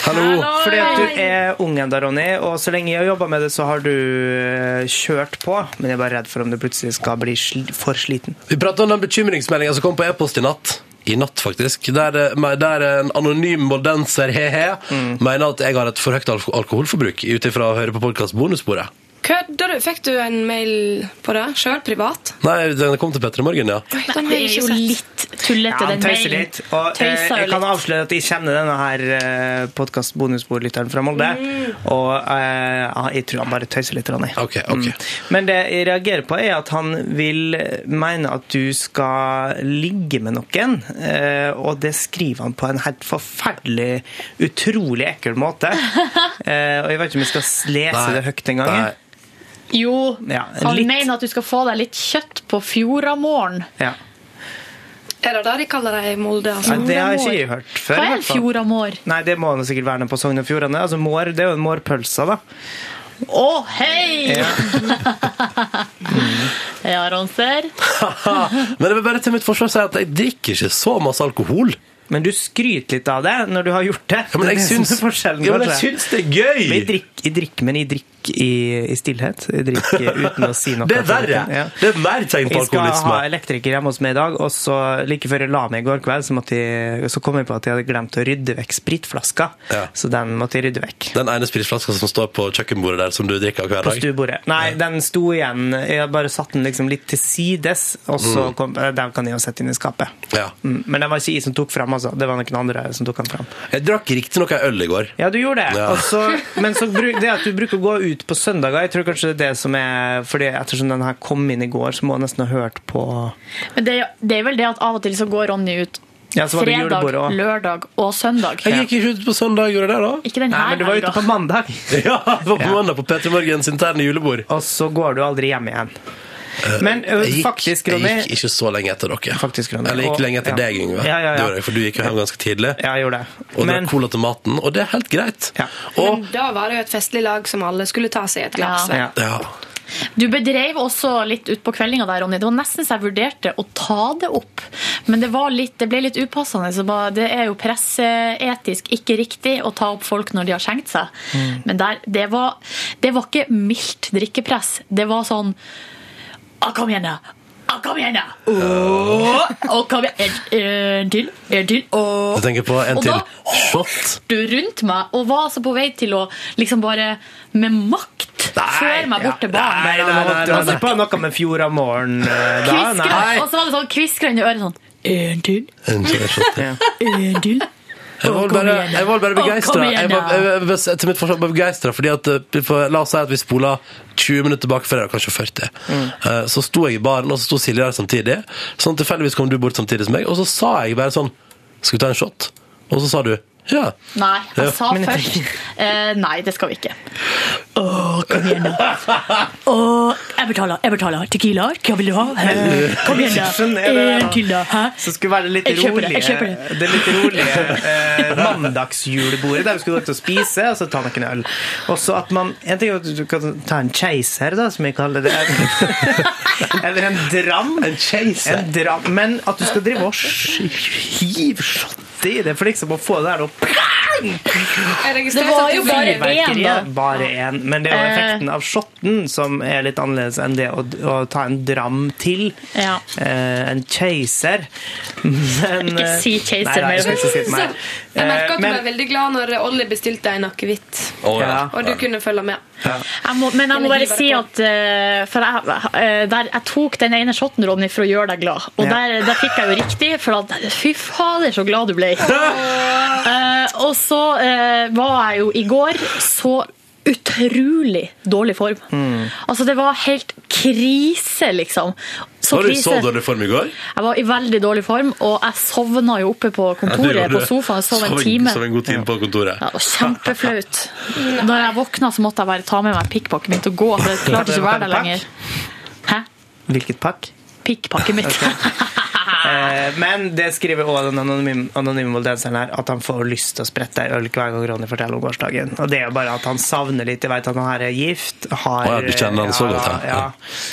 [SPEAKER 1] Hallo.
[SPEAKER 2] Fordi at du er ung ennå, Ronny, og så lenge jeg har jobba med det, så har du eh, kjørt på. Men jeg er bare redd for om du plutselig skal bli sli for sliten.
[SPEAKER 1] Vi prater om den bekymringsmeldinga som kom på e-post i natt. I natt, faktisk. Der, eh, me- der en anonym moldenser, he-he,
[SPEAKER 2] Mm.
[SPEAKER 1] mener at jeg har et for høyt alko- alkoholforbruk ut ifra å høre på podkast Bonussporet.
[SPEAKER 12] Kødder du? Fikk du en mail på det sjøl, privat?
[SPEAKER 1] Nei, den kom til Petter i morgen, ja.
[SPEAKER 12] Oi,
[SPEAKER 3] Nei,
[SPEAKER 12] den
[SPEAKER 3] det
[SPEAKER 12] har jeg
[SPEAKER 3] er
[SPEAKER 12] ikke
[SPEAKER 3] jo
[SPEAKER 12] sett.
[SPEAKER 3] litt tullete,
[SPEAKER 2] Ja, han
[SPEAKER 3] den
[SPEAKER 2] tøyser
[SPEAKER 3] mailen.
[SPEAKER 2] litt. Og eh,
[SPEAKER 3] Tøyser
[SPEAKER 2] jeg kan
[SPEAKER 3] litt.
[SPEAKER 2] avsløre at jeg kjenner denne her eh, podkast bonusbordlytteren fra Molde. Og eh, ja, jeg tror han bare tøyser litt, Ronny. Mm.
[SPEAKER 1] Ok, ok.
[SPEAKER 2] Men det jeg reagerer på, er at han vil mene at du skal ligge med noen. eh, Og det skriver han på en helt forferdelig, utrolig ekkel måte. Eh, Og jeg vet ikke om jeg skal s- lese
[SPEAKER 1] Nei.
[SPEAKER 2] det høyt engang.
[SPEAKER 1] Nei.
[SPEAKER 3] Jo,
[SPEAKER 2] Ja,
[SPEAKER 3] han
[SPEAKER 2] litt.
[SPEAKER 3] mener at du skal få deg litt kjøtt på fjordamorgen.
[SPEAKER 2] Ja.
[SPEAKER 12] Er det det de kaller det i Molde? Altså?
[SPEAKER 2] Nei, det har ikke jeg hørt før.
[SPEAKER 3] Hva
[SPEAKER 2] i
[SPEAKER 3] er
[SPEAKER 2] hvert
[SPEAKER 3] en
[SPEAKER 2] fall.
[SPEAKER 3] fjordamor?
[SPEAKER 2] Nei, det må han sikkert være nede på Sogn og Fjordane. Altså, mår, det er jo en mårpølse, da.
[SPEAKER 3] Å, hei! Ja, Ronser.
[SPEAKER 1] Men jeg vil bare til mitt forsvar si at jeg drikker ikke så masse alkohol.
[SPEAKER 2] Men du skryter litt av det når du har gjort det.
[SPEAKER 1] Ja, men
[SPEAKER 2] det
[SPEAKER 1] jeg
[SPEAKER 2] er det som
[SPEAKER 1] syns,
[SPEAKER 2] er forskjellen,
[SPEAKER 1] ja, men jeg
[SPEAKER 2] kanskje.
[SPEAKER 1] syns det er
[SPEAKER 2] Men jeg
[SPEAKER 1] gøy!
[SPEAKER 2] drikker, jeg drikker, men jeg drikker drikk i, i stillhet. Drikk uten å si noe.
[SPEAKER 1] Det er verre!
[SPEAKER 2] Ja.
[SPEAKER 1] Det er mer tegn på
[SPEAKER 2] Jeg skal ha
[SPEAKER 1] alkoholisme.
[SPEAKER 2] elektriker hjemme hos meg i dag, og så like før jeg la meg i går kveld, så, måtte jeg, så kom jeg på at jeg hadde glemt å rydde vekk spritflaska. Så den måtte jeg rydde vekk.
[SPEAKER 1] Den ene spritflaska som står på kjøkkenbordet der, som du drikker hver
[SPEAKER 2] På
[SPEAKER 1] dag.
[SPEAKER 2] stuebordet. Nei, den sto igjen. Jeg hadde bare satt den liksom litt til sides, og så
[SPEAKER 1] Mm.
[SPEAKER 2] kom, eh, den kan jeg jo sette inn i skapet.
[SPEAKER 1] Ja.
[SPEAKER 2] Mm, Men det var ikke jeg som tok fram, altså. Det var noen andre som tok den fram.
[SPEAKER 1] Jeg drakk riktignok ei øl i går.
[SPEAKER 2] Ja, du gjorde det.
[SPEAKER 1] Ja.
[SPEAKER 2] Og så- men så bruk, det at du bruker å gå ut på søndager, jeg tror kanskje det er det som er Fordi ettersom den her kom inn i går, så må jeg nesten ha hørt på
[SPEAKER 3] Men det, det er vel det at av og til så går Ronny ut
[SPEAKER 2] Ja, så var det
[SPEAKER 3] fredag,
[SPEAKER 2] julebordet også.
[SPEAKER 3] lørdag og søndag.
[SPEAKER 1] Jeg gikk ikke ut på søndag, gjorde jeg det da?
[SPEAKER 3] Ikke den her helga.
[SPEAKER 2] mandag.
[SPEAKER 1] Ja, det var på mandag på Petter Morgens interne julebord. Eh,
[SPEAKER 2] Og så går du aldri hjem igjen. Men, ø,
[SPEAKER 1] jeg gikk,
[SPEAKER 2] faktisk, Ronny-
[SPEAKER 1] Jeg gikk ikke så lenge etter dere. Eller jeg
[SPEAKER 2] Og-
[SPEAKER 1] gikk lenge
[SPEAKER 2] ja.
[SPEAKER 1] etter deg,
[SPEAKER 2] Ja,
[SPEAKER 1] Yngve.
[SPEAKER 2] ja, ja.
[SPEAKER 1] Det gjorde jeg, For du gikk jo hjem ganske tidlig. Og
[SPEAKER 2] Men-
[SPEAKER 1] drakk cola til maten, og det er helt greit. Og
[SPEAKER 12] Men da var det jo et festlig lag som alle skulle ta seg et glass.
[SPEAKER 1] ja.
[SPEAKER 3] Du bedreiv også litt utpå kveldinga der, Ronny. Det var nesten så jeg vurderte å ta det opp. Men det, var litt, det ble litt upassende. Så ba- det er jo presseetisk ikke riktig å ta opp folk når de har skjenkt seg.
[SPEAKER 13] Mm.
[SPEAKER 3] Men der, det, var, det var ikke mildt drikkepress. Det var sånn Å, kom igjen, da! Å, kom igjen, da! Å, å, kom igjen. En, en til, en til. Å.
[SPEAKER 1] Jeg tenker på en
[SPEAKER 3] Og
[SPEAKER 1] til.
[SPEAKER 3] da-
[SPEAKER 1] Shot.
[SPEAKER 3] du rundt meg og var altså på vei til å liksom bare med makt føre meg bort til baren.
[SPEAKER 2] Nei, nei, nei, nei, nei. På noe med fjor av morgen ø, da?
[SPEAKER 3] Kviskra,
[SPEAKER 2] Nei.
[SPEAKER 3] og så var det sånn kviskrende i øret sånn En til, en til.
[SPEAKER 1] Jeg var
[SPEAKER 3] Å, kom
[SPEAKER 1] bare,
[SPEAKER 3] igjen, da.
[SPEAKER 1] jeg var bare
[SPEAKER 3] Å, kom
[SPEAKER 1] begeistra.
[SPEAKER 3] igjen,
[SPEAKER 1] Jeg var-
[SPEAKER 3] da.
[SPEAKER 1] jeg var- Til mitt forsvar var begeistra, fordi at eh, for, La oss si at vi spola 20 minutter tilbake, for det er kanskje 40.
[SPEAKER 3] Mm.
[SPEAKER 1] Eh, Så sto jeg i baren, og så sto Silje der samtidig. Sånn tilfeldigvis kom du bort samtidig som meg, og så sa jeg bare sånn Skal vi ta en shot? Og så sa du ja.
[SPEAKER 3] Nei, jeg
[SPEAKER 1] Ja.
[SPEAKER 3] sa
[SPEAKER 1] Men jeg
[SPEAKER 3] først
[SPEAKER 1] tenker-
[SPEAKER 3] eh, Nei, det skal vi ikke. Å, kom igjen, da. Å, jeg betaler, jeg betaler. Tequila, hva vil du ha? Hæ?
[SPEAKER 2] Eh,
[SPEAKER 3] Kom igjen,
[SPEAKER 2] Skjønner
[SPEAKER 3] da.
[SPEAKER 2] jeg det,
[SPEAKER 3] En til, da. Hæ?
[SPEAKER 2] eh, Så skulle være det litt
[SPEAKER 3] Jeg kjøper det,
[SPEAKER 2] rolige,
[SPEAKER 3] jeg kjøper det.
[SPEAKER 2] det litt rolige eh, mandagsjulebordet der vi skulle gå ut og spise, og så ta noen øl. Og så at man En ting er at du kan ta en keiser, da, som jeg kaller det. Eller en dram.
[SPEAKER 1] En keiser.
[SPEAKER 2] En dram. Men at du skal drive og sk- hive shotte i det for liksom å få det der opp.
[SPEAKER 12] Jeg
[SPEAKER 3] Det
[SPEAKER 12] registrerte
[SPEAKER 3] var
[SPEAKER 12] at
[SPEAKER 3] jo
[SPEAKER 12] du
[SPEAKER 3] bare
[SPEAKER 12] ble-
[SPEAKER 3] én, da.
[SPEAKER 2] Fyrverkeriet, Bare én. Men det er jo
[SPEAKER 3] Eh.
[SPEAKER 2] effekten av shotten som er litt annerledes enn det å, å ta en dram til.
[SPEAKER 3] Ja.
[SPEAKER 2] Eh, en keiser. Men,
[SPEAKER 12] Ikke
[SPEAKER 2] eh,
[SPEAKER 12] si
[SPEAKER 2] nei,
[SPEAKER 12] keiser
[SPEAKER 2] nei,
[SPEAKER 12] mer.
[SPEAKER 2] jeg skal ikke si det mer.
[SPEAKER 12] Jeg merket
[SPEAKER 2] Eh,
[SPEAKER 12] at du ble
[SPEAKER 2] men-
[SPEAKER 12] veldig glad når Olli bestilte en akevitt.
[SPEAKER 2] Å, ja.
[SPEAKER 12] Og du kunne følge med.
[SPEAKER 3] Jeg må, men jeg må bare si at eh, For jeg, eh, der, jeg tok den ene shoten, Ronny, for å gjøre deg glad. Og
[SPEAKER 12] Ja.
[SPEAKER 3] der, der fikk jeg jo riktig, for at, fy fader, så glad du ble. Eh, og så eh, var jeg jo i går så utrolig dårlig form.
[SPEAKER 1] Mm.
[SPEAKER 3] Altså, det var helt krise, liksom.
[SPEAKER 1] Var du i så dårlig form i går?
[SPEAKER 3] Jeg var i veldig dårlig form, og jeg sovna jo oppe på kontoret,
[SPEAKER 1] Ja, det gjorde
[SPEAKER 3] på
[SPEAKER 1] du.
[SPEAKER 3] sofaen. Jeg sov en
[SPEAKER 1] Sov
[SPEAKER 3] time.
[SPEAKER 1] en god time på kontoret.
[SPEAKER 3] Ja, det var kjempeflaut. Når jeg våkna, så måtte jeg bare ta med meg pikkpakken min og gå. For jeg klarte ikke å være der lenger.
[SPEAKER 2] Hvilket pakk?
[SPEAKER 3] Pikkpakket mitt. Ah.
[SPEAKER 2] Eh, men det skriver også den anonyme, anonyme voldenseren her, at han får lyst til å sprette ei øl hver gang Ronny forteller om gårsdagen. Og det er jo bare at han savner litt. Jeg vet at han her er gift. Har,
[SPEAKER 1] Å ja, du kjenner han så godt, ja.
[SPEAKER 2] ja.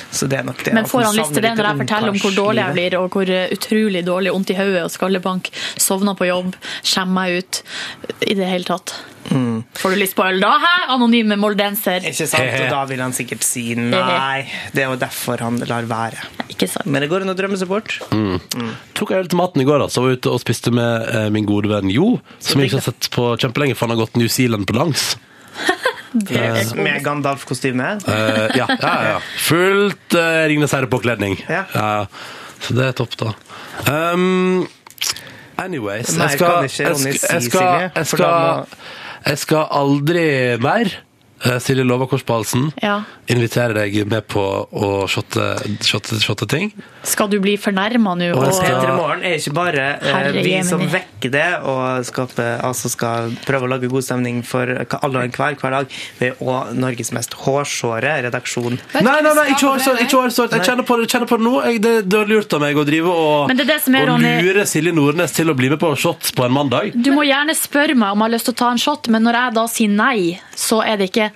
[SPEAKER 2] Så det er nok det.
[SPEAKER 3] Men
[SPEAKER 2] at
[SPEAKER 3] får han lyst
[SPEAKER 2] savner
[SPEAKER 3] til det
[SPEAKER 2] litt
[SPEAKER 3] når jeg forteller om hvor dårlig jeg blir, og hvor eh, utrolig dårlig vondt i hodet og skallebank, sovna på jobb, skjemmer meg ut I det hele tatt.
[SPEAKER 2] Mm.
[SPEAKER 3] Får du lyst på øl da, hæ? Anonyme moldenser.
[SPEAKER 2] Ikke sant? Og da vil han sikkert si nei. Det er jo derfor han lar være. Men det går an å drømme seg bort.
[SPEAKER 1] Mm. Tok jeg øl til maten i går, altså. Var ute og spiste med eh, min gode venn Jo, som jeg ikke har sett på kjempelenge, for han har gått New Zealand på langs. Eh,
[SPEAKER 2] Med Gandalf-kostyme.
[SPEAKER 1] Eh, ja, ja, ja. Fullt uh, Ringnes herre-påkledning.
[SPEAKER 2] Ja.
[SPEAKER 1] Så det er topp, da. Um, anyways
[SPEAKER 2] Mer
[SPEAKER 1] jeg skal,
[SPEAKER 2] kan ikke Ronny si,
[SPEAKER 1] jeg skal,
[SPEAKER 2] Silje,
[SPEAKER 1] jeg skal, jeg
[SPEAKER 2] for da
[SPEAKER 1] skal, jeg skal aldri mer eh, Silje lover kors på halsen.
[SPEAKER 3] Ja.
[SPEAKER 1] Invitere deg med på å shotte, shotte, shotte ting.
[SPEAKER 3] Skal du bli fornærma nå?
[SPEAKER 2] Og
[SPEAKER 3] og-
[SPEAKER 2] P3 Morgen er ikke bare eh,
[SPEAKER 3] Herre
[SPEAKER 2] vi som
[SPEAKER 3] jemini.
[SPEAKER 2] vekker det og skaper, altså skal prøve å lage god stemning for alle og enhver hver dag. Vi er òg Norges mest hårsåre redaksjon.
[SPEAKER 1] Nei, nei, nei, ikke hårsårt! ikke hårsårt. Jeg kjenner på det, kjenner på det nå. Jeg, det det er lurt av meg å drive og,
[SPEAKER 3] Men det er det som er,
[SPEAKER 1] og
[SPEAKER 3] Ronny.
[SPEAKER 1] lure Silje Nordnes til å bli med på shots på en mandag.
[SPEAKER 3] Du må gjerne spørre meg om jeg har lyst til å ta en shot, men når jeg da sier nei, så er det ikke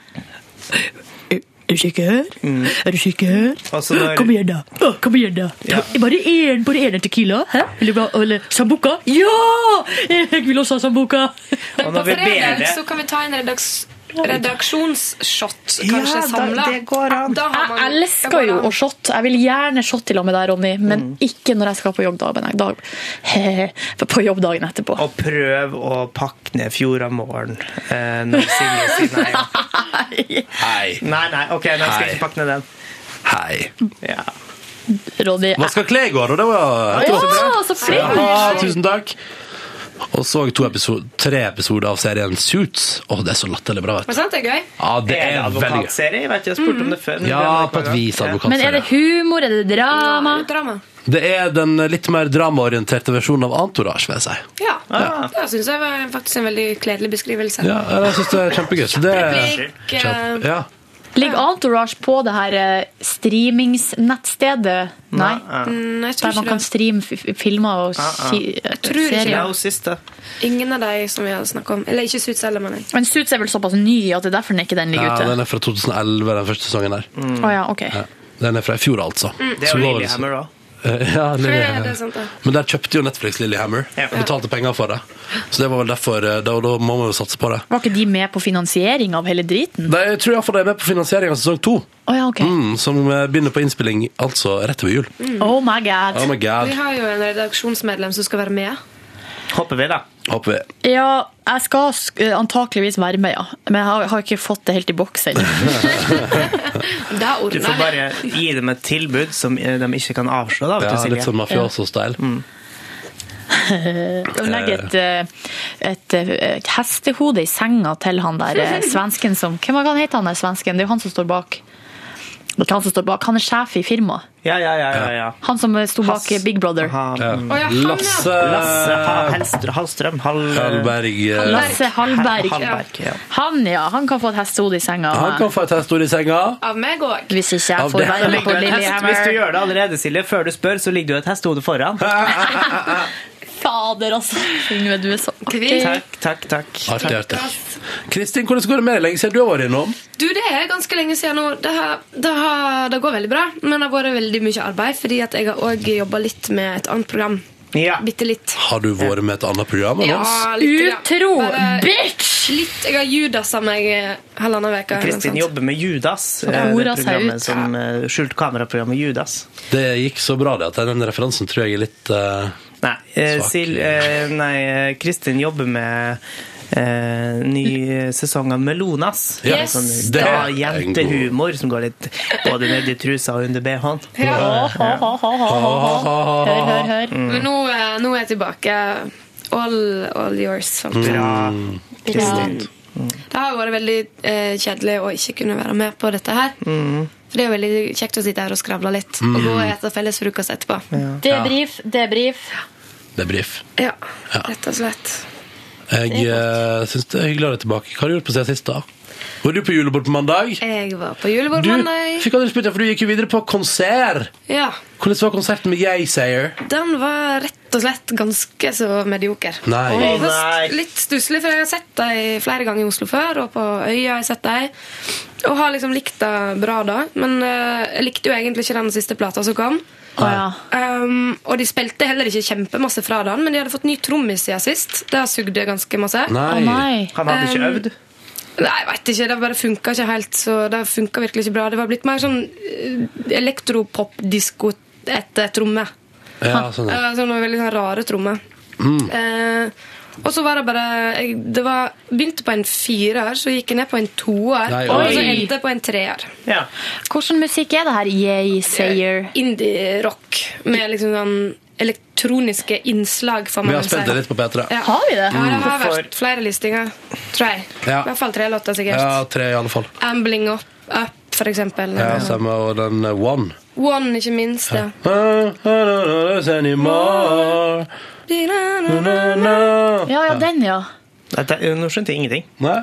[SPEAKER 3] Er du sikker? Er du sikker?
[SPEAKER 2] Mm. Og så når-
[SPEAKER 3] Kom igjen, da. Å, Kom igjen da.
[SPEAKER 2] Ja.
[SPEAKER 3] Ta- Bare én bare én tequila? Hæ? Vil du ha eller sambuca? Ja! Jeg vil også ha sambuca.
[SPEAKER 2] Og når
[SPEAKER 12] På
[SPEAKER 2] vi ber
[SPEAKER 12] fredag
[SPEAKER 2] det
[SPEAKER 12] så kan vi ta en redaks Redaksjonsshot,
[SPEAKER 3] Ja,
[SPEAKER 12] kanskje,
[SPEAKER 3] da-
[SPEAKER 12] samla.
[SPEAKER 3] det går
[SPEAKER 12] an. Da har man,
[SPEAKER 3] Jeg elsker jo å shotte. Jeg vil gjerne shotte i lag med deg, Ronny, men
[SPEAKER 2] Mm.
[SPEAKER 3] ikke når jeg skal på jobb dagen, dag, på jobb dagen etterpå.
[SPEAKER 2] Og prøv å pakke ned Fjordamålen eh, når Silje sier nei.
[SPEAKER 1] Hei.
[SPEAKER 2] Nei, nei, ok, nei, jeg skal
[SPEAKER 1] Hei.
[SPEAKER 2] ikke pakke ned den.
[SPEAKER 1] Hei.
[SPEAKER 2] Ja.
[SPEAKER 3] Ronny
[SPEAKER 1] Vaska klær i går, og det var
[SPEAKER 3] Ja,
[SPEAKER 1] flott.
[SPEAKER 3] så flink!
[SPEAKER 1] Ja, tusen takk. Og så to episo- tre episoder av serien Suits. Å, det er så latterlig bra. Vet.
[SPEAKER 12] Men sant, det er gøy.
[SPEAKER 1] du. Ja, det er Eh, veldig gøy.
[SPEAKER 2] advokatserie? Jeg vet ikke, jeg har spurt om det før. men det er
[SPEAKER 1] Ja,
[SPEAKER 2] nok
[SPEAKER 1] på et
[SPEAKER 2] mange.
[SPEAKER 1] vis
[SPEAKER 3] Men er
[SPEAKER 1] advokatserie.
[SPEAKER 3] det humor, er det drama?
[SPEAKER 12] drama.
[SPEAKER 1] Det er den litt mer dramaorienterte versjonen av Entourage, vil jeg si.
[SPEAKER 12] Ja. Det syns jeg var faktisk en veldig kledelig beskrivelse.
[SPEAKER 1] Ja, jeg synes det er kjempegøy. Så det er
[SPEAKER 12] Replikk, eh,
[SPEAKER 1] ja.
[SPEAKER 3] Ligger Entourage på det her eh, streamingsnettstedet? Nei.
[SPEAKER 2] Nei,
[SPEAKER 12] Mm, jeg tror
[SPEAKER 3] Der man
[SPEAKER 12] ikke
[SPEAKER 3] kan
[SPEAKER 12] det.
[SPEAKER 3] streame fi- filmer og
[SPEAKER 12] Ah, ah.
[SPEAKER 3] si eh,
[SPEAKER 12] Jeg tror ikke det.
[SPEAKER 3] serier?
[SPEAKER 12] Ja, og
[SPEAKER 2] siste.
[SPEAKER 12] Ingen av de som vi har snakket om. Eller ikke Suits heller, mener jeg.
[SPEAKER 3] Men Suits er vel såpass ny at det er derfor den ikke den ligger
[SPEAKER 1] ja,
[SPEAKER 3] ute?
[SPEAKER 1] den er fra 2011, den første sesongen her.
[SPEAKER 3] Å ja, ok.
[SPEAKER 1] Ja. Den er fra i fjor, altså.
[SPEAKER 3] Mm.
[SPEAKER 2] Mm. Det er
[SPEAKER 1] Så
[SPEAKER 2] jo
[SPEAKER 1] var det
[SPEAKER 2] Lillehammer, da.
[SPEAKER 1] Eh, Ja,
[SPEAKER 12] Ja, det er
[SPEAKER 1] Lillehammer.
[SPEAKER 12] sant, det.
[SPEAKER 1] Men der kjøpte jo Netflix Lillehammer og betalte penger for det. Så det var vel derfor eh, Da, da må man jo satse på det.
[SPEAKER 3] Var ikke de med på finansiering av hele driten?
[SPEAKER 1] Nei, jeg tror iallfall de er med på finansiering av sesong to.
[SPEAKER 3] Mm. Å ja, ok.
[SPEAKER 1] Mm, som eh, begynner på innspilling altså rett over jul.
[SPEAKER 3] Oh my god.
[SPEAKER 1] Oh my
[SPEAKER 12] Mm.
[SPEAKER 1] god.
[SPEAKER 12] Vi har jo en redaksjonsmedlem som skal være med.
[SPEAKER 2] Håper vi, da.
[SPEAKER 1] Håper vi.
[SPEAKER 3] Ja, jeg skal sk- eh, antakeligvis være med, ja. Men jeg har, har ikke fått det helt i boks ennå.
[SPEAKER 12] Da
[SPEAKER 2] Du
[SPEAKER 12] ordner
[SPEAKER 2] får
[SPEAKER 12] jeg det.
[SPEAKER 2] bare gi dem et tilbud som eh, de ikke kan avslå. da, vet du,
[SPEAKER 1] Ja,
[SPEAKER 2] Silje.
[SPEAKER 1] litt sånn mafioso-style.
[SPEAKER 2] Mm.
[SPEAKER 3] Skal legge et, eh, et, eh, et hestehode i senga til han der eh, svensken som Hvem var det han het, han der svensken? Det er jo han som står bak. Det er ikke han som står bak. Han er sjef i firmaet.
[SPEAKER 2] Ja, ja, ja, ja, ja.
[SPEAKER 3] Han som eh, sto bak eh, Big Brother.
[SPEAKER 2] Å,
[SPEAKER 3] ja, han, ja.
[SPEAKER 1] Lasse
[SPEAKER 2] Lasse Ha- Hallstrøm, Hallstrøm Hall-
[SPEAKER 1] Hallberg. eh,
[SPEAKER 3] Lasse Hallberg.
[SPEAKER 2] Hallberg, ja.
[SPEAKER 3] Han, ja. Han kan få et hestehode i senga. av
[SPEAKER 1] Han
[SPEAKER 3] meg.
[SPEAKER 1] kan få et hestehode i senga.
[SPEAKER 12] Av meg òg.
[SPEAKER 3] Hvis ikke
[SPEAKER 1] Av
[SPEAKER 3] jeg får
[SPEAKER 1] det-
[SPEAKER 3] være med
[SPEAKER 2] Ligger
[SPEAKER 3] på
[SPEAKER 2] det et hest- Hvis du
[SPEAKER 3] Lillehammer.
[SPEAKER 2] gjør det allerede, Silje, før du spør, så ligger det jo et hestehode foran.
[SPEAKER 3] Fader, altså. Yngve, du er så artig.
[SPEAKER 2] Takk, takk, takk.
[SPEAKER 1] Artig, artig. Kristin, hvordan går det med deg? Lenge siden du har vært innom.
[SPEAKER 12] Du, det er ganske lenge siden nå. Det, har, det, har, det går veldig bra, men det har vært veldig mye arbeid, fordi at jeg har òg jobba litt med et annet program.
[SPEAKER 2] Ja.
[SPEAKER 12] Bitte litt.
[SPEAKER 1] Har du vært med et annet program enn oss?
[SPEAKER 3] Utro!
[SPEAKER 12] bitch! Litt, jeg har judasa meg eh, halvannen uke.
[SPEAKER 2] Kristin jobber med Judas.
[SPEAKER 12] Så
[SPEAKER 2] eh, Det
[SPEAKER 12] ordet seg ut.
[SPEAKER 2] programmet som eh, skjult kameraprogrammet Judas.
[SPEAKER 1] Det gikk så bra, det, at den referansen tror jeg er litt eh,
[SPEAKER 2] Nei, eh,
[SPEAKER 1] Svak.
[SPEAKER 2] Sil, eh, nei eh, Kristin jobber med eh, ny sesong av Melonas.
[SPEAKER 1] Ja.
[SPEAKER 2] En sånn
[SPEAKER 1] Yes, det
[SPEAKER 2] da,
[SPEAKER 1] er en god-
[SPEAKER 2] jentehumor som går litt både ned i trusa og under BH-en.
[SPEAKER 12] Ja.
[SPEAKER 3] Hør, hør, hør.
[SPEAKER 2] Mm.
[SPEAKER 3] Mm.
[SPEAKER 12] Men nå, eh, nå er jeg tilbake. All, all yours. faktisk.
[SPEAKER 2] Bra.
[SPEAKER 12] Kristin. Det har vært veldig eh, kjedelig å ikke kunne være med på dette her.
[SPEAKER 2] Mm.
[SPEAKER 12] For det er jo veldig kjekt å sitte her og skravle litt, og gå og ete felles frokost etterpå.
[SPEAKER 3] Debrief, debrief.
[SPEAKER 1] debrief.
[SPEAKER 12] Ja, rett og slett.
[SPEAKER 1] Jeg uh, syns det er hyggelig å ha deg tilbake. Hva har du gjort på siden sist, da? Var du på julebord på mandag?
[SPEAKER 12] Jeg var på julebord
[SPEAKER 1] Du
[SPEAKER 12] mandag.
[SPEAKER 1] fikk aldri spurt deg, for du gikk jo videre på konsert.
[SPEAKER 12] Ja,
[SPEAKER 1] Hvordan var konserten med Yaysayer?
[SPEAKER 12] den var rett og slett ganske så medioker.
[SPEAKER 1] Nei.
[SPEAKER 12] Og
[SPEAKER 1] Å,
[SPEAKER 12] først Litt stusslig, for jeg har sett dem flere ganger i Oslo før, og på Øya har jeg sett dem. Og har liksom likt det bra da, men eh, jeg likte jo egentlig ikke den siste plata som kom.
[SPEAKER 3] Å ja.
[SPEAKER 12] Um, og de spilte heller ikke kjempemasse fra den, men de hadde fått ny trommis siden sist. Det sugde ganske masse. Ehm,
[SPEAKER 3] Å nei.
[SPEAKER 2] Han hadde
[SPEAKER 1] Um,
[SPEAKER 2] ikke øvd.
[SPEAKER 12] Nei, jeg vet ikke. Det bare funka ikke helt. Så det funket virkelig ikke bra. Det var blitt mer sånn eh, elektropop-disko etter trommer.
[SPEAKER 1] Ja, sånn ja.
[SPEAKER 12] Eh, Sånne veldig sånn rare trommer.
[SPEAKER 1] Mm.
[SPEAKER 12] Eh, og så var det bare jeg, Det var, begynte på en firer, så gikk jeg ned på en toer,
[SPEAKER 1] Nei,
[SPEAKER 12] og
[SPEAKER 1] oi.
[SPEAKER 12] så endte jeg på en treer.
[SPEAKER 2] Ja.
[SPEAKER 3] Hvordan musikk er det her? Yay, sayer.
[SPEAKER 12] Eh, Indie-rock med liksom sånn elektroniske innslag. får man
[SPEAKER 1] Vi har
[SPEAKER 12] vel
[SPEAKER 1] spilt
[SPEAKER 12] si.
[SPEAKER 1] det litt på P3.
[SPEAKER 12] Ja.
[SPEAKER 3] Har vi det?
[SPEAKER 12] Ja, det har
[SPEAKER 2] Hvorfor?
[SPEAKER 12] vært flere listinger, tror jeg.
[SPEAKER 1] Ja.
[SPEAKER 12] I hvert fall tre låter, sikkert.
[SPEAKER 1] Ja, tre i alle fall.
[SPEAKER 12] Ambling Up, up for eksempel.
[SPEAKER 1] Ja, samme, og den eh, One.
[SPEAKER 12] One, ikke minst. Ja.
[SPEAKER 1] Ah, I don't know this anymore. Na, na.
[SPEAKER 3] Ja, ja, den, ja.
[SPEAKER 2] Dette, eh, nå skjønte jeg ingenting.
[SPEAKER 1] Nei?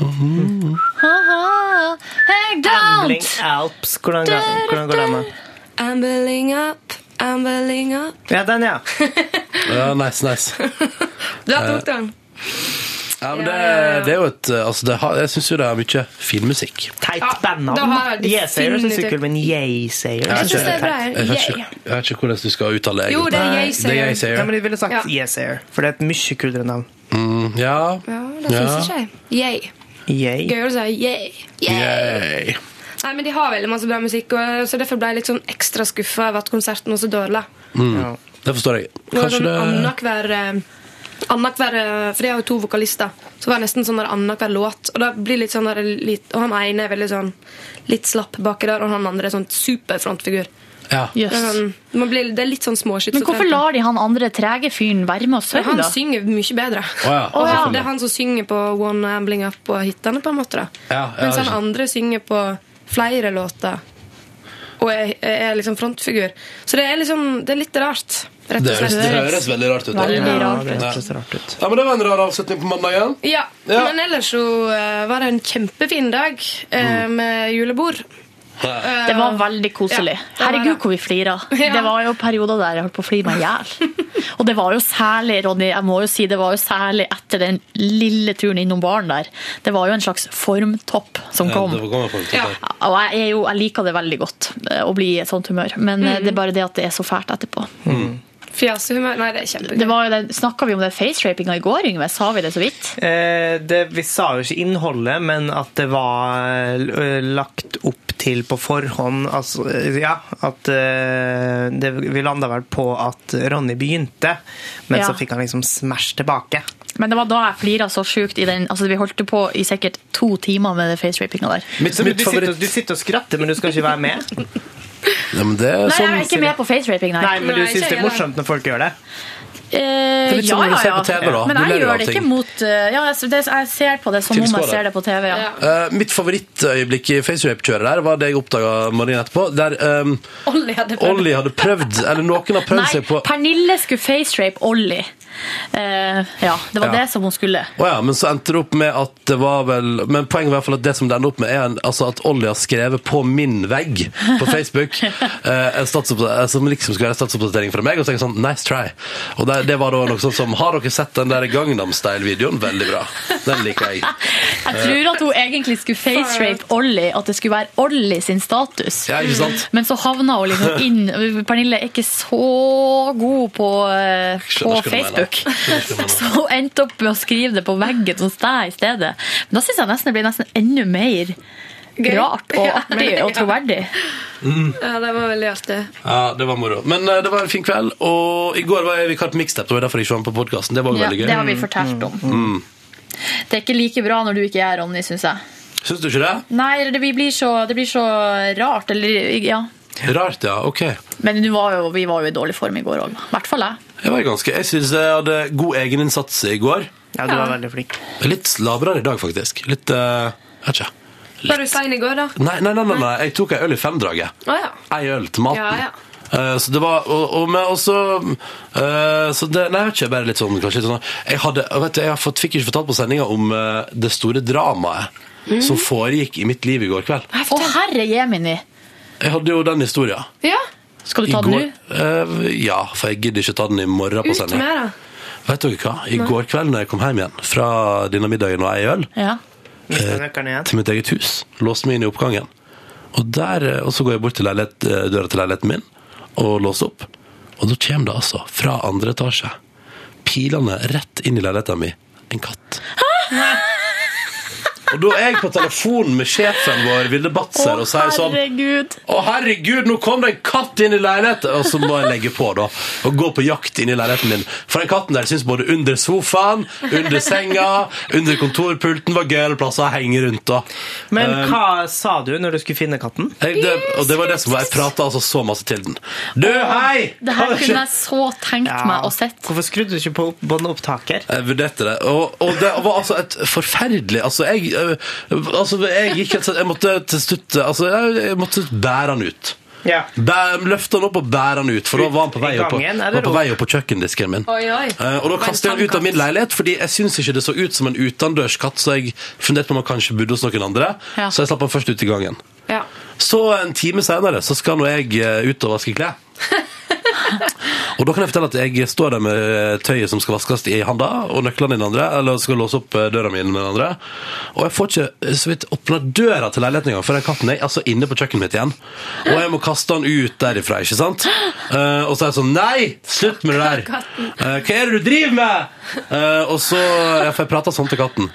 [SPEAKER 1] Mhm.
[SPEAKER 3] Ha-ha. Hey,
[SPEAKER 2] Ambling
[SPEAKER 3] don't!
[SPEAKER 2] Alps, hvordan, ga- hvordan går det med?
[SPEAKER 12] Ambling up, ambling up.
[SPEAKER 2] Ja, den, ja.
[SPEAKER 1] Ja, nice, nice.
[SPEAKER 12] Der tok den.
[SPEAKER 1] Ja, men det, det er jo et eh, altså det har, Jeg syns jo det er mye fin musikk.
[SPEAKER 12] Ja,
[SPEAKER 2] Teit
[SPEAKER 12] da
[SPEAKER 2] bandnavn.
[SPEAKER 12] har
[SPEAKER 2] da.
[SPEAKER 12] jeg
[SPEAKER 2] Yes-sayer syns
[SPEAKER 12] definitivt-
[SPEAKER 2] jeg men yay-sayer
[SPEAKER 12] Jeg
[SPEAKER 2] synes
[SPEAKER 12] synes det er bra.
[SPEAKER 1] Jeg vet ikke,
[SPEAKER 12] Yay.
[SPEAKER 1] jeg vet ikke hvordan du skal uttale
[SPEAKER 12] Jo, det er
[SPEAKER 1] Nei,
[SPEAKER 12] jeg, sier
[SPEAKER 1] det er
[SPEAKER 12] jeg.
[SPEAKER 1] jeg, sier
[SPEAKER 2] Ja, men jeg ville sagt
[SPEAKER 12] Ja.
[SPEAKER 2] yes-ayer, for det er et mye kulere navn.
[SPEAKER 1] Mm, ja.
[SPEAKER 12] Ja, det syns
[SPEAKER 1] Ja.
[SPEAKER 12] ikke jeg. Yay.
[SPEAKER 2] Yay.
[SPEAKER 12] Gøy å si yay.
[SPEAKER 1] Yay.
[SPEAKER 12] Nei, men De har veldig masse bra musikk, og så derfor ble jeg litt sånn ekstra skuffa over at konserten var så dårlig.
[SPEAKER 1] Mm. Det forstår jeg.
[SPEAKER 12] Det var
[SPEAKER 1] Kanskje
[SPEAKER 12] sånn
[SPEAKER 1] det
[SPEAKER 12] annenhver eh, Annenhver eh, For jeg har jo to vokalister. Så var det nesten sånn der annenhver låt. Og da blir det litt sånn der, litt, Og han ene er veldig sånn litt slapp baki der, og han andre er sånn superfrontfigur.
[SPEAKER 1] Ja.
[SPEAKER 3] Jøss.
[SPEAKER 12] Det er sånn- man blir, det er litt sånn småskyts.
[SPEAKER 3] Men hvorfor lar de han andre trege fyren være med og synge,
[SPEAKER 12] Han
[SPEAKER 3] da?
[SPEAKER 12] synger mye bedre.
[SPEAKER 3] ja,
[SPEAKER 12] Og
[SPEAKER 3] ja.
[SPEAKER 12] Det er han som synger på One Ambling Up og hitene, på en måte. da.
[SPEAKER 1] Ja, ja,
[SPEAKER 12] Mens han
[SPEAKER 1] ikke sant.
[SPEAKER 12] andre synger på flere låter. Og er, er liksom frontfigur. Så det er, liksom, det er litt rart. Rett
[SPEAKER 1] Det
[SPEAKER 12] og
[SPEAKER 1] høres,
[SPEAKER 12] slett.
[SPEAKER 1] det høres veldig rart ut. da.
[SPEAKER 12] Veldig rart ut.
[SPEAKER 1] Ja. Ja, men det var en rar avslutning på mandagen.
[SPEAKER 12] Ja,
[SPEAKER 1] Ja.
[SPEAKER 12] men ellers så eh, var det en kjempefin dag eh,
[SPEAKER 1] Mm.
[SPEAKER 12] med julebord. Eh,
[SPEAKER 3] Det var veldig koselig.
[SPEAKER 12] Ja, det var
[SPEAKER 3] Herregud,
[SPEAKER 12] det.
[SPEAKER 3] hvor vi flira. Det var jo perioder der jeg holdt på å flire meg i hjel. Og det var jo særlig, Ronny, jeg må jo si det var jo særlig etter den lille turen innom baren der. Det var jo en slags formtopp som
[SPEAKER 1] Ja,
[SPEAKER 3] kom.
[SPEAKER 1] det kommer folk til å ta.
[SPEAKER 3] Og jeg, er jo, jeg liker det veldig godt eh, å bli i et sånt humør, men eh, det er bare det at det er så fælt etterpå.
[SPEAKER 1] Mm.
[SPEAKER 12] Mm. Fjasehumør. Nei, det er kjempegøy.
[SPEAKER 3] Det var jo den, snakka vi om den facerapinga i går, Yngve? Sa vi det så vidt?
[SPEAKER 2] Eh, det, vi sa jo ikke innholdet, men at det var eh, lagt opp til på forhånd altså, eh, Ja, at eh, det, Vi landa vel på at Ronny begynte, men
[SPEAKER 3] Ja.
[SPEAKER 2] så fikk han liksom smash tilbake.
[SPEAKER 3] Men det var da jeg flira så sjukt i den Altså, vi holdt jo på i sikkert to timer med den facerapinga der.
[SPEAKER 2] Så du, du, sitter, du sitter og skratter, men du skal ikke være med?
[SPEAKER 1] Ja, men
[SPEAKER 2] Eh,
[SPEAKER 1] det sånn
[SPEAKER 3] Nei, jeg er ikke med på faceraping, nei.
[SPEAKER 2] sånn Nei, men du syns det er morsomt når folk gjør det?
[SPEAKER 3] Eh,
[SPEAKER 2] Det er litt som
[SPEAKER 3] ja,
[SPEAKER 2] når du
[SPEAKER 3] ja,
[SPEAKER 2] ser
[SPEAKER 3] ja.
[SPEAKER 2] på TV, da.
[SPEAKER 3] Men
[SPEAKER 2] Du
[SPEAKER 3] jeg
[SPEAKER 2] ler
[SPEAKER 1] jo av
[SPEAKER 3] gjør det ikke
[SPEAKER 1] ting.
[SPEAKER 3] mot eh, Ja, jeg, det, jeg ser på det som om jeg
[SPEAKER 1] Tilskuere.
[SPEAKER 3] ser det på TV, ja.
[SPEAKER 1] Eh, mitt favorittøyeblikk i FaceRape-kjøret der var det jeg oppdaga morgenen etterpå. Der um,
[SPEAKER 12] Olli hadde prøvd.
[SPEAKER 1] Ollie hadde prøvd, eller noen har prøvd
[SPEAKER 3] Nei,
[SPEAKER 1] seg på
[SPEAKER 3] Pernille skulle facerape Ollie. Eh, ja, det var
[SPEAKER 1] Ja.
[SPEAKER 3] det som hun skulle.
[SPEAKER 1] Å ja, men så endte det opp med at det var vel Men poenget var i hvert fall at det som det endte opp med, er en, altså at Ollie har skrevet på min vegg på Facebook eh, en statsoppda- eh, som liksom skulle være en statsoppdatering fra meg, og så tenkte jeg sånn Nice try. Og det, det var da noe sånt som Har dere sett den der Gangnam Style-videoen? Veldig bra. Den liker jeg. Eh,
[SPEAKER 3] Jeg tror at hun egentlig skulle facerape Ollie, at det skulle være Ollie sin status.
[SPEAKER 1] Ja, ikke sant?
[SPEAKER 3] Men så havna hun liksom inn Pernille er ikke så god på, eh, på
[SPEAKER 1] Skjønner hva du
[SPEAKER 3] Facebook.
[SPEAKER 1] mener. Skjønner hva du mener.
[SPEAKER 3] Så hun endte opp med å skrive det på veggen hos deg i stedet. Men da syns jeg nesten det blir nesten enda mer
[SPEAKER 12] Gøy.
[SPEAKER 3] rart og
[SPEAKER 12] Ja,
[SPEAKER 3] artig og
[SPEAKER 12] ja.
[SPEAKER 3] troverdig.
[SPEAKER 1] Mm.
[SPEAKER 12] Ja, det var veldig artig.
[SPEAKER 1] Ja, det var moro. Men eh, det var en fin kveld, og i går var jeg vikar på Mixtep, og det var derfor jeg ikke var med på podkasten. Det var jo
[SPEAKER 3] Ja,
[SPEAKER 1] veldig gøy.
[SPEAKER 3] det har vi fortalt om.
[SPEAKER 1] Mm.
[SPEAKER 3] Det er ikke like bra når du ikke er Ronny, syns jeg.
[SPEAKER 1] Syns du ikke det?
[SPEAKER 3] Nei, det blir så, det blir så rart. Eller, ja.
[SPEAKER 1] Rart, ja. Ok.
[SPEAKER 3] Men du var jo, vi var jo i dårlig form i går òg. I hvert fall jeg.
[SPEAKER 1] Jeg var ganske Jeg syns jeg hadde god egeninnsats i går.
[SPEAKER 2] Ja,
[SPEAKER 3] du var Ja.
[SPEAKER 2] veldig flink.
[SPEAKER 1] Litt slabrere i dag, faktisk. Litt eh, Jeg vet ikke.
[SPEAKER 12] Var du sein i går, da?
[SPEAKER 1] Nei, nei, nei, nei, nei. jeg tok ei øl i femdraget.
[SPEAKER 12] Å ja.
[SPEAKER 1] Ei øl til maten.
[SPEAKER 12] Ja, ja.
[SPEAKER 1] Eh, Så det var Og, og, med, og så eh, Så det Nei, jeg vet ikke, bare litt sånn kanskje litt sånn Jeg hadde Vet du, jeg har fått, fikk ikke fortalt på sendinga om eh, det store dramaet
[SPEAKER 3] Mhm.
[SPEAKER 1] som foregikk i mitt liv i går kveld.
[SPEAKER 3] Å, herre jemini!
[SPEAKER 1] Jeg hadde jo den historia.
[SPEAKER 12] Ja.
[SPEAKER 3] Skal du ta den nå?
[SPEAKER 1] Eh, ja, for jeg gidder ikke ta den i morgen på
[SPEAKER 3] Ut
[SPEAKER 1] sendinga.
[SPEAKER 3] med det.
[SPEAKER 1] Vet dere hva? I
[SPEAKER 3] Nei.
[SPEAKER 1] går kveld når jeg kom hjem igjen fra denne middagen og ei øl,
[SPEAKER 3] Ja.
[SPEAKER 1] eh, til mitt eget hus. Låste meg inn i oppgangen. Og, der, eh, og så går jeg bort til leilighet, eh, døra til leiligheten min og låser opp. Og da kommer det altså, fra andre etasje, pilene rett inn i leiligheten min, en katt. Og da er jeg på telefon med sjefen vår, Vilde Batzer, og sier sånn
[SPEAKER 3] herregud.
[SPEAKER 1] Å, herregud, nå kom det en katt inn i leiligheten! Og så må jeg legge på, da. Og gå på jakt inn i leiligheten min. For den katten der syns både under sofaen, under senga, Ah, under kontorpulten var gøyale plasser å henge rundt, da.
[SPEAKER 2] Men
[SPEAKER 1] Eh,
[SPEAKER 2] hva sa du når du skulle finne katten?
[SPEAKER 1] jeg, det, og det var det som var Jeg prata altså så masse til den. Du, hei!
[SPEAKER 3] Det her kunne jeg så tenkt meg å sett.
[SPEAKER 2] Hvorfor skrudde du ikke på båndopptaker?
[SPEAKER 1] Jeg vurderte det. Og, og det var altså et forferdelig Altså, jeg, eh, altså, jeg gikk helt Jeg måtte til slutt altså, jeg, jeg måtte bære han ut.
[SPEAKER 2] Ja.
[SPEAKER 1] Bæ- Løfte han opp og bære han ut, for da var han på vei
[SPEAKER 2] I
[SPEAKER 1] opp, på,
[SPEAKER 2] gangen, eller
[SPEAKER 1] var på,
[SPEAKER 2] opp?
[SPEAKER 1] vei opp på kjøkkendisken min.
[SPEAKER 2] Oi, oi.
[SPEAKER 1] Eh, og da
[SPEAKER 2] Var en
[SPEAKER 1] kastet jeg han ut av
[SPEAKER 2] tamkatt.
[SPEAKER 1] min leilighet, fordi jeg syns ikke det så ut som en utendørskatt, så jeg funderte på om han kanskje bodde hos noen andre,
[SPEAKER 12] Ja.
[SPEAKER 1] så jeg slapp han først ut i gangen.
[SPEAKER 12] Ja.
[SPEAKER 1] Så en time senere så skal nå jeg eh, ut og vaske klær. Og da kan jeg fortelle at jeg står der med eh, tøyet som skal vaskes i handa, og nøklene i den andre, eller skal låse opp eh, døra mi med den andre. Og jeg får ikke eh, så vidt åpna døra til leiligheten engang, for den katten er altså inne på kjøkkenet mitt igjen. Og jeg må kaste den ut derifra, ikke sant? Eh, og så er jeg sånn Nei! Slutt med det der! Eh, hva er det du driver med?! Eh, og så ja, For jeg prater sånn til katten.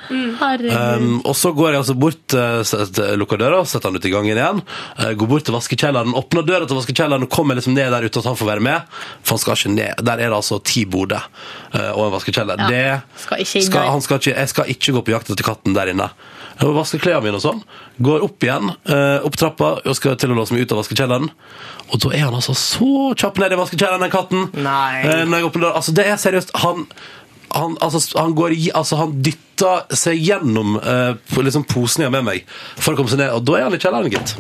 [SPEAKER 1] Um, og så går jeg altså bort, eh, set- lukker døra, setter han ut i gangen igjen. eh, går bort til vaskekjelleren, åpner døra til vaskekjelleren og kommer liksom ned der uten at han får være med. For han skal ikke ned. Der er det altså ti boder eh, og en vaskekjeller.
[SPEAKER 3] Ja,
[SPEAKER 1] Det
[SPEAKER 3] skal ikke inn
[SPEAKER 1] skal,
[SPEAKER 3] der.
[SPEAKER 1] han skal ikke, jeg skal ikke gå på jakt etter katten der inne. Jeg må vaske klærne mine og sånn. Går opp igjen, eh, opp trappa, og skal til å låse meg ut av vaskekjelleren. Og da er han altså så kjapp ned i vaskekjelleren, den katten. Nei. Når jeg åpner døra. Altså, det er seriøst. Han han, altså, han, går, i- altså, han dytter seg gjennom eh, på- liksom posen jeg har med meg for å komme seg ned. Og da er han i kjelleren, gitt.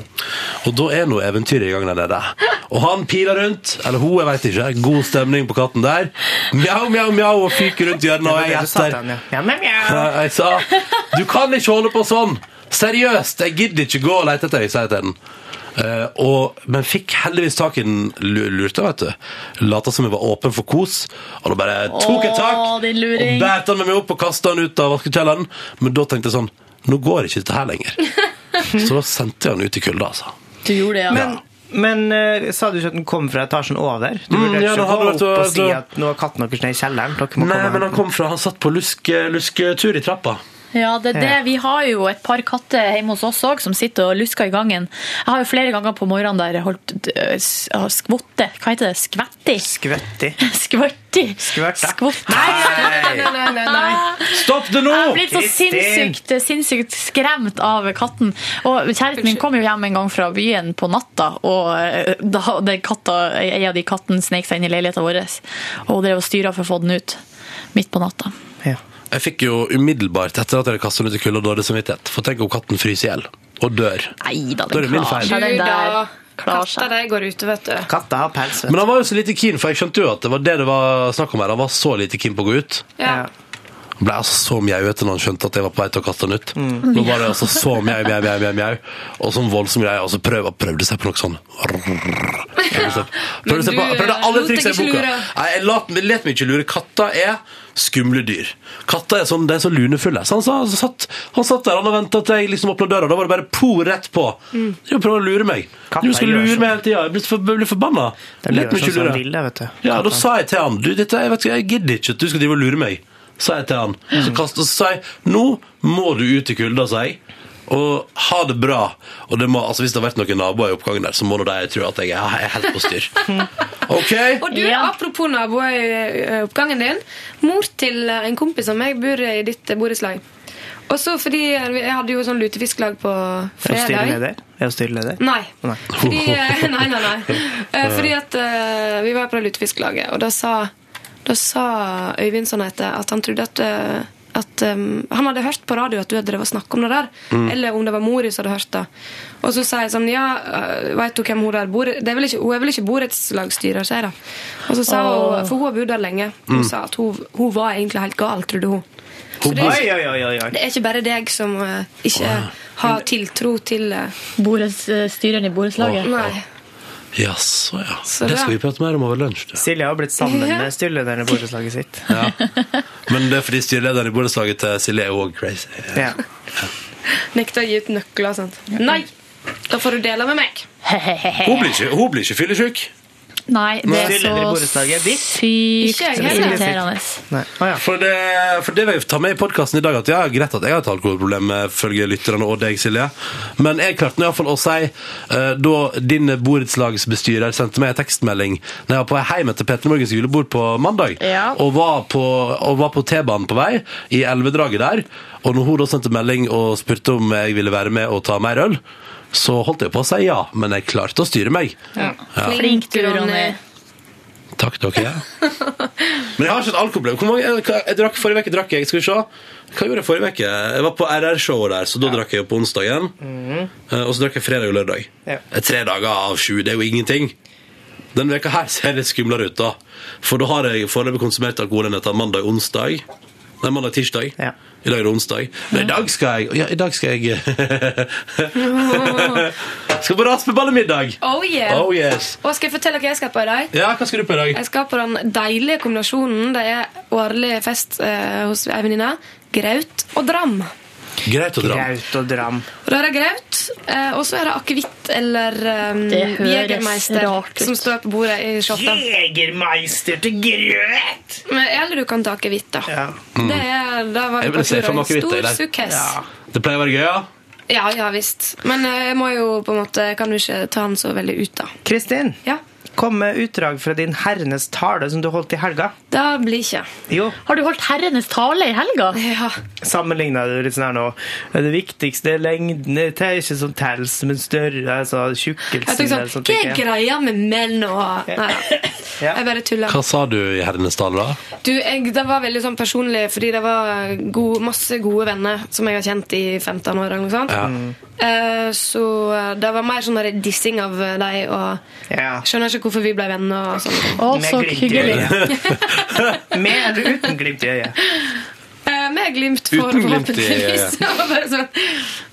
[SPEAKER 1] Og da er noe eventyret i gang der nede. Og han piler rundt, eller hun, jeg veit ikke. God stemning på katten der. Mjau, mjau, mjau, og fyker rundt hjørnet, og
[SPEAKER 2] Det var
[SPEAKER 1] jeg
[SPEAKER 2] det du sa
[SPEAKER 1] gjetter.
[SPEAKER 2] til han, ja. Ja, men mjau.
[SPEAKER 1] Ja, Jeg sa Du kan ikke holde på sånn! Seriøst, jeg gidder ikke gå og lete etter deg, sa jeg til den. Eh, og, men fikk heldigvis tak i den lu- lurte, vet du. Lata som jeg var åpen for kos, og da bare tok jeg tak.
[SPEAKER 3] Å, din luring.
[SPEAKER 1] Og bærte han med meg opp og kasta han ut av vaskekjelleren. Men da tenkte jeg sånn Nå går ikke dette her lenger. Så da sendte jeg han ut i kulda, altså.
[SPEAKER 3] Du gjorde det, ja.
[SPEAKER 2] Men, men eh, sa du ikke at den kom fra etasjen over? Du
[SPEAKER 1] Mm,
[SPEAKER 2] burde
[SPEAKER 1] ja,
[SPEAKER 2] ikke
[SPEAKER 1] det hadde
[SPEAKER 2] gå
[SPEAKER 1] vært-
[SPEAKER 2] opp og si
[SPEAKER 1] det-
[SPEAKER 2] at nå er katten deres nede i kjelleren. Dere må
[SPEAKER 1] Nei,
[SPEAKER 2] komme
[SPEAKER 1] men
[SPEAKER 2] men
[SPEAKER 1] han kom fra Han satt på luske- lusketur i trappa.
[SPEAKER 3] Ja, det er det.
[SPEAKER 1] Ja.
[SPEAKER 3] Vi har jo et par katter hjemme hos oss òg som sitter og lusker i gangen. Jeg har jo flere ganger på morgenen der holdt øh, s- har skvotte Hva heter det? Skvetti?
[SPEAKER 2] Skvetti.
[SPEAKER 3] Skvørti. Skvotte.
[SPEAKER 2] Nei,
[SPEAKER 12] nei, nei, nei, nei.
[SPEAKER 1] Stopp det nå!
[SPEAKER 3] Jeg har blitt så
[SPEAKER 12] Kristin!
[SPEAKER 3] sinnssykt, sinnssykt skremt av katten. Og kjæresten min kom jo hjem en gang fra byen på natta, og eh, da den katta, en av de katten snek seg inn i leiligheten vår, og drev og styra for å få den ut midt på natta.
[SPEAKER 1] Jeg fikk jo umiddelbart etter at jeg hadde kastet han ut i kulda, dårlig samvittighet. For tenk om katten fryser i hjel og dør.
[SPEAKER 3] Nei da,
[SPEAKER 1] Da er det min feil.
[SPEAKER 12] Du,
[SPEAKER 3] den
[SPEAKER 12] da.
[SPEAKER 3] der.
[SPEAKER 12] Katter, de går ute, vet du.
[SPEAKER 2] Katta har pels,
[SPEAKER 1] Men han var jo så lite keen, for jeg skjønte jo at det var det det var snakk om her. Han var så lite keen på å gå ut.
[SPEAKER 12] Ja.
[SPEAKER 1] Han ble altså så mjauete når han skjønte at jeg var på vei til å kaste han ut.
[SPEAKER 12] Mm.
[SPEAKER 1] Nå var det altså så mjau, mjau, mjau, mjau, mjau. Og sånn voldsom greie. Og så prøv, prøvde seg på noe sånn. Prøvde seg,
[SPEAKER 12] Men
[SPEAKER 1] prøvde seg på
[SPEAKER 12] du, eh,
[SPEAKER 1] prøvde
[SPEAKER 12] lot
[SPEAKER 1] alle
[SPEAKER 12] deg
[SPEAKER 1] triks i
[SPEAKER 12] ikke
[SPEAKER 1] boka.
[SPEAKER 12] lure.
[SPEAKER 1] Nei, jeg lat, let meg ikke lure. Katter er skumle dyr. Katter er sånn, de er så lunefulle. Så han, sa, han, satt, han satt der han og ventet til jeg liksom åpnet døra. Da var det bare po rett på.
[SPEAKER 2] Mm.
[SPEAKER 1] Du prøver å lure meg.
[SPEAKER 2] Katter
[SPEAKER 1] du skal
[SPEAKER 2] gjør
[SPEAKER 1] lure
[SPEAKER 2] sånn.
[SPEAKER 1] meg hele tida. Jeg blir, for, blir forbanna.
[SPEAKER 2] De
[SPEAKER 1] Let
[SPEAKER 2] gjør
[SPEAKER 1] meg
[SPEAKER 2] sånn
[SPEAKER 1] ikke
[SPEAKER 2] som
[SPEAKER 1] lure.
[SPEAKER 2] de vil, da, vet du.
[SPEAKER 1] Ja, da sa jeg til han Du, dette, jeg, vet, ikke, jeg gidder ikke at du skal drive og lure meg Sa jeg til han Så kastet og så sa jeg Nå må du ut i kulda, sa jeg og ha det bra Og det må, altså, hvis det har vært noen naboer i oppgangen der Så må nå de tro at jeg er jeg er helt på styr Ok
[SPEAKER 12] Og du, Apropos naboer i eh, oppgangen din. Mor til eh, en kompis av meg bor i ditt eh, borettslag. Og så fordi eh, vi- Jeg hadde jo sånn lutefisklag på
[SPEAKER 2] Er hun
[SPEAKER 12] fredag.
[SPEAKER 2] styreleder? Er hun styreleder?
[SPEAKER 12] Nei.
[SPEAKER 2] Nei.
[SPEAKER 12] Fordi, eh, nei, nei, nei. Eh, Fordi at eh, vi var på det lutefisklaget, og da sa, da sa Øyvind sånn heter, at han trodde at, eh, at eh, Han hadde hørt på radio at du hadde drevet og snakket om det der.
[SPEAKER 13] Mm.
[SPEAKER 12] Eller om det var mor som hadde hørt det. Og så sa jeg sånn Ja, veit du hvem hun der bor det er vel ikke, Hun er vel ikke borettslagsstyrer, sier jeg da. Og så sa
[SPEAKER 13] Åh.
[SPEAKER 12] hun For hun har bodd der lenge. Hun
[SPEAKER 13] Mm.
[SPEAKER 12] sa at hun, hun var egentlig helt gal, trodde hun. Så
[SPEAKER 2] Oi,
[SPEAKER 12] det er ikke-
[SPEAKER 2] oi, oi, oi,
[SPEAKER 12] det
[SPEAKER 2] oi.
[SPEAKER 12] er ikke bare deg som eh, ikke har tiltro til eh,
[SPEAKER 3] Styreren i borettslaget.
[SPEAKER 12] Nei.
[SPEAKER 1] Ja, så ja
[SPEAKER 12] Så
[SPEAKER 1] Det
[SPEAKER 12] bra.
[SPEAKER 1] skal vi prate mer om over lunsj du.
[SPEAKER 2] Silje har blitt sammen
[SPEAKER 12] Ja.
[SPEAKER 2] med styrelederen i borettslaget sitt.
[SPEAKER 1] ja. Men det er fordi styrelederen i borettslaget til Silje er jo også crazy
[SPEAKER 2] Ja.
[SPEAKER 12] Nekta å gi ut nøkler og sånt. Nei! Da får du dele med meg.
[SPEAKER 1] Hun blir ikke, hun blir ikke fyllesyk
[SPEAKER 3] Nei, det er
[SPEAKER 1] Stiller i
[SPEAKER 3] så
[SPEAKER 1] borettslaget ditt?
[SPEAKER 3] sykt
[SPEAKER 12] Ikke jeg heller.
[SPEAKER 3] irriterende.
[SPEAKER 1] For det, for det vil jeg ta med i podkasten i dag, at ja, greit at jeg har et alkoholproblem, eh, følge lytterne og deg, Silje, men jeg klarte nå iallfall å si, eh, da din borettslagsbestyrer sendte meg en tekstmelding da jeg var på vei hjem etter Petter Morgens julebord på mandag,
[SPEAKER 3] Ja.
[SPEAKER 1] og var på, og var på T-banen på vei, i elvedraget der, og når hun da sendte melding og spurte om jeg ville være med og ta mer øl, så holdt jeg på å si ja, men jeg klarte å styre meg. Ja.
[SPEAKER 3] Flink du, Ronny.
[SPEAKER 1] Takk, dere. Men jeg har ikke et alkoholproblem. Hvor mange, jeg, jeg drakk forrige uke drakk jeg, skal vi se. Hva gjorde jeg forrige uke? Jeg var på RR-showet der, så da drakk jeg jo på onsdagen. Eh, Og så drakk jeg fredag og lørdag.
[SPEAKER 2] Mhm. Ja.
[SPEAKER 1] Eh, Tre dager av sju, det er jo ingenting. Den veka her ser litt skumlere ut, da. For da har jeg foreløpig konsumert alkohol enn etter mandag onsdag. Nei, mandag tirsdag. I dag er det onsdag. Men i dag skal jeg Ja, i dag skal jeg Skal på raspeballemiddag!
[SPEAKER 12] Oh yeah.
[SPEAKER 1] Oh, yes.
[SPEAKER 12] Og skal jeg fortelle hva jeg skal på i dag?
[SPEAKER 1] Ja, hva skal du på i dag?
[SPEAKER 12] Jeg skal på den deilige kombinasjonen. Det er årlig fest eh, hos ei venninne. Graut og dram.
[SPEAKER 1] Greit og dram.
[SPEAKER 2] Graut og dram.
[SPEAKER 12] Og da er det graut, eh, og så er det akevitt eller um,
[SPEAKER 2] Det høres
[SPEAKER 12] Jegermeister
[SPEAKER 2] rart ut.
[SPEAKER 12] som står på bordet i shotta.
[SPEAKER 2] Jegermeister til grøt!
[SPEAKER 12] Men, eller du kan ta akevitt, da.
[SPEAKER 1] Mm.
[SPEAKER 12] Det, er, da var
[SPEAKER 1] Jeg
[SPEAKER 12] det
[SPEAKER 1] vil se
[SPEAKER 12] på tur
[SPEAKER 1] for meg
[SPEAKER 12] en
[SPEAKER 1] akevitt,
[SPEAKER 12] stor
[SPEAKER 1] jeg, der.
[SPEAKER 12] sukkes.
[SPEAKER 1] Det pleier å være gøy, ja.
[SPEAKER 12] Ja, ja visst. Men eh, jeg må jo på en måte Kan jo ikke ta den så veldig ut, da.
[SPEAKER 2] Kristin, kom med utdrag fra din herrenes tale som du holdt i helga.
[SPEAKER 12] Da blir ikke.
[SPEAKER 2] Jo.
[SPEAKER 3] Har du holdt herrenes tale i helga?
[SPEAKER 12] Ja.
[SPEAKER 2] Sammenligna du litt sånn her nå. Det viktigste er lengden. Det er ikke som tels, men større. Altså tjukkelsen.
[SPEAKER 12] Jeg tenker sånn,
[SPEAKER 2] eller sånt,
[SPEAKER 12] Hva
[SPEAKER 2] tenker
[SPEAKER 12] er
[SPEAKER 2] jeg.
[SPEAKER 12] greia med menn og Nei, jeg bare tuller.
[SPEAKER 1] Hva sa du i Herrenes tale, da?
[SPEAKER 12] Du, jeg, Det var veldig sånn personlig, fordi det var god, masse gode venner som jeg har kjent i 15 år. eller noe sånt.
[SPEAKER 1] Ja.
[SPEAKER 2] Mm.
[SPEAKER 12] Eh, så eh, det var mer sånn der dissing av eh, deg og Skjønner ikke hvorfor vi ble venner. og sånn.
[SPEAKER 2] Med glimt i øyet. Med eller uten glimt i øyet.
[SPEAKER 12] Eh, Med glimt, for
[SPEAKER 1] Uten glimt i
[SPEAKER 12] forhåpentligvis.
[SPEAKER 1] øyet.
[SPEAKER 12] Det var bare sånn,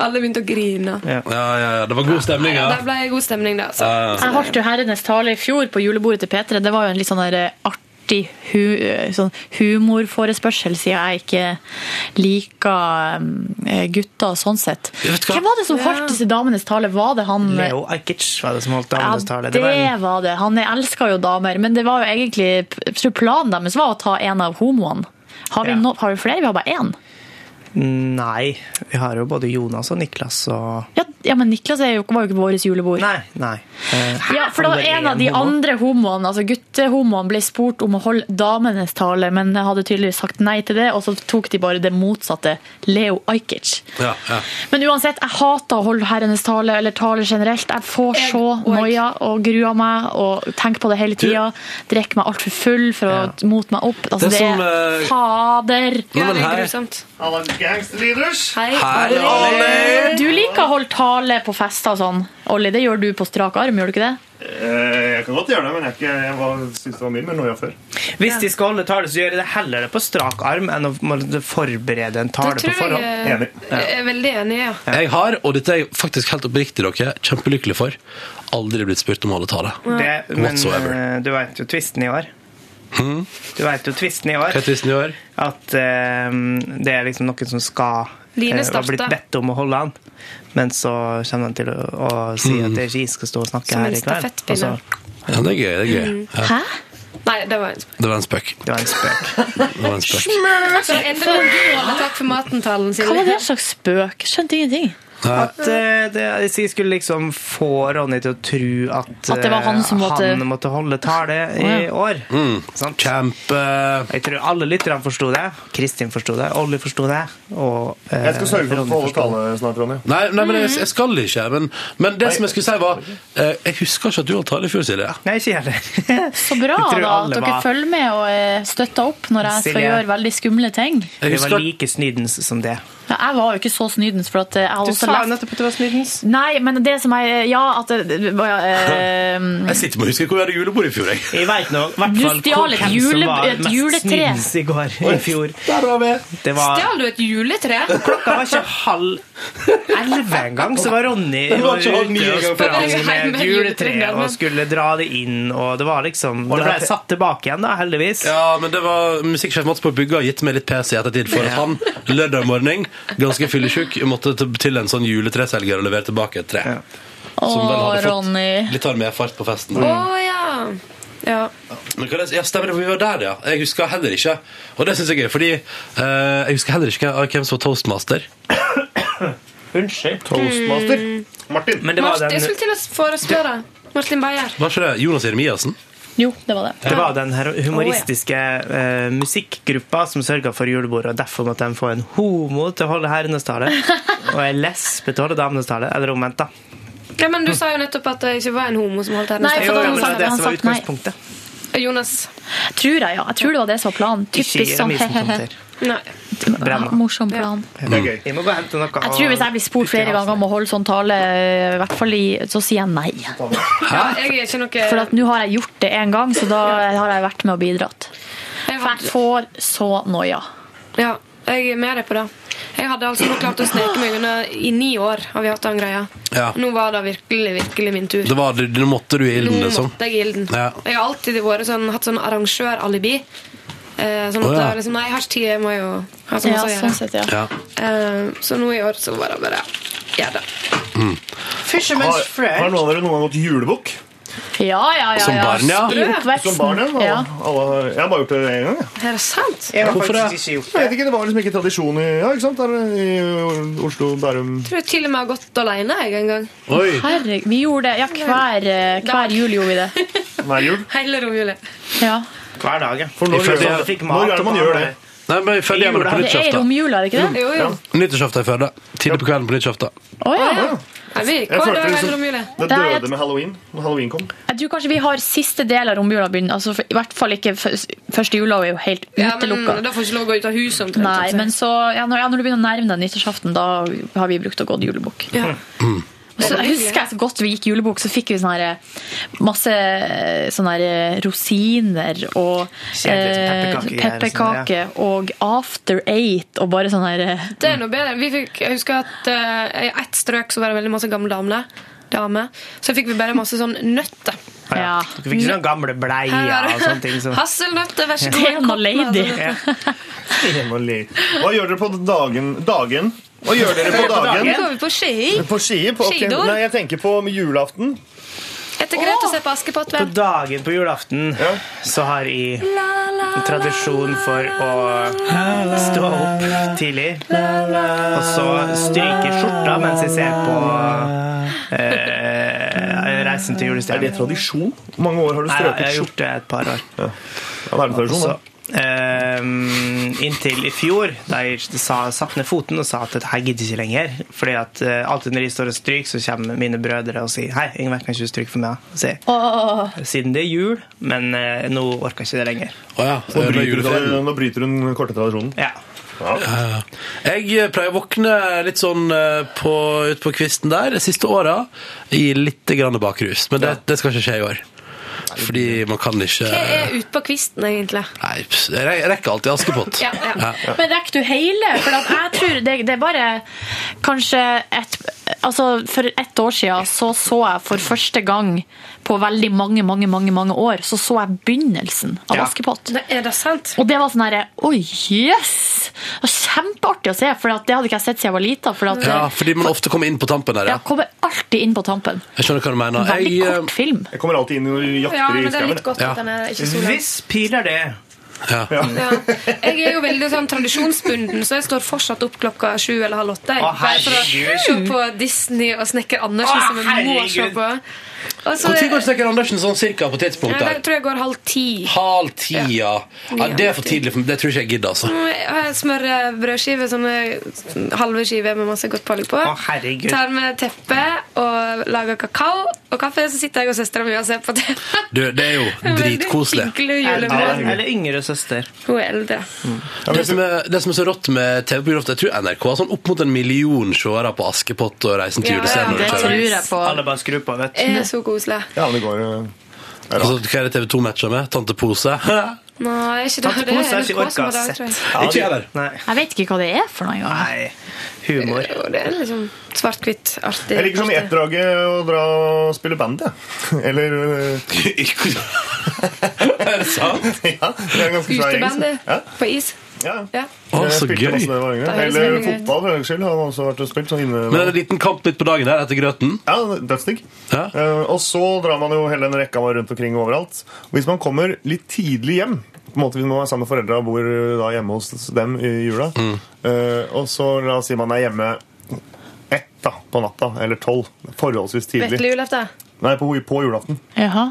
[SPEAKER 12] Alle begynte å grine.
[SPEAKER 1] Ja, ja, ja. Det var god stemning, ja.
[SPEAKER 12] Det ble god stemning, da. Så.
[SPEAKER 1] Ja,
[SPEAKER 3] Jeg holdt jo herrenes tale i fjor på julebordet til P3. Det var jo en litt sånn der eh, artig hu eh, sånn humorforespørsel, siden jeg ikke liker eh, gutter sånn sett. Hvem var det som holdt disse damenes tale? Var det han eh,
[SPEAKER 2] Leo Ajkic var det som holdt damenes
[SPEAKER 3] ja,
[SPEAKER 2] tale.
[SPEAKER 3] det
[SPEAKER 2] Det var en
[SPEAKER 3] var det. Han elsker jo damer, men det var jo egentlig jeg tror planen deres var å ta en av homoene. Har vi, no, har vi flere? Vi har bare én.
[SPEAKER 2] Nei. Vi har jo både Jonas og Niklas og
[SPEAKER 3] Ja, ja, men Niklas er jo, var jo ikke på vårt julebord.
[SPEAKER 2] Nei. Nei. Eh,
[SPEAKER 3] Ja, for da
[SPEAKER 2] om det er
[SPEAKER 3] En av de
[SPEAKER 2] homo.
[SPEAKER 3] andre homoene, altså guttehomoene, ble spurt om å holde damenes tale, men hadde tydeligvis sagt nei til det, og så tok de bare det motsatte. Leo Ajkic.
[SPEAKER 1] Ja, ja.
[SPEAKER 3] Men uansett, jeg hater å holde herrenes tale, eller tale generelt. Jeg får så noia og gruer meg og tenker på det hele tida. Drikker meg altfor full for å mote meg opp. Altså,
[SPEAKER 1] Det
[SPEAKER 3] det
[SPEAKER 1] er
[SPEAKER 3] er,
[SPEAKER 1] som, eh,
[SPEAKER 3] fader!
[SPEAKER 1] Ja, det er Hei. grusomt.
[SPEAKER 12] Hei,
[SPEAKER 1] Hei, Olli.
[SPEAKER 3] Du liker å holde tale på fester og sånn. Olli, det gjør du på strak arm, gjør du ikke det?
[SPEAKER 13] Eh, Jeg kan godt gjøre det, men jeg, er ikke- jeg var- synes det var mye mer noia før.
[SPEAKER 2] Hvis de skal holde tale, så gjør jeg det heller det på strak arm enn å måtte forberede en tale
[SPEAKER 12] Det
[SPEAKER 2] på
[SPEAKER 12] tror
[SPEAKER 2] forhånd.
[SPEAKER 12] jeg eh, jeg er veldig enig i. Ja.
[SPEAKER 1] Jeg har, og dette er jeg faktisk helt oppriktig dere, kjempelykkelig for, aldri blitt spurt om å holde tale.
[SPEAKER 2] Det, men
[SPEAKER 1] Whatsoever. Hmm?
[SPEAKER 2] eh, du veit jo tvisten i år. Du veit jo tvisten i år.
[SPEAKER 1] Hva er tvisten i år?
[SPEAKER 2] At eh, det er liksom noen som skal
[SPEAKER 12] Line
[SPEAKER 2] eh,
[SPEAKER 12] starter.
[SPEAKER 2] har blitt bedt om å holde han, men så kommer han til å, å si
[SPEAKER 1] Hmm.
[SPEAKER 2] at det er ikke jeg skal stå og snakke
[SPEAKER 12] Som en
[SPEAKER 2] her i kveld. Og så-
[SPEAKER 12] stafettpinne.
[SPEAKER 1] Ja, det er gøy. Det er gøy.
[SPEAKER 12] Mm.
[SPEAKER 1] Ja.
[SPEAKER 12] Nei, det var en
[SPEAKER 1] Det var en spøk.
[SPEAKER 2] Det var en spøk.
[SPEAKER 1] Det var en spøk.
[SPEAKER 12] Så det endte med at takk for maten-talen sin.
[SPEAKER 3] Hva var det slags spøk? Skjønte ingenting.
[SPEAKER 2] At eh, det, hvis jeg skulle liksom få Ronny til å tro at,
[SPEAKER 3] At det var han
[SPEAKER 2] eh,
[SPEAKER 3] som måtte-
[SPEAKER 2] han måtte holde tale i
[SPEAKER 3] Å, ja.
[SPEAKER 2] år.
[SPEAKER 1] Mm.
[SPEAKER 2] Sant? Jeg tror alle lytterne forsto det. Kristin forsto det. Olli forsto det. Og eh,
[SPEAKER 13] Jeg skal sørge for å
[SPEAKER 2] Ronny
[SPEAKER 13] få holde
[SPEAKER 2] forsto det.
[SPEAKER 13] tale snart, Ronny.
[SPEAKER 1] Nei, nei, men jeg, jeg skal ikke. Men, men det som jeg skulle si, var eh, Jeg husker ikke at du holdt tale i fjor, Silje.
[SPEAKER 2] Nei, ikke heller.
[SPEAKER 3] Så bra
[SPEAKER 1] Jeg tror
[SPEAKER 3] da, at
[SPEAKER 1] alle
[SPEAKER 3] dere
[SPEAKER 1] var-
[SPEAKER 3] følger med og eh, støtter opp når jeg skal
[SPEAKER 2] Silje.
[SPEAKER 3] gjøre veldig skumle ting.
[SPEAKER 2] Det var
[SPEAKER 3] Ja,
[SPEAKER 2] like snydens som det.
[SPEAKER 3] jeg var jo ikke så snydens. For at eh, jeg
[SPEAKER 2] Du
[SPEAKER 3] hadde også
[SPEAKER 2] sa
[SPEAKER 3] lest-
[SPEAKER 2] nettopp at du var snydens.
[SPEAKER 3] Nei, men det som jeg Ja, at eh, eh,
[SPEAKER 1] Jeg sitter med å huske hvor vi hadde julebord i fjor. Jeg,
[SPEAKER 2] jeg vet nå, hvert
[SPEAKER 3] Du
[SPEAKER 2] fall
[SPEAKER 3] stjal et
[SPEAKER 2] hvem som
[SPEAKER 3] jule-
[SPEAKER 2] var
[SPEAKER 3] et
[SPEAKER 2] mest
[SPEAKER 3] juletre.
[SPEAKER 2] snydens i går, i fjor. Det var
[SPEAKER 12] Stjal du et juletre?
[SPEAKER 2] Klokka var ikke halv elleve engang, så var Ronny
[SPEAKER 12] Det var ikke
[SPEAKER 2] ute
[SPEAKER 12] halv ni
[SPEAKER 2] og
[SPEAKER 12] engang.
[SPEAKER 2] sprang med
[SPEAKER 12] Med
[SPEAKER 2] et juletre
[SPEAKER 12] juletre,
[SPEAKER 2] og skulle dra det inn, og det var liksom Det ble satt tilbake igjen, da, heldigvis.
[SPEAKER 1] Ja, men det var Musikksjef Mats på Bygga har gitt meg litt PC i ettertid for at han lørdag morgen, ganske fyllesyk, måtte til- til en sånn juletreselger og levere tilbake et tre. Som vel
[SPEAKER 3] Å,
[SPEAKER 1] hadde fått
[SPEAKER 3] Ronny.
[SPEAKER 1] litt hard medfart på festen.
[SPEAKER 12] Å ja. ja.
[SPEAKER 1] Men hva er det, ja, stemmer det, for vi var der, ja. Jeg husker heller ikke. Og det syns jeg er gøy, fordi eh, jeg husker heller ikke hvem- hvem som var toastmaster.
[SPEAKER 2] Unnskyld.
[SPEAKER 12] Toastmaster. Mm.
[SPEAKER 2] Martin. Men det var
[SPEAKER 12] Martin, jeg
[SPEAKER 2] den
[SPEAKER 12] skulle til å forespørre. Martin Beyer.
[SPEAKER 1] Var ikke det Jonas Jeremiassen?
[SPEAKER 3] Jo, det var det.
[SPEAKER 2] det var den her humoristiske eh, musikkgruppa som sørga for julebordet, og derfor måtte de få en homo til å holde herrenes tale og en lesbe til å holde damenes tale. Eller omvendt, da.
[SPEAKER 12] Ja, men du sa jo nettopp at det ikke var en homo som holdt her.
[SPEAKER 3] Nei, for da
[SPEAKER 2] Jo, jo, men det var
[SPEAKER 3] sa-
[SPEAKER 2] det
[SPEAKER 3] han
[SPEAKER 2] som var
[SPEAKER 3] sagt nei.
[SPEAKER 2] utgangspunktet.
[SPEAKER 12] Jonas.
[SPEAKER 3] Tror jeg, ja. Jeg tror det var det som var planen. Typisk sånn he-he-he.
[SPEAKER 12] Nei.
[SPEAKER 2] Brenna.
[SPEAKER 3] Morsom plan.
[SPEAKER 2] Jeg må gå og hente noe.
[SPEAKER 3] Jeg tror hvis jeg blir spurt flere ganger om å holde sånn tale, i hvert fall i, så sier jeg nei.
[SPEAKER 12] Ja, jeg er ikke noe
[SPEAKER 3] For at nå har jeg gjort det en gang, så da har jeg vært med og bidratt. For jeg får så noia.
[SPEAKER 12] Ja, jeg er med deg på det. Jeg hadde altså nå klart å sneke meg unna i ni år. har vi hatt den greia.
[SPEAKER 1] Ja.
[SPEAKER 12] Nå var det virkelig virkelig min tur.
[SPEAKER 1] Det var, det- nå måtte du i ilden,
[SPEAKER 12] Nå
[SPEAKER 1] liksom.
[SPEAKER 12] måtte jeg i ilden.
[SPEAKER 1] Ja.
[SPEAKER 12] Jeg har alltid vært sånn, hatt sånn arrangøralibi. Eh, sånn at
[SPEAKER 1] Å, ja.
[SPEAKER 12] det er liksom, Nei, jeg har ikke tid. Jeg må jo ha så
[SPEAKER 3] Ja,
[SPEAKER 12] masse å gjøre.
[SPEAKER 3] sånn sett, ja.
[SPEAKER 1] Ja.
[SPEAKER 12] Eh, så nå i år så var det bare ja da.
[SPEAKER 1] Mm.
[SPEAKER 13] Har, har noen av dere noen gang gått julebukk?
[SPEAKER 3] Ja, ja, ja. ja. I oppveksten.
[SPEAKER 13] Som barn, ja.
[SPEAKER 3] ja.
[SPEAKER 13] Alle, har- jeg har bare gjort det én gang. jeg.
[SPEAKER 12] Er det sant?
[SPEAKER 2] Jeg har
[SPEAKER 13] Hvorfor
[SPEAKER 2] faktisk
[SPEAKER 13] det?
[SPEAKER 2] ikke gjort
[SPEAKER 13] Jeg vet ikke, Det var liksom ikke tradisjon i, ja, ikke sant? Der, i Oslo, Bærum
[SPEAKER 12] Jeg tror til og med jeg har gått alene jeg, en gang.
[SPEAKER 13] Oi.
[SPEAKER 3] Herregud, vi gjorde det. Ja, hver, eh, hver jul gjorde vi det.
[SPEAKER 13] Hver jul.
[SPEAKER 12] Hele romjula.
[SPEAKER 3] Ja.
[SPEAKER 2] Hver dag, ja.
[SPEAKER 13] For når,
[SPEAKER 1] Jeg føler-
[SPEAKER 13] gjør-
[SPEAKER 1] jeg fikk
[SPEAKER 13] når
[SPEAKER 1] mat
[SPEAKER 13] er det man
[SPEAKER 1] og
[SPEAKER 13] gjør
[SPEAKER 1] barn,
[SPEAKER 13] det?
[SPEAKER 1] Nei, men jeg følger hjemme på
[SPEAKER 3] Det er i
[SPEAKER 1] nyttårsaften.
[SPEAKER 3] romjula, er det ikke det?
[SPEAKER 12] Jo, jo.
[SPEAKER 1] Nyttårsaften i Førde. Tidlig på kvelden på nyttårsaften.
[SPEAKER 3] Å, ja.
[SPEAKER 12] Nei, vi,
[SPEAKER 13] Jeg
[SPEAKER 12] hva er
[SPEAKER 13] følte
[SPEAKER 12] det
[SPEAKER 13] liksom-
[SPEAKER 12] hele romjula?
[SPEAKER 13] Det
[SPEAKER 3] Nei, jeg-
[SPEAKER 13] døde med halloween. Når halloween kom.
[SPEAKER 3] Jeg tror kanskje vi har siste del av romjula begynner. Altså, for, I hvert fall ikke f- første jula er jo helt
[SPEAKER 12] Ja, men
[SPEAKER 3] utelukka.
[SPEAKER 12] Da får jeg ikke lov å gå ut av huset omtrent. altså.
[SPEAKER 3] Nei, men så, ja, når, ja, når du begynner å nærme deg nyttårsaften, da har vi brukt å gå til julebukk. Og så jeg husker jeg så godt vi gikk julebukk, så fikk vi sånne her, masse sånne her, eh, rosiner og eh,
[SPEAKER 12] Kjedelig, pepperkaker, sånn,
[SPEAKER 3] pepperkake og after eight og bare sånn her eh,
[SPEAKER 12] Det er noe bedre. Vi fikk, jeg husker at eh, i ett strøk så var det veldig masse gamle damler. Dame. Så fikk vi bare masse sånn nøtter.
[SPEAKER 3] ja.
[SPEAKER 2] Du
[SPEAKER 13] sånn
[SPEAKER 2] fikk ikke sånne gamle bleier og sånne ting. Så.
[SPEAKER 12] Hasselnøtter, vær så god.
[SPEAKER 3] Pen og lady.
[SPEAKER 2] Ja.
[SPEAKER 13] Hjemme og le. Hva gjør dere på dagen? dagen? Hva gjør dere på
[SPEAKER 12] Nå
[SPEAKER 13] dagen?
[SPEAKER 12] går vi på ski.
[SPEAKER 13] På ski? På, ok,
[SPEAKER 12] Skidor?
[SPEAKER 13] Nei, jeg tenker på julaften.
[SPEAKER 12] Etter greit å se på Askepott,
[SPEAKER 2] På
[SPEAKER 12] vel.
[SPEAKER 2] dagen på julaften så har jeg en tradisjon for å stå opp tidlig og så stryke skjorta mens jeg ser på eh, Reisen til
[SPEAKER 13] Er det
[SPEAKER 2] julestjernen.
[SPEAKER 13] tradisjon? Hvor mange år har du
[SPEAKER 2] Nei, jeg
[SPEAKER 13] strøket
[SPEAKER 2] har
[SPEAKER 13] skjorte?
[SPEAKER 2] gjort det et par år.
[SPEAKER 13] Ja, det er en tradisjon, da.
[SPEAKER 2] Så, ehm, inntil i fjor, da jeg sa, satt ned foten og sa at dette her gidder jeg ikke lenger. Fordi at eh, alltid når de står og stryker, så kommer mine brødre og sier Hei, Ingvar, kan ikke du stryke for meg? da?» Så sier jeg,
[SPEAKER 3] Åh.
[SPEAKER 2] Siden det er jul, men eh, nå orker jeg ikke det lenger.
[SPEAKER 1] Å ja.
[SPEAKER 13] Nå
[SPEAKER 1] det er
[SPEAKER 13] bryter,
[SPEAKER 1] juleferien.
[SPEAKER 13] du- nå bryter hun den korte tradisjonen.
[SPEAKER 2] Ja.
[SPEAKER 1] Ja, ja. Jeg eh, pleier å våkne litt sånn eh, på, ut på kvisten der de siste åra i litt grann bakrus. Men det, det skal ikke skje i år. Fordi man kan ikke
[SPEAKER 12] Hva er ute på kvisten, egentlig?
[SPEAKER 1] Nei, pss, jeg re- jeg rekker alltid Askepott.
[SPEAKER 12] Ja, ja.
[SPEAKER 3] Men rekker du hele? For at jeg tror det, det er bare kanskje et, altså For ett år siden så, så jeg for første gang på veldig mange mange, mange, mange år så så jeg begynnelsen av
[SPEAKER 12] Ja.
[SPEAKER 3] Askepott.
[SPEAKER 12] Nei, er det sant?
[SPEAKER 3] Og det var sånn herre Oi, jøss! Det var Kjempeartig å se, for at det hadde ikke jeg sett siden jeg var lita. For at,
[SPEAKER 1] Ja, fordi man ofte kommer inn på tampen der, ja.
[SPEAKER 3] Jeg kommer alltid inn på tampen.
[SPEAKER 1] Jeg skjønner hva du mener.
[SPEAKER 3] Veldig
[SPEAKER 1] Jeg, eh,
[SPEAKER 3] kort film.
[SPEAKER 13] Jeg kommer alltid inn og jakter
[SPEAKER 12] Ja, men det er
[SPEAKER 13] i
[SPEAKER 12] litt godt
[SPEAKER 13] skammen.
[SPEAKER 12] at den er ikke så lang.
[SPEAKER 2] Hvis piler det
[SPEAKER 1] ja.
[SPEAKER 12] Ja. Jeg er jo veldig sånn tradisjonsbunden, så jeg står fortsatt opp klokka sju eller halv åtte. jeg.
[SPEAKER 2] Å,
[SPEAKER 12] Bare for å
[SPEAKER 2] herregud.
[SPEAKER 12] se på Disney og Snekker Andersen,
[SPEAKER 2] Å,
[SPEAKER 12] som jeg må se
[SPEAKER 2] herregud.
[SPEAKER 12] på. Og så-
[SPEAKER 1] Når går Snekker Andersen sånn cirka på
[SPEAKER 12] altså- Ja,
[SPEAKER 1] tidspunktet?
[SPEAKER 12] Jeg
[SPEAKER 1] her?
[SPEAKER 12] tror jeg går halv ti.
[SPEAKER 1] Halv ti, ja. ja. Det er for tidlig for meg. Det tror ikke jeg gidder, altså.
[SPEAKER 12] Jeg smører eh, brødskive, sånne mm, halve skiver med masse godt pålegg på.
[SPEAKER 2] Å, herregud.
[SPEAKER 12] Tar med teppe og lager kakao og kaffe. Så sitter jeg og søstera mi og ser på det.
[SPEAKER 1] Du, det er jo dritkoselig.
[SPEAKER 12] Veldig hyggelig
[SPEAKER 2] Eller,
[SPEAKER 12] julebrød.
[SPEAKER 2] eller yngre søster.
[SPEAKER 12] Hun er eldre.
[SPEAKER 1] Det som, er, det som er så rått med TV-program, jeg tror NRK har sånn opp mot en million seere på Askepott og Reisen til
[SPEAKER 12] Ja,
[SPEAKER 1] julestjernen.
[SPEAKER 12] ja,
[SPEAKER 1] når
[SPEAKER 3] Det
[SPEAKER 1] det
[SPEAKER 3] tror
[SPEAKER 1] kjører.
[SPEAKER 3] jeg på. Eh,
[SPEAKER 2] Alle bare skrur på, vet du.
[SPEAKER 12] Det er Eh, så koselig.
[SPEAKER 13] Ja, men det går eh,
[SPEAKER 1] Altså, hva er det TV 2 matcher med? Tante Pose? ikke
[SPEAKER 12] Nei, ikke det.
[SPEAKER 2] Tante
[SPEAKER 12] Det
[SPEAKER 2] Pose
[SPEAKER 12] er
[SPEAKER 2] har
[SPEAKER 12] NRK
[SPEAKER 2] ikke
[SPEAKER 12] som
[SPEAKER 2] orka
[SPEAKER 12] har
[SPEAKER 2] å
[SPEAKER 12] det, tror jeg.
[SPEAKER 2] sett.
[SPEAKER 1] jeg heller.
[SPEAKER 2] Nei.
[SPEAKER 3] Jeg vet ikke hva det er for noe engang.
[SPEAKER 2] Nei. Humor.
[SPEAKER 12] Jo, det er liksom svart-hvitt, artig.
[SPEAKER 13] Jeg liker sånn i ett
[SPEAKER 12] artig.
[SPEAKER 13] draget å dra og spille band, jeg. Eller eh,
[SPEAKER 1] Er det sant?
[SPEAKER 13] Ja, det er en ganske svær gjeng.
[SPEAKER 12] Utebandet
[SPEAKER 13] Ja,
[SPEAKER 12] på is.
[SPEAKER 13] ja.
[SPEAKER 12] Ja.
[SPEAKER 1] Å,
[SPEAKER 13] Jeg
[SPEAKER 1] så
[SPEAKER 13] spilte
[SPEAKER 1] gøy.
[SPEAKER 13] masse da jeg var yngre.
[SPEAKER 12] Da høres det
[SPEAKER 13] Eller
[SPEAKER 12] veldig gøy ut.
[SPEAKER 13] fotball, for den saks skyld. Har også vært og spilt sånn inne.
[SPEAKER 1] Men er det en liten kamp midt på dagen her etter grøten?
[SPEAKER 13] Ja, dødsdigg.
[SPEAKER 1] Ja.
[SPEAKER 13] Eh, og så drar man jo hele den rekka man rundt omkring overalt. Og hvis man kommer litt tidlig hjem på en måte Hvis man er sammen med foreldra og bor eh, da hjemme hos dem i jula,
[SPEAKER 1] Mm.
[SPEAKER 13] eh, og så la oss si man er hjemme ett da, på natta, eller tolv, forholdsvis tidlig
[SPEAKER 12] Vetle julaften.
[SPEAKER 13] Nei, på, på julaften.
[SPEAKER 3] Jaha.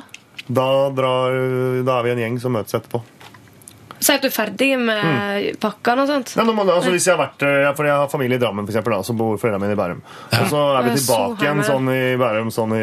[SPEAKER 13] Da, drar, da er vi en gjeng som møtes etterpå.
[SPEAKER 12] Så er du ferdig med pakkene og sånt?
[SPEAKER 13] Nei, Mm. men man, altså, hvis jeg har vært, eh, for jeg har familie i Drammen, for eksempel, da, så bor foreldrene mine i Bærum. Og så er
[SPEAKER 12] Ja,
[SPEAKER 13] vi
[SPEAKER 12] så
[SPEAKER 13] tilbake igjen
[SPEAKER 12] har
[SPEAKER 13] sånn i Bærum sånn i,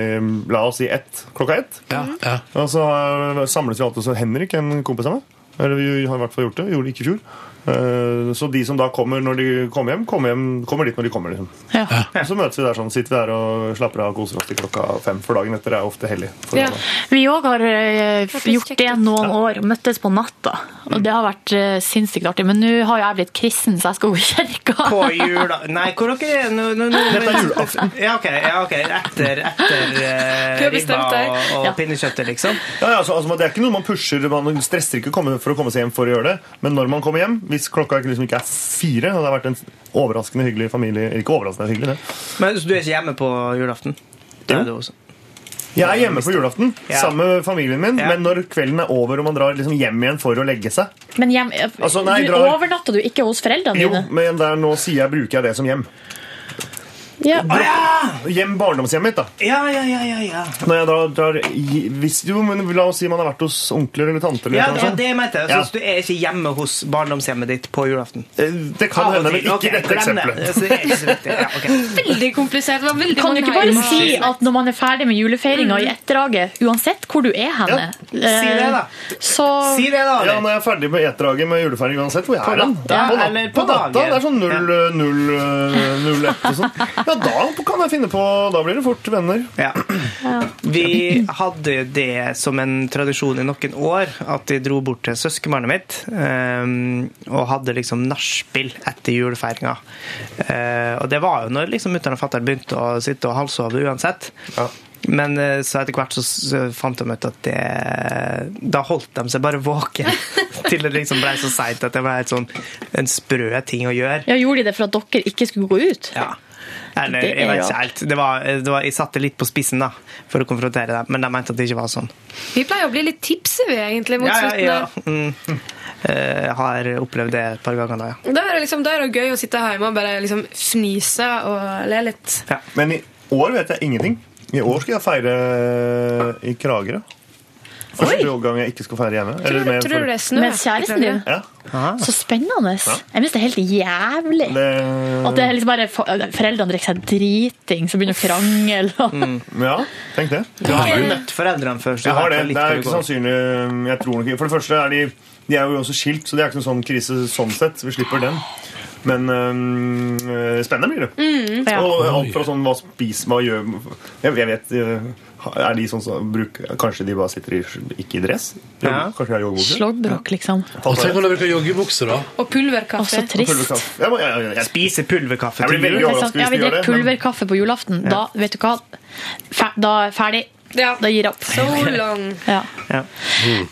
[SPEAKER 13] la oss si ett, klokka ett.
[SPEAKER 1] Ja. ja.
[SPEAKER 13] Og så eh, samles vi alltid hos Henrik, en kompis av meg. Eller vi har i hvert fall gjort det. Vi gjorde det ikke i fjor. Eh, Så de som da kommer når de kommer hjem, kommer, hjem, kommer dit når de kommer. liksom. Og Så møtes vi der sånn, sitter vi der og slapper av og koser oss til klokka fem. For dagen etter er ofte hellig. For
[SPEAKER 3] Ja. Vi òg har eh, f- gjort det noen år. Møttes på natta.
[SPEAKER 13] Mm.
[SPEAKER 3] Og det har vært eh, sinnssykt artig. Men nå har jo jeg blitt kristen, så jeg skal jo i kirka.
[SPEAKER 2] På jula Nei, hvor dere er nå? nå- nå-
[SPEAKER 13] Dette er julaften.
[SPEAKER 2] Ja, ok. Ja, ok. Etter, etter eh,
[SPEAKER 13] Du har
[SPEAKER 2] ribba
[SPEAKER 13] bestemt deg.
[SPEAKER 2] og, og
[SPEAKER 13] Ja.
[SPEAKER 2] pinnekjøttet, liksom.
[SPEAKER 13] Ja, ja, altså, altså, Det er ikke noe man pusher. Man stresser ikke å komme- for å komme seg hjem for å gjøre det. Men når man kommer hjem, hvis klokka ikke- liksom ikke er fire og det har vært en overraskende hyggelig familie Ikke overraskende hyggelig, det.
[SPEAKER 2] Men så du er ikke hjemme på julaften? Det er du også.
[SPEAKER 13] Jeg er hjemme på julaften sammen med familien min, men når kvelden er over og man drar liksom hjem igjen for å legge seg
[SPEAKER 3] Men hjem, eh,
[SPEAKER 13] Altså, nei,
[SPEAKER 3] du
[SPEAKER 13] drar-
[SPEAKER 3] overnatta du ikke hos foreldrene
[SPEAKER 13] Jo,
[SPEAKER 3] dine?
[SPEAKER 13] men der nå sier jeg bruker jeg det som hjem.
[SPEAKER 3] Ja.
[SPEAKER 13] Hjem barndomshjemmet mitt, da.
[SPEAKER 2] Ja, ja, ja, ja, ja.
[SPEAKER 13] Når jeg drar, drar hvis, jo, men La oss si man har vært hos onkler eller tanter.
[SPEAKER 2] Ja,
[SPEAKER 13] Eller noe
[SPEAKER 2] ja,
[SPEAKER 13] sånt.
[SPEAKER 2] det mente jeg.
[SPEAKER 13] Ja.
[SPEAKER 2] Så
[SPEAKER 13] Eh,
[SPEAKER 2] du er ikke hjemme hos barndomshjemmet ditt på julaften?
[SPEAKER 13] Det kan hende, men ikke i dette eksempelet.
[SPEAKER 2] Så det er ikke så viktig. Ja, ok.
[SPEAKER 12] Veldig komplisert. Det var veldig
[SPEAKER 3] Kan du
[SPEAKER 12] mange
[SPEAKER 3] ikke bare
[SPEAKER 12] heimer.
[SPEAKER 3] si at når man er ferdig med julefeiringa i etterdraget, uansett hvor du er henne
[SPEAKER 13] si det da.
[SPEAKER 3] eh, Så
[SPEAKER 13] Ja, når jeg er ferdig med etterdraget med julefeiring uansett hvor jeg
[SPEAKER 3] På
[SPEAKER 13] er hen.
[SPEAKER 3] natta,
[SPEAKER 13] På natta,
[SPEAKER 3] eller på
[SPEAKER 13] på natta.
[SPEAKER 3] dagen.
[SPEAKER 13] Det er sånn 0, 0, 0, 1 og sånn. Ja, da kan jeg finne på Da blir det fort venner.
[SPEAKER 2] Ja. Vi hadde jo det som en tradisjon i noen år, at jeg dro bort til søskenbarnet mitt ehm, og hadde liksom nachspiel etter julefeiringa. Eh, og det var jo når liksom mutter'n og fatter'n begynte å sitte og halvsove uansett. Men eh, så etter hvert så, så fant de ut at det Da holdt de seg bare våken til det liksom ble så seint at det ble helt sånn en sprø ting å gjøre.
[SPEAKER 3] ja, Gjorde de det for at dere ikke skulle gå ut?
[SPEAKER 2] Ja. Eller,
[SPEAKER 3] Det er
[SPEAKER 2] jeg vet
[SPEAKER 3] rart.
[SPEAKER 2] ikke helt. Det var, det var, jeg satte litt på spissen da, for å konfrontere dem, men de mente at det ikke var sånn.
[SPEAKER 12] Vi pleier å bli litt tipsy, vi, egentlig, mot slutten. her.
[SPEAKER 2] Mm. Eh, har opplevd det et par ganger da, ja.
[SPEAKER 12] Da er, det liksom, da er det gøy å sitte hjemme og bare liksom fnise og le litt.
[SPEAKER 13] Men i år vet jeg ingenting. I år skal jeg feire eh, i Kragerø. Første gang jeg ikke skal feire hjemme. eller med folk.
[SPEAKER 3] Med kjæresten din?
[SPEAKER 13] Ja.
[SPEAKER 3] Så spennende. Jeg synes det er helt jævlig. At det er liksom bare for- foreldrene drikker seg driting, så begynner å krangle. og-
[SPEAKER 13] Ja, tenk det.
[SPEAKER 2] Du har jo møtt foreldrene før. så
[SPEAKER 13] Jeg har
[SPEAKER 2] vet
[SPEAKER 13] det.
[SPEAKER 2] litt
[SPEAKER 13] Det
[SPEAKER 2] hvor
[SPEAKER 13] er
[SPEAKER 2] det
[SPEAKER 13] ikke
[SPEAKER 2] går.
[SPEAKER 13] sannsynlig jeg tror nok, ikke- For det første er de De er jo også skilt, så det er ikke noen sånn krise sånn sett. Vi slipper den. Men øhm, øh, spennende blir det.
[SPEAKER 12] Mm. Ja.
[SPEAKER 13] Og alt fra sånn hva spiser man, gjør Jeg, jeg vet øh, Er de sånn som bruker Kanskje de bare sitter i, ikke i dress? Jogge- Kanskje de har joggebukse?
[SPEAKER 3] Slåbrok, liksom.
[SPEAKER 1] Og tenk om de bruker joggebukse, da.
[SPEAKER 12] Og pulverkaffe.
[SPEAKER 13] Pulverkaffe. Jeg, må- jeg, jeg, jeg
[SPEAKER 2] spiser pulverkaffe
[SPEAKER 13] Jeg blir veldig
[SPEAKER 3] Sånn,
[SPEAKER 13] overrasket
[SPEAKER 3] ja,
[SPEAKER 13] hvis
[SPEAKER 3] vi
[SPEAKER 13] de gjør
[SPEAKER 3] drikker
[SPEAKER 13] det. men-
[SPEAKER 3] pulverkaffe på julaften. Da, vet du hva, Fer, da er ferdig. Da gir jeg opp.
[SPEAKER 12] So long.
[SPEAKER 3] Ja.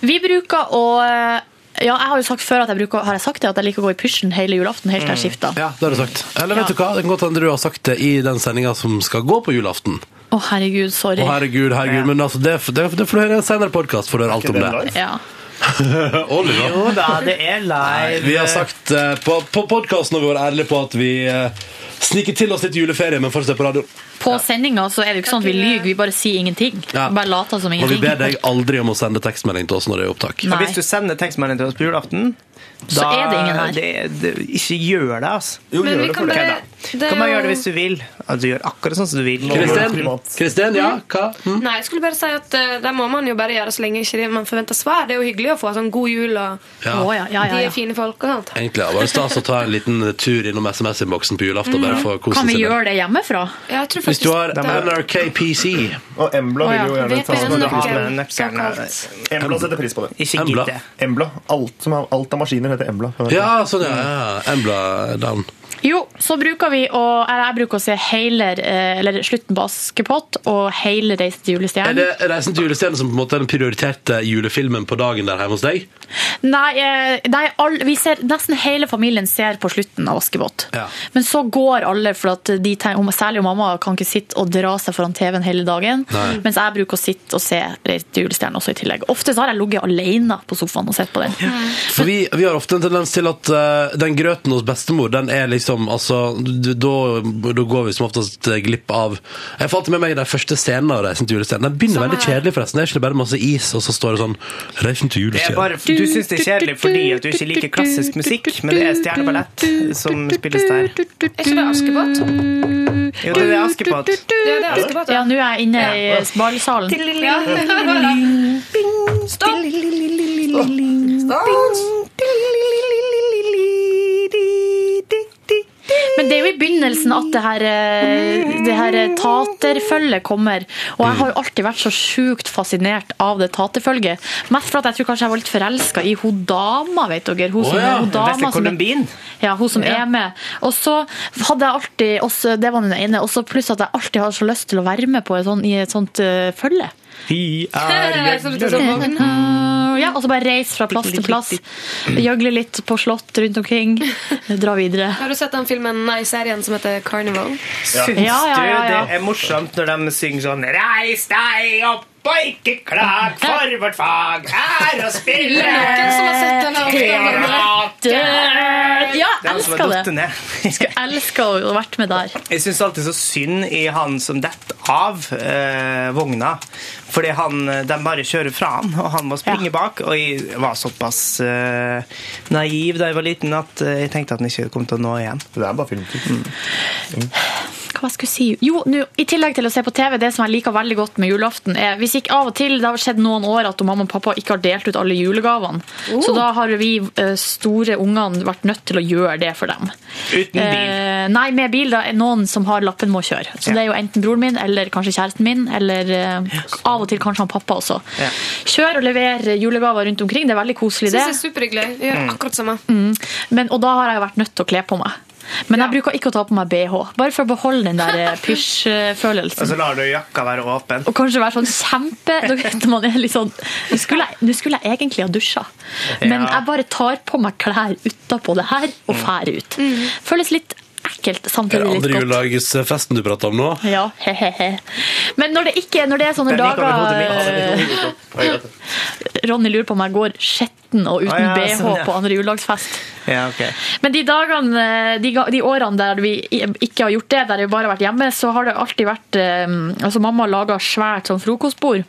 [SPEAKER 3] Vi bruker å øh, ja, jeg har jo sagt før at jeg bruker, har jeg sagt det, at jeg liker å gå i pysjen hele julaften helt til
[SPEAKER 13] Mm.
[SPEAKER 3] jeg skifter.
[SPEAKER 1] Ja, det har du sagt. Eller vet du hva, det kan godt hende du har sagt det i den sendinga som skal gå på julaften.
[SPEAKER 3] Å, herregud,
[SPEAKER 1] Å,
[SPEAKER 3] sorry.
[SPEAKER 1] herregud, herregud. Men altså, det, det, det får du høre i en senere podkast, får du høre alt om det.
[SPEAKER 3] Ja.
[SPEAKER 1] Olli, da.
[SPEAKER 2] Jo da, det er live.
[SPEAKER 1] Vi har sagt eh, på, på podkasten har vi vært ærlige på at vi eh, sniker til oss litt juleferie, men fortsatt på radioen.
[SPEAKER 3] På sendinga så er det jo ikke sånn at vi lyver, vi bare sier ingenting. Bare later som
[SPEAKER 1] Og vi
[SPEAKER 3] ingenting.
[SPEAKER 1] ber deg aldri om å sende tekstmelding til oss når det er opptak.
[SPEAKER 2] For hvis du sender tekstmelding til oss på julaften,
[SPEAKER 1] Så er det ingen her.
[SPEAKER 2] det- det- ikke gjør det, altså.
[SPEAKER 1] Jo, Men gjør vi det for kan det. bare-
[SPEAKER 2] Ok, da.
[SPEAKER 12] det er
[SPEAKER 2] Kan man
[SPEAKER 12] jo-
[SPEAKER 2] gjøre det hvis du vil? Altså, du gjør akkurat sånn som du vil.
[SPEAKER 1] Kristin? Kristin, ja? Hva?
[SPEAKER 12] Nei, jeg skulle bare si at eh, det må man jo bare gjøre så lenge ikke det- man forventer svar. Det er jo hyggelig å få sånn god jul og
[SPEAKER 1] Ja. Å, ja, ja, ja,
[SPEAKER 12] de
[SPEAKER 1] ja.
[SPEAKER 12] er fine folk og sånt.
[SPEAKER 1] Egentlig ja, var det stas å ta en liten tur innom SMS-innboksen på julaften. Bare for å
[SPEAKER 3] Mm.
[SPEAKER 1] kose
[SPEAKER 3] Kan vi
[SPEAKER 1] seg litt.
[SPEAKER 3] gjøre det hjemmefra?
[SPEAKER 12] Jeg tror
[SPEAKER 1] Hvis du har NRKPC
[SPEAKER 13] Og Embla vil jo
[SPEAKER 3] Å, ja.
[SPEAKER 13] gjerne ta
[SPEAKER 3] VPN
[SPEAKER 13] sånn
[SPEAKER 3] nøkkelen.
[SPEAKER 13] Embla setter pris på det.
[SPEAKER 2] Ikke
[SPEAKER 1] Embla.
[SPEAKER 2] gitt det.
[SPEAKER 13] Embla. Alt, som er, alt av maskiner heter Embla.
[SPEAKER 1] Ja, sånn, ja. ja. Embla down.
[SPEAKER 3] Jo, så bruker vi å Eller jeg bruker å se hele eh, Eller slutten på Askepott og hele Reisen til
[SPEAKER 1] Er
[SPEAKER 3] julestjernen.
[SPEAKER 1] det Reisen til julestjernen som på en måte er den prioriterte julefilmen på dagen der hjemme hos deg?
[SPEAKER 3] Nei, eh, nei all, vi ser, nesten hele familien ser på slutten av Askepott.
[SPEAKER 1] Ja.
[SPEAKER 3] Men så går alle, for at de tenker, om- særlig mamma kan ikke sitte og dra seg foran TV-en hele dagen.
[SPEAKER 1] Nei.
[SPEAKER 3] Mens jeg bruker å sitte og se Reisen til julestjernen også i tillegg. Ofte så har jeg ligget alene på sofaen og sett på den.
[SPEAKER 1] For vi, vi har ofte en tendens til at eh, den grøten hos bestemor, den er liksom altså, d- Da da går vi som oftest eh, glipp av Jeg falt med meg i den første scenen av Reisen til julestjernen. Den begynner veldig kjedelig, forresten. Det er ikke bare masse is, og så står det sånn Reisen til
[SPEAKER 2] Det er bare,
[SPEAKER 1] julestjernen.
[SPEAKER 2] du syns det er kjedelig fordi at du ikke liker klassisk musikk, men det er stjerneballett som spilles der.
[SPEAKER 12] Er ikke det Askepott?
[SPEAKER 2] Jo, det er Askepott.
[SPEAKER 12] Ja, det er Askepott.
[SPEAKER 3] Ja, nå er jeg inne i ballsalen.
[SPEAKER 12] Ja.
[SPEAKER 3] Stopp! begynnelsen at det her, eh, det her eh, taterfølget kommer. Og jeg har jo alltid vært så sjukt fascinert av det taterfølget. Mest fordi jeg tror kanskje jeg var litt forelska i hun dama, vet dere. Hun som,
[SPEAKER 2] Å ja,
[SPEAKER 3] hun dama
[SPEAKER 2] Vestre
[SPEAKER 3] som,
[SPEAKER 2] Colombin.
[SPEAKER 3] ja, hun som er med. Og så hadde jeg alltid også, Det var den ene. Og så pluss at jeg alltid har så lyst til å være med på et sånt, i et sånt eh, følge.
[SPEAKER 2] Vi er jødler.
[SPEAKER 3] Ja, og så bare reise fra plass til plass. Gjøgle litt på slott rundt omkring. Dra videre.
[SPEAKER 12] Har du sett den filmen, nei, serien som heter Carnival?
[SPEAKER 2] Syns du det er morsomt når de synger sånn Reis deg opp og ikke klag, for vårt fag er å spille
[SPEAKER 12] Noen som har sett den
[SPEAKER 2] Teater.
[SPEAKER 3] Ja,
[SPEAKER 2] Det er han som
[SPEAKER 3] elsker
[SPEAKER 2] har datt
[SPEAKER 3] det.
[SPEAKER 2] ned.
[SPEAKER 3] Skulle elska å ha vært med der.
[SPEAKER 2] Jeg syns alltid så synd i han som detter av eh, vogna. Fordi han, eh, de bare kjører fra han, og han må springe bak. Og jeg var såpass eh, naiv da jeg var liten at eh, jeg tenkte at han ikke kom til å nå igjen.
[SPEAKER 13] Det er bare Mm. filmtid.
[SPEAKER 3] Mm. hva jeg skulle si Jo, nå, i tillegg til å se på TV, det som jeg liker veldig godt med julaften, er hvis ikke av og til Det har skjedd noen år at mamma og pappa ikke har delt ut alle julegavene.
[SPEAKER 12] Oh.
[SPEAKER 3] Så da har vi eh, store ungene vært nødt til å gjøre det for dem.
[SPEAKER 2] Uten bil.
[SPEAKER 3] Eh, nei, med bil. Da er noen som har lappen, må kjøre. Så det er jo enten broren min eller kanskje kjæresten min, eller eh, av og til kanskje han pappa også.
[SPEAKER 12] Ja.
[SPEAKER 3] Kjør og lever julegaver rundt omkring. Det er veldig koselig,
[SPEAKER 12] Synes
[SPEAKER 3] det.
[SPEAKER 12] det er superhyggelig. Jeg gjør
[SPEAKER 3] Mm.
[SPEAKER 12] akkurat det samme.
[SPEAKER 3] Mm. Men, og da har jeg jo vært nødt til å kle på meg. Men jeg bruker ikke å ta på meg BH, bare for å beholde den der eh,
[SPEAKER 2] Og så
[SPEAKER 3] pysjfølelsen.
[SPEAKER 2] lar du jakka være åpen.
[SPEAKER 3] Og kanskje være sånn kjempe Da vet man er litt sånn Nå skulle jeg, nå skulle jeg egentlig ha dusja, men
[SPEAKER 2] Ja.
[SPEAKER 3] jeg bare tar på meg klær utapå det her og fær ut. Føles litt ekkelt,
[SPEAKER 1] Er det
[SPEAKER 3] samtidig litt
[SPEAKER 1] andre
[SPEAKER 3] godt.
[SPEAKER 1] juledagsfesten du prater om nå?
[SPEAKER 3] Ja, he-he-he. Men når det ikke når det er sånne
[SPEAKER 1] Den gikk over hodet mitt.
[SPEAKER 3] dager
[SPEAKER 1] Ja, den gikk over hodet mitt.
[SPEAKER 3] eh, Ronny lurer på om jeg går skjetten og uten
[SPEAKER 2] Å, ja,
[SPEAKER 3] BH
[SPEAKER 2] sånn, ja.
[SPEAKER 3] på andre juledagsfest.
[SPEAKER 2] Ja, ok.
[SPEAKER 3] Men de dagene, eh, de, ga- de årene der vi ikke har gjort det, der vi bare har vært hjemme, så har det alltid vært eh, Altså, mamma laga svært sånn frokostbord.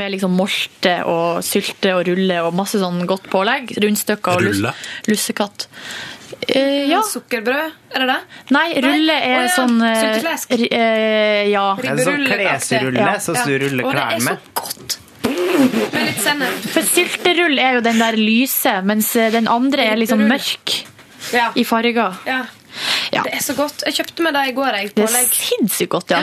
[SPEAKER 3] Med liksom molte og sylte og rulle og masse sånn godt pålegg. Rundstykker og lus
[SPEAKER 12] Rulle?
[SPEAKER 3] lussekatt. Eh, ja.
[SPEAKER 12] Sukkerbrød, er det det?
[SPEAKER 3] Nei, rulle
[SPEAKER 12] Nei,
[SPEAKER 3] er
[SPEAKER 12] å ja,
[SPEAKER 3] sånn eh,
[SPEAKER 12] sylteflesk.
[SPEAKER 3] ri- eh, Ja.
[SPEAKER 12] Det er en sånn Ribberulle-aktig. klesrulle, så du ruller
[SPEAKER 3] Og det er
[SPEAKER 12] klærne
[SPEAKER 3] så
[SPEAKER 12] med. Med litt sennep.
[SPEAKER 3] For sylterull er jo den der lyse, mens eh, den andre er liksom mørk
[SPEAKER 12] Ja.
[SPEAKER 3] i farger.
[SPEAKER 12] Ja.
[SPEAKER 3] Ja.
[SPEAKER 12] Det er så godt. Jeg kjøpte med det i går, jeg.
[SPEAKER 3] Det er
[SPEAKER 12] Pålegg.
[SPEAKER 3] sinnssykt godt, ja.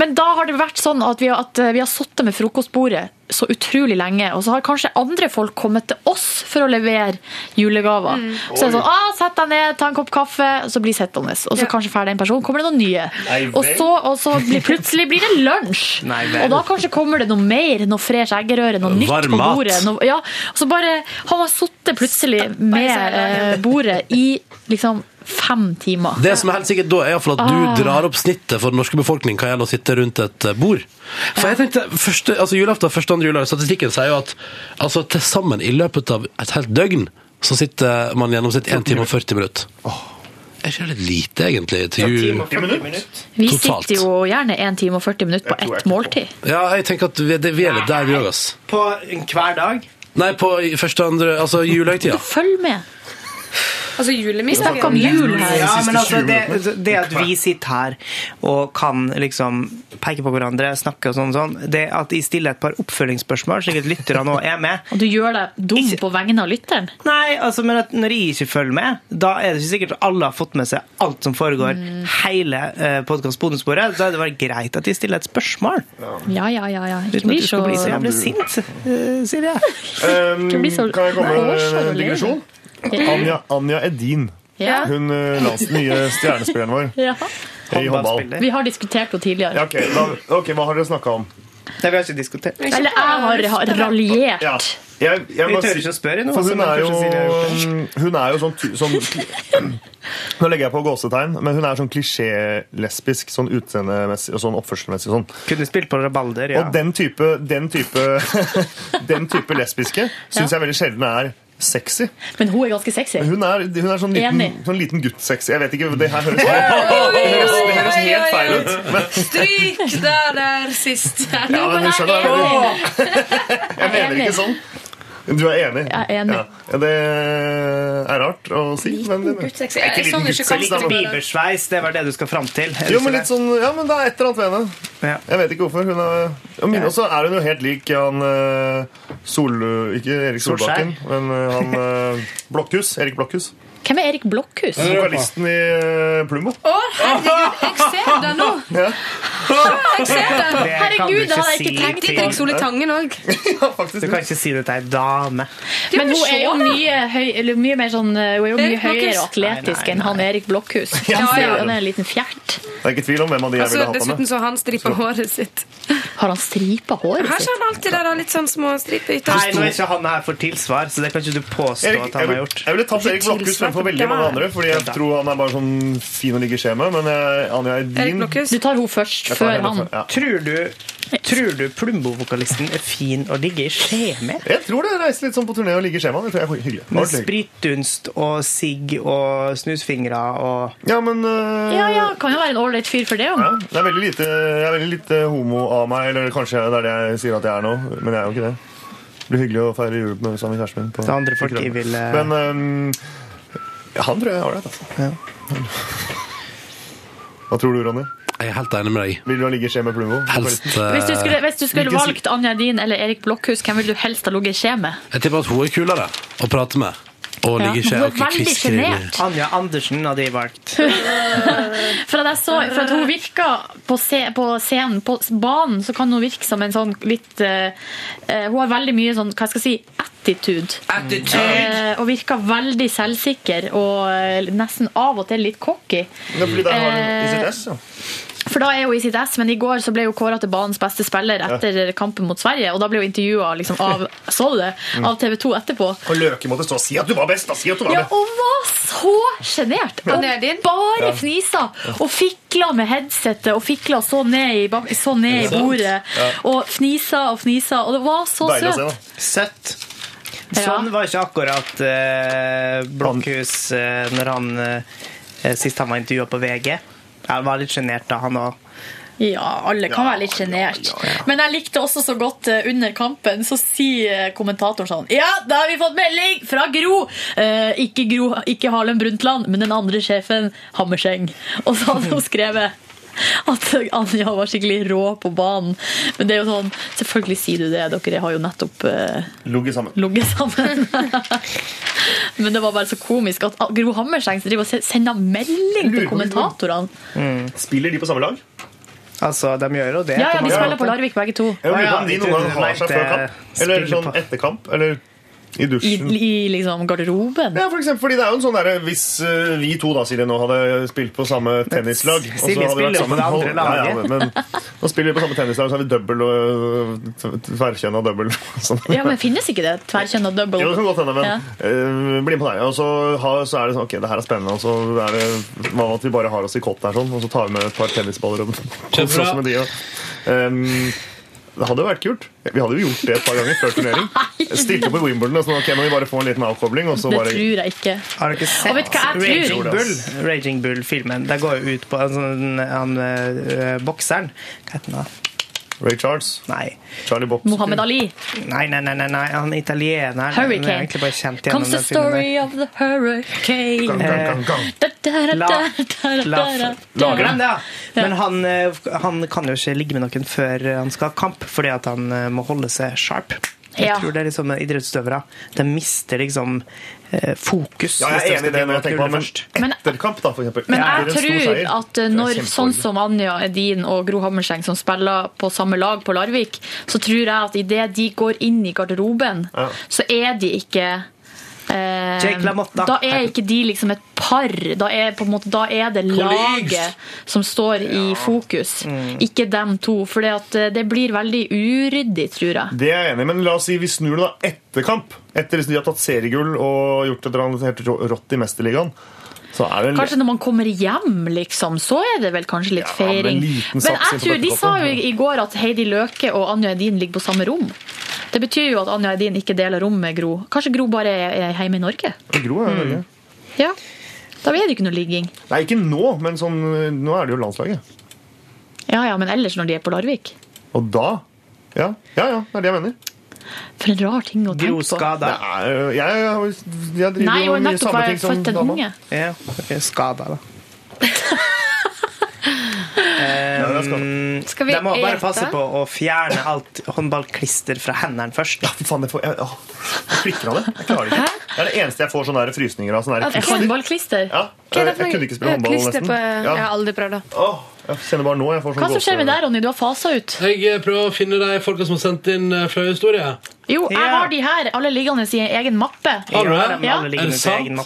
[SPEAKER 3] Men da har det vært sånn at vi har, at vi har sittet med frokostbordet så utrolig lenge, og så har kanskje andre folk kommet til oss for å levere julegaver.
[SPEAKER 12] Mm.
[SPEAKER 3] Så er det sånn ah, 'Sett deg ned, ta en kopp kaffe', og så blir sittende. Og så kanskje ferdig en person, kommer det noen nye.
[SPEAKER 2] Nei vel.
[SPEAKER 3] Og så, og så blir, plutselig blir det lunsj.
[SPEAKER 2] Nei vel.
[SPEAKER 3] Og da kanskje kommer det noe mer, noe fresh eggerøre, noe nytt
[SPEAKER 2] Varm
[SPEAKER 3] på
[SPEAKER 2] mat.
[SPEAKER 3] bordet. Noe, ja, og så bare har man sittet plutselig med eh, bordet i liksom fem timer.
[SPEAKER 1] Det som er helt sikkert da, er i hvert fall at
[SPEAKER 3] Ah.
[SPEAKER 1] du drar opp snittet for den norske befolkning hva gjelder å sitte rundt et eh, bord. For jeg tenkte, første, altså julaften, første andre juledag, statistikken sier jo at altså, til sammen i løpet av et helt døgn, så sitter man gjennomsnitt 1 time og 40 minutter. Er ikke det litt lite, egentlig, til jul?
[SPEAKER 3] Vi
[SPEAKER 1] Totalt.
[SPEAKER 3] sitter jo gjerne 1 time og 40 minutter på ett måltid.
[SPEAKER 1] Ja, jeg tenker at vi, det, vi er litt der vi òg, ass.
[SPEAKER 2] På hver dag?
[SPEAKER 1] Nei, på i- første andre, altså julehøytida.
[SPEAKER 3] Følg med.
[SPEAKER 12] Altså julemiddag.
[SPEAKER 3] Vi snakker om jul her.
[SPEAKER 2] Ja, men altså, det,
[SPEAKER 1] minuttene.
[SPEAKER 2] det at vi sitter her og kan liksom peke på hverandre, snakke og sånn, sånn det at jeg stiller et par oppfølgingsspørsmål, slik at lytterne òg er med
[SPEAKER 3] Og du gjør deg dum på vegne av lytteren?
[SPEAKER 2] Nei, altså, men at når jeg ikke følger med, da er det ikke sikkert at alle har fått med seg alt som foregår, hele eh, podkast-bonussporet. Da er det bare greit at de stiller et spørsmål.
[SPEAKER 3] Ja, ja, ja. ja. Ikke
[SPEAKER 2] Uten at
[SPEAKER 3] bli
[SPEAKER 2] du
[SPEAKER 3] så
[SPEAKER 2] skal bli så jævlig sint, eh, Silje.
[SPEAKER 13] Um,
[SPEAKER 2] Det blir så-
[SPEAKER 13] kan jeg komme
[SPEAKER 2] Nei,
[SPEAKER 13] med
[SPEAKER 2] det var
[SPEAKER 13] en
[SPEAKER 2] så
[SPEAKER 13] digresjon?
[SPEAKER 2] rolig.
[SPEAKER 13] Anja, Anja Edin.
[SPEAKER 3] Ja.
[SPEAKER 13] Hun eh, lands nye stjernespilleren vår
[SPEAKER 3] Ja.
[SPEAKER 13] i håndball.
[SPEAKER 3] Vi har diskutert det tidligere.
[SPEAKER 13] Ja, ok, da, ok, Hva har dere snakka om?
[SPEAKER 2] Nei, vi har ikke diskutert.
[SPEAKER 3] Eller jeg har, har raljert.
[SPEAKER 13] Ja. Jeg, jeg
[SPEAKER 2] Vi
[SPEAKER 13] bare
[SPEAKER 2] tør
[SPEAKER 13] si-
[SPEAKER 2] ikke å spørre nå,
[SPEAKER 13] For
[SPEAKER 2] så
[SPEAKER 13] hun
[SPEAKER 2] det er
[SPEAKER 13] er,
[SPEAKER 2] kanskje Silje har
[SPEAKER 13] jo, hun er jo sånn, tu- sånn Nå legger jeg på gåsetegn, men hun er sånn klisjé-lesbisk sånn utseendemessig og sånn oppførselmessig. og Sånn.
[SPEAKER 2] Kunne spilt på rabalder, ja.
[SPEAKER 13] Og den type, den type, den type lesbiske syns jeg veldig sjelden er sexy.
[SPEAKER 3] Men hun er ganske sexy.
[SPEAKER 13] Hun er, hun er sånn liten,
[SPEAKER 3] Enig.
[SPEAKER 13] sånn liten gutt-sexy. Jeg vet ikke, det her høres, sånn-
[SPEAKER 12] Oi,
[SPEAKER 13] det høres, det høres
[SPEAKER 12] oi, oi,
[SPEAKER 13] helt feil
[SPEAKER 12] oi.
[SPEAKER 13] ut. Men,
[SPEAKER 12] Stryk det der eh. sist.
[SPEAKER 13] Ja, men hun skjønner
[SPEAKER 12] Åh,
[SPEAKER 13] Jeg mener ikke sånn. Du er enig?
[SPEAKER 3] Jeg er enig.
[SPEAKER 13] Ja. Det Eh, er rart å si. men det-
[SPEAKER 12] guttsex.
[SPEAKER 13] Det er sånn
[SPEAKER 12] Jeg savner
[SPEAKER 13] ikke liten
[SPEAKER 12] ikke
[SPEAKER 13] guttsex, da,
[SPEAKER 2] Litt
[SPEAKER 13] men-
[SPEAKER 2] bibersveis, det var det du skal fram til. er det
[SPEAKER 13] Jo,
[SPEAKER 2] ikke
[SPEAKER 13] men
[SPEAKER 2] det?
[SPEAKER 13] litt sånn, ja, men det er et eller annet ved henne. Jeg vet ikke hvorfor. Hun er, og min, også er hun jo helt lik han eh, Sol... Ikke Erik
[SPEAKER 2] Solskjær.
[SPEAKER 13] Solbakken, men eh, han eh, Blokkhus. Erik Blokkhus.
[SPEAKER 3] Hvem er Erik Blokkhus?
[SPEAKER 13] Vokalisten i eh, Plumbo.
[SPEAKER 3] Å,
[SPEAKER 12] herregud, jeg ser det nå!
[SPEAKER 13] Ja.
[SPEAKER 12] Jeg ser det.
[SPEAKER 2] Det kan
[SPEAKER 12] Herregud,
[SPEAKER 2] du
[SPEAKER 12] det hadde jeg
[SPEAKER 2] ikke
[SPEAKER 12] ikke
[SPEAKER 2] si
[SPEAKER 12] tenkt.
[SPEAKER 2] til-
[SPEAKER 12] Erik Sole Tangen òg.
[SPEAKER 2] Du kan ikke si det til ei dame.
[SPEAKER 3] Men
[SPEAKER 12] men
[SPEAKER 3] hun er jo
[SPEAKER 12] se da.
[SPEAKER 3] mye, høy, eller mye, mer sånn, eh, hun er jo
[SPEAKER 12] Erik
[SPEAKER 3] mye høyere og
[SPEAKER 12] Blokkhus.
[SPEAKER 3] atletisk enn han Erik Blokkhus.
[SPEAKER 13] Ja,
[SPEAKER 3] Han ser
[SPEAKER 13] ja.
[SPEAKER 3] jo han er en liten fjert.
[SPEAKER 13] Det er ikke tvil om hvem av de jeg
[SPEAKER 12] Altså,
[SPEAKER 13] ville hatt
[SPEAKER 12] dessuten
[SPEAKER 13] med.
[SPEAKER 12] så har han stripa håret sitt.
[SPEAKER 3] Har han stripa
[SPEAKER 12] Her
[SPEAKER 3] håret
[SPEAKER 12] ser
[SPEAKER 3] sitt?
[SPEAKER 12] han alltid der, da, litt sånn små striper
[SPEAKER 2] Nei, nå er
[SPEAKER 12] ytterst.
[SPEAKER 2] ikke han her for tilsvar, så det kan ikke du påstå
[SPEAKER 13] Erik,
[SPEAKER 2] at
[SPEAKER 13] jeg,
[SPEAKER 2] han har
[SPEAKER 13] vil-
[SPEAKER 2] gjort.
[SPEAKER 13] jeg ville tatt
[SPEAKER 2] Ikke
[SPEAKER 13] Erik Blokkhus
[SPEAKER 2] tilsvar
[SPEAKER 13] fremfor
[SPEAKER 2] for
[SPEAKER 13] veldig mange
[SPEAKER 2] deg.
[SPEAKER 13] andre, fordi jeg
[SPEAKER 2] Ja.
[SPEAKER 13] tror han er bare sånn fin og ligger i skjemaet, men jeg, Anja er din.
[SPEAKER 3] Du tar hun først,
[SPEAKER 13] Jeg tar
[SPEAKER 3] før
[SPEAKER 13] henne
[SPEAKER 3] han.
[SPEAKER 13] før, ja.
[SPEAKER 2] Tror du, tror du Plumbo-vokalisten er fin å ligge i skje med?
[SPEAKER 13] Jeg tror det reiser litt sånn på turné og ligger i skjemaet. Det tror jeg er hyggelig.
[SPEAKER 2] Med
[SPEAKER 13] Ordentlig hyggelig.
[SPEAKER 2] spritdunst og sigg og snusfingre og
[SPEAKER 13] Ja, men eh,
[SPEAKER 3] Ja, ja, kan jo være en ålreit fyr for det, jo.
[SPEAKER 13] Ja, det er veldig lite, jeg er veldig lite homo av meg, eller kanskje det er det jeg sier at jeg er nå, men jeg er jo ikke det. Det blir hyggelig å feire jul med sammen med kjæresten min. På,
[SPEAKER 2] Det andre folk
[SPEAKER 13] på Krønne.
[SPEAKER 2] jeg vil, eh,
[SPEAKER 13] Men ehm, ja, han tror jeg er ålreit, altså. Hva tror du, Ronny?
[SPEAKER 1] Jeg er helt enig med deg.
[SPEAKER 13] Vil du ha ligge i skje med Plumbo?
[SPEAKER 1] Helst, eh,
[SPEAKER 3] Hvis du skulle, hvis du skulle
[SPEAKER 1] Hvilken si-
[SPEAKER 3] valgt Anja Din eller Erik Blokkhus, hvem ville du helst ha ligget i skje med?
[SPEAKER 1] Jeg tipper at hun er kulere å prate med. Og
[SPEAKER 3] Ja,
[SPEAKER 1] ligger i skje
[SPEAKER 3] hun er
[SPEAKER 1] og ikke
[SPEAKER 3] veldig
[SPEAKER 1] kvisker inn i
[SPEAKER 3] sjenert.
[SPEAKER 2] Anja Andersen hadde jeg valgt.
[SPEAKER 3] For at, jeg så, for at hun virker på, se, på scenen, på banen, så kan hun virke som en sånn litt eh, eh, Hun har veldig mye sånn, hva skal jeg si, attitude. Eh, og virker veldig selvsikker og eh, nesten av og til litt cocky.
[SPEAKER 1] eh,
[SPEAKER 13] Ja, fordi der har hun i sitt
[SPEAKER 3] Eh,
[SPEAKER 13] ess, ja.
[SPEAKER 3] For da er hun i sitt ess, men i går så ble hun kåra til banens beste spiller etter kampen mot Sverige. Og da ble hun intervjua liksom, av, så du det,
[SPEAKER 13] Mm.
[SPEAKER 3] av TV 2 etterpå.
[SPEAKER 13] Og Løke måtte stå og si at du var best, da! Si at du var
[SPEAKER 3] Ja,
[SPEAKER 13] best!
[SPEAKER 3] og var så sjenert. Og bare fnisa. Og fikla med headsetet og fikla så ned i, bak- så ned i
[SPEAKER 2] Sant.
[SPEAKER 3] bordet.
[SPEAKER 2] Ja.
[SPEAKER 3] Og fnisa og fnisa. Og det var så søtt.
[SPEAKER 2] Søtt.
[SPEAKER 3] Ja.
[SPEAKER 2] Sånn var ikke akkurat eh, Blokkhus eh, når han eh, sist han var intervjua på VG. Han var litt sjenert da, han òg.
[SPEAKER 3] Ja, alle kan være litt sjenert. Men jeg likte også så godt eh, under kampen, så sier eh, kommentatoren sånn Ja, da har vi fått melding fra Gro! Eh, ikke Gro, ikke Harlem Brundtland, men den andre sjefen, Hammerseng. Og så hadde hun skrevet at Anja var skikkelig rå på banen. Men det er jo sånn Selvfølgelig sier du det, dere har jo nettopp eh,
[SPEAKER 13] Ligge sammen.
[SPEAKER 3] ligget sammen. men det var bare så komisk at Gro Hammerseng driver og sender melding til kommentatorene.
[SPEAKER 13] Spiller de på samme lag?
[SPEAKER 2] Mm. Altså, de gjør jo det.
[SPEAKER 3] Ja, ja,
[SPEAKER 2] mange
[SPEAKER 3] vi spiller
[SPEAKER 2] måter.
[SPEAKER 3] på Larvik begge to.
[SPEAKER 13] Jeg lurer
[SPEAKER 2] Å ja,
[SPEAKER 13] på om de
[SPEAKER 2] jeg
[SPEAKER 13] noen
[SPEAKER 2] trodde
[SPEAKER 13] gang
[SPEAKER 2] du
[SPEAKER 13] har seg før
[SPEAKER 2] mente
[SPEAKER 13] kamp. Eller
[SPEAKER 2] spiller
[SPEAKER 13] sånn
[SPEAKER 2] på.
[SPEAKER 13] etter kamp, eller i
[SPEAKER 3] I,
[SPEAKER 13] dusjen.
[SPEAKER 3] i liksom garderoben.
[SPEAKER 13] Ja, for eksempel, fordi det er jo en sånn derre Hvis eh, vi to da, Silje, nå hadde spilt på samme tennislag og så
[SPEAKER 2] Silje
[SPEAKER 13] hadde vi vært
[SPEAKER 2] spiller jo på
[SPEAKER 13] sammen-
[SPEAKER 2] det andre
[SPEAKER 13] Hold- ja, ja,
[SPEAKER 2] laget.
[SPEAKER 13] men, Nå spiller vi på samme tennislag, så har vi dobbel og tverrkjønn og dobbel. Sånn.
[SPEAKER 3] Ja, men finnes ikke det? Tverrkjønn og double?
[SPEAKER 13] Jo, det kan godt hende, men
[SPEAKER 3] Ja.
[SPEAKER 13] eh, bli med på deg. Og så, har, så er det sånn Ok, det her er spennende. Og så er det hva med at vi bare har oss i kott her, sånn, og så tar vi med et par tennisballer og koser oss med de. Og, Ehm, det hadde jo vært kult. Vi hadde jo gjort det et par ganger før turnering. Stilte opp i Wimbledon og sånn Ok, nå må vi bare få en liten avkobling, og så
[SPEAKER 3] Det
[SPEAKER 13] bare
[SPEAKER 3] tror jeg ikke.
[SPEAKER 2] Har dere sett
[SPEAKER 3] Og vet du hva jeg
[SPEAKER 2] Raging
[SPEAKER 3] tror?
[SPEAKER 2] Bull? Raging Bull-filmen. Det går jo ut på en sånn, han eh, bokseren Hva heter han? da?
[SPEAKER 13] Ray Charles.
[SPEAKER 2] Nei.
[SPEAKER 13] Charlie Bob.
[SPEAKER 3] Mohammed Ali.
[SPEAKER 2] Nei, nei, nei, nei, nei. han er italiener.
[SPEAKER 3] Hurricane.
[SPEAKER 2] Han er egentlig bare kjent gjennom
[SPEAKER 3] Comes the
[SPEAKER 2] den filmen eh. der.
[SPEAKER 3] story of the hurricane.
[SPEAKER 2] Gang, gang, gang, gang.
[SPEAKER 3] Da, da, da, da, da, da, da, da.
[SPEAKER 2] Lager dem det, ja. Men han, eh, han kan jo ikke ligge med noen før han skal ha kamp, fordi at han eh, må holde seg sharp. Jeg
[SPEAKER 3] Ja.
[SPEAKER 2] tror det er liksom idrettsutøvere. De mister liksom eh, fokus.
[SPEAKER 13] Ja,
[SPEAKER 2] hvis
[SPEAKER 13] jeg
[SPEAKER 2] de
[SPEAKER 13] er enig i det
[SPEAKER 2] skal drive
[SPEAKER 13] når
[SPEAKER 2] og
[SPEAKER 13] jeg tenker på
[SPEAKER 2] knulle
[SPEAKER 13] det,
[SPEAKER 2] først.
[SPEAKER 13] men etter kamp, da, for eksempel.
[SPEAKER 3] Men
[SPEAKER 13] Ja,
[SPEAKER 3] jeg
[SPEAKER 13] det er en stor
[SPEAKER 3] tror
[SPEAKER 13] seier.
[SPEAKER 3] at eh, når sånn som Anja Edin og Gro Hammerseng, som spiller på samme lag på Larvik, så tror jeg at idet de går inn i garderoben,
[SPEAKER 2] Ja.
[SPEAKER 3] så er de ikke eh,
[SPEAKER 2] Jake LaMotte, da.
[SPEAKER 3] da er ikke de liksom et par. Da er, på en måte, da er det laget som står i fokus,
[SPEAKER 13] Mm.
[SPEAKER 3] ikke dem to. For det blir veldig uryddig, tror jeg.
[SPEAKER 13] Det er jeg enig i, men la oss si vi snur det da etter kamp. Etter hvis de har tatt seriegull og gjort et eller annet helt rå- rått i Mesterligaen. Så er det en
[SPEAKER 3] Kanskje når man kommer hjem, liksom, så er det vel kanskje litt feiring.
[SPEAKER 13] men liten
[SPEAKER 3] Men jeg
[SPEAKER 13] satsing på
[SPEAKER 3] tror, de
[SPEAKER 13] bøttekoppen.
[SPEAKER 3] sa jo i går at Heidi Løke og Anja Edin ligger på samme rom. Det betyr jo at Anja Edin ikke deler rom med Gro. Kanskje Gro bare er er hjemme i Norge?
[SPEAKER 13] Gro er jo veldig-
[SPEAKER 3] Ja. Da er det ikke noe ligging.
[SPEAKER 13] Nei, ikke nå, men sånn, nå er det jo landslaget.
[SPEAKER 3] Ja, ja, men ellers når de er på Larvik.
[SPEAKER 13] Og da Ja, ja, ja det er det jeg mener.
[SPEAKER 3] For en rar ting å tenke på.
[SPEAKER 2] Groskada.
[SPEAKER 13] Jeg, jeg, jeg driver
[SPEAKER 3] Nei,
[SPEAKER 13] jo
[SPEAKER 3] jo
[SPEAKER 13] mye
[SPEAKER 3] nettopp
[SPEAKER 13] samme
[SPEAKER 3] var
[SPEAKER 13] ting
[SPEAKER 3] jeg
[SPEAKER 13] som
[SPEAKER 3] født en
[SPEAKER 13] dama.
[SPEAKER 3] unge.
[SPEAKER 2] Ja, ok, skada, da. Um,
[SPEAKER 3] Skal vi
[SPEAKER 2] de må bare
[SPEAKER 3] ete?
[SPEAKER 2] passe på å fjerne alt håndballklister fra hendene først. Ja, for
[SPEAKER 13] faen, det får jeg, Klikker av det? Jeg klarer det ikke. Det er det eneste jeg får sånne der frysninger av. Sånne der
[SPEAKER 3] At Håndballklister?
[SPEAKER 12] Hva er det for
[SPEAKER 13] Jeg
[SPEAKER 12] noe?
[SPEAKER 13] kunne ikke spille håndball
[SPEAKER 12] Klister
[SPEAKER 13] nesten.
[SPEAKER 12] på- Jeg har
[SPEAKER 13] Ja.
[SPEAKER 12] aldri prøvd det.
[SPEAKER 13] Åh, jeg kjenner bare nå jeg får sånn
[SPEAKER 3] Hva som skjer med deg, Ronny? Du har fasa ut.
[SPEAKER 1] Jeg prøver å finne de folka som har sendt inn eh, flaue historier.
[SPEAKER 3] Jo, jeg har de her, alle liggende i en egen mappe.
[SPEAKER 1] Har du det?
[SPEAKER 3] Ja.
[SPEAKER 1] Er det sant?
[SPEAKER 3] Jeg har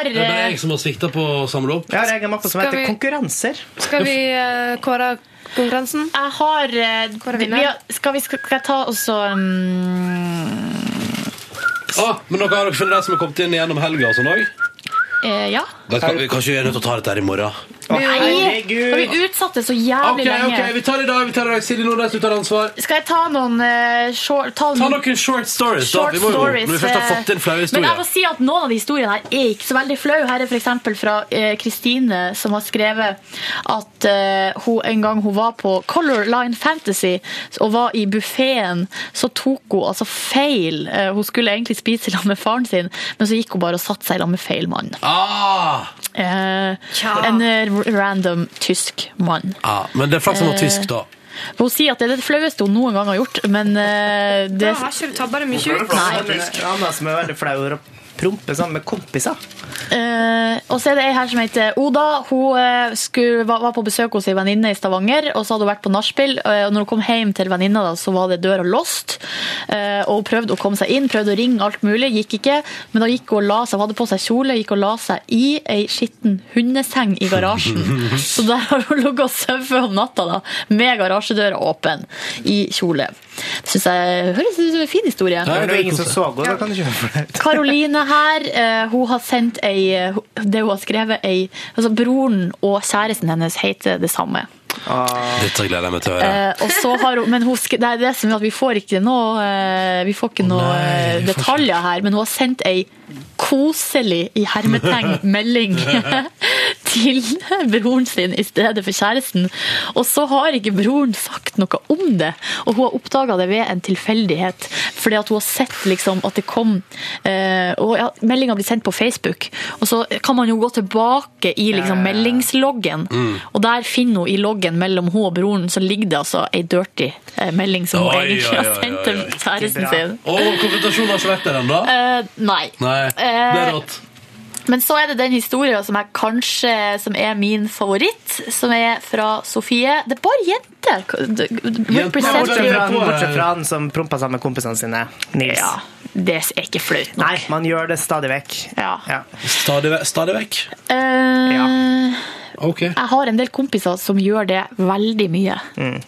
[SPEAKER 1] Er det
[SPEAKER 3] eh,
[SPEAKER 1] jeg som har svikta på å samle opp?
[SPEAKER 2] Jeg har egen mappe som
[SPEAKER 12] Skal
[SPEAKER 2] heter
[SPEAKER 12] vi-
[SPEAKER 2] Konkurranser.
[SPEAKER 12] Skal vi eh, kåre konkurransen?
[SPEAKER 3] Jeg har eh, vi, vi har- Skal vi skal jeg ta også um,
[SPEAKER 1] Ah, men dere har dere funnet de som har kommet inn gjennom helga og sånn òg?
[SPEAKER 3] eh, Ja?
[SPEAKER 1] Kanskje vi er nødt til å ta dette her i morgen?
[SPEAKER 3] Nei! Da vi utsatte så jævlig
[SPEAKER 1] Ok,
[SPEAKER 3] lenge.
[SPEAKER 1] ok, vi tar det i dag. vi tar det i dag Silje Nordnes, du tar ansvar.
[SPEAKER 3] Skal jeg ta noen eh, short, ta
[SPEAKER 1] Ta
[SPEAKER 3] noen-
[SPEAKER 1] noen short stories,
[SPEAKER 3] Short
[SPEAKER 1] da. Vi må jo,
[SPEAKER 3] stories,
[SPEAKER 1] når vi først har
[SPEAKER 3] eh,
[SPEAKER 1] fått inn flaue
[SPEAKER 3] Men jeg må
[SPEAKER 1] historier.
[SPEAKER 3] si at noen av de historiene her er ikke så veldig flau. Her er f.eks. fra eh, Kristine, som har skrevet at eh, hun en gang hun var på Color Line Fantasy og var i buffeen, så tok hun altså feil. Eh, hun skulle egentlig spise sammen med faren sin, men så gikk hun bare og satte seg sammen med feil mann.
[SPEAKER 1] Ah!
[SPEAKER 3] Eh, en eh, random tysk mann.
[SPEAKER 1] Ja, men det er flaks han var
[SPEAKER 3] Eh,
[SPEAKER 1] tysk, da.
[SPEAKER 3] Hun sier at det er det flaueste hun noen gang har gjort, men eh, det
[SPEAKER 12] Da har ikke du tabba det mye
[SPEAKER 2] Hvorfor er
[SPEAKER 12] ut.
[SPEAKER 2] det flaks at det er en annen som er veldig flau over å prompe sammen med kompiser.
[SPEAKER 3] Eh, og så er det ei her som heter Oda. Hun eh, skulle, var, var på besøk hos ei venninne i Stavanger, og så hadde hun vært på nachspiel. eh, Og når hun kom hjem til venninna, da, så var det døra låst. Eh, og hun prøvde å komme seg inn, prøvde å ringe alt mulig, gikk ikke. Men da gikk hun og la seg, hun hadde på seg kjole, gikk og la seg i ei skitten hundeseng i garasjen. Så der har hun ligget og sovet om natta, da, med garasjedøra åpen, i kjole. Det syns jeg høres ut som en fin historie.
[SPEAKER 2] Når det er ingen som så henne, da kan du ikke gjøre for det.
[SPEAKER 3] Karoline her, eh, hun har sendt ei, det hun har skrevet ei, altså Broren og kjæresten hennes heter det samme.
[SPEAKER 1] Dette gleder jeg meg til å høre.
[SPEAKER 3] Eh, og så har hun, men hun, sk- det er det som er at vi får ikke noe, eh, vi får ikke noe eh, detaljer her, men hun har sendt ei koselig i hermetegn melding til broren sin i stedet for kjæresten. Og så har ikke broren sagt noe om det, og hun har oppdaga det ved en tilfeldighet. Fordi at hun har sett liksom at det kom eh, og ja, Meldinga blir sendt på Facebook, og så kan man jo gå tilbake i liksom meldingsloggen.
[SPEAKER 1] Mm.
[SPEAKER 3] Og der finner hun i loggen mellom hun og broren, så ligger det altså ei dirty eh, melding som hun
[SPEAKER 1] Oi,
[SPEAKER 3] egentlig
[SPEAKER 1] oi,
[SPEAKER 3] har
[SPEAKER 1] oi,
[SPEAKER 3] sendt
[SPEAKER 1] oi,
[SPEAKER 3] til
[SPEAKER 1] oi.
[SPEAKER 3] kjæresten sin.
[SPEAKER 1] Og konfrontasjonen har ikke vært der ennå?
[SPEAKER 3] Eh, nei.
[SPEAKER 1] Nei. Det er rått.
[SPEAKER 3] Men så er det den historien som er kanskje som er min favoritt, som er fra Sofie. Det er bare jenter! Represent
[SPEAKER 2] Bortsett fra,
[SPEAKER 3] you.
[SPEAKER 2] bortsett fra han som prompa sammen med kompisene sine. Nils.
[SPEAKER 3] det er ikke flaut nok.
[SPEAKER 2] Nei, man gjør det stadig vekk. Ja.
[SPEAKER 1] Stadig, ve- stadig vekk.
[SPEAKER 3] Eh,
[SPEAKER 1] Ok.
[SPEAKER 3] Jeg har en del kompiser som gjør det veldig mye.
[SPEAKER 2] Mm.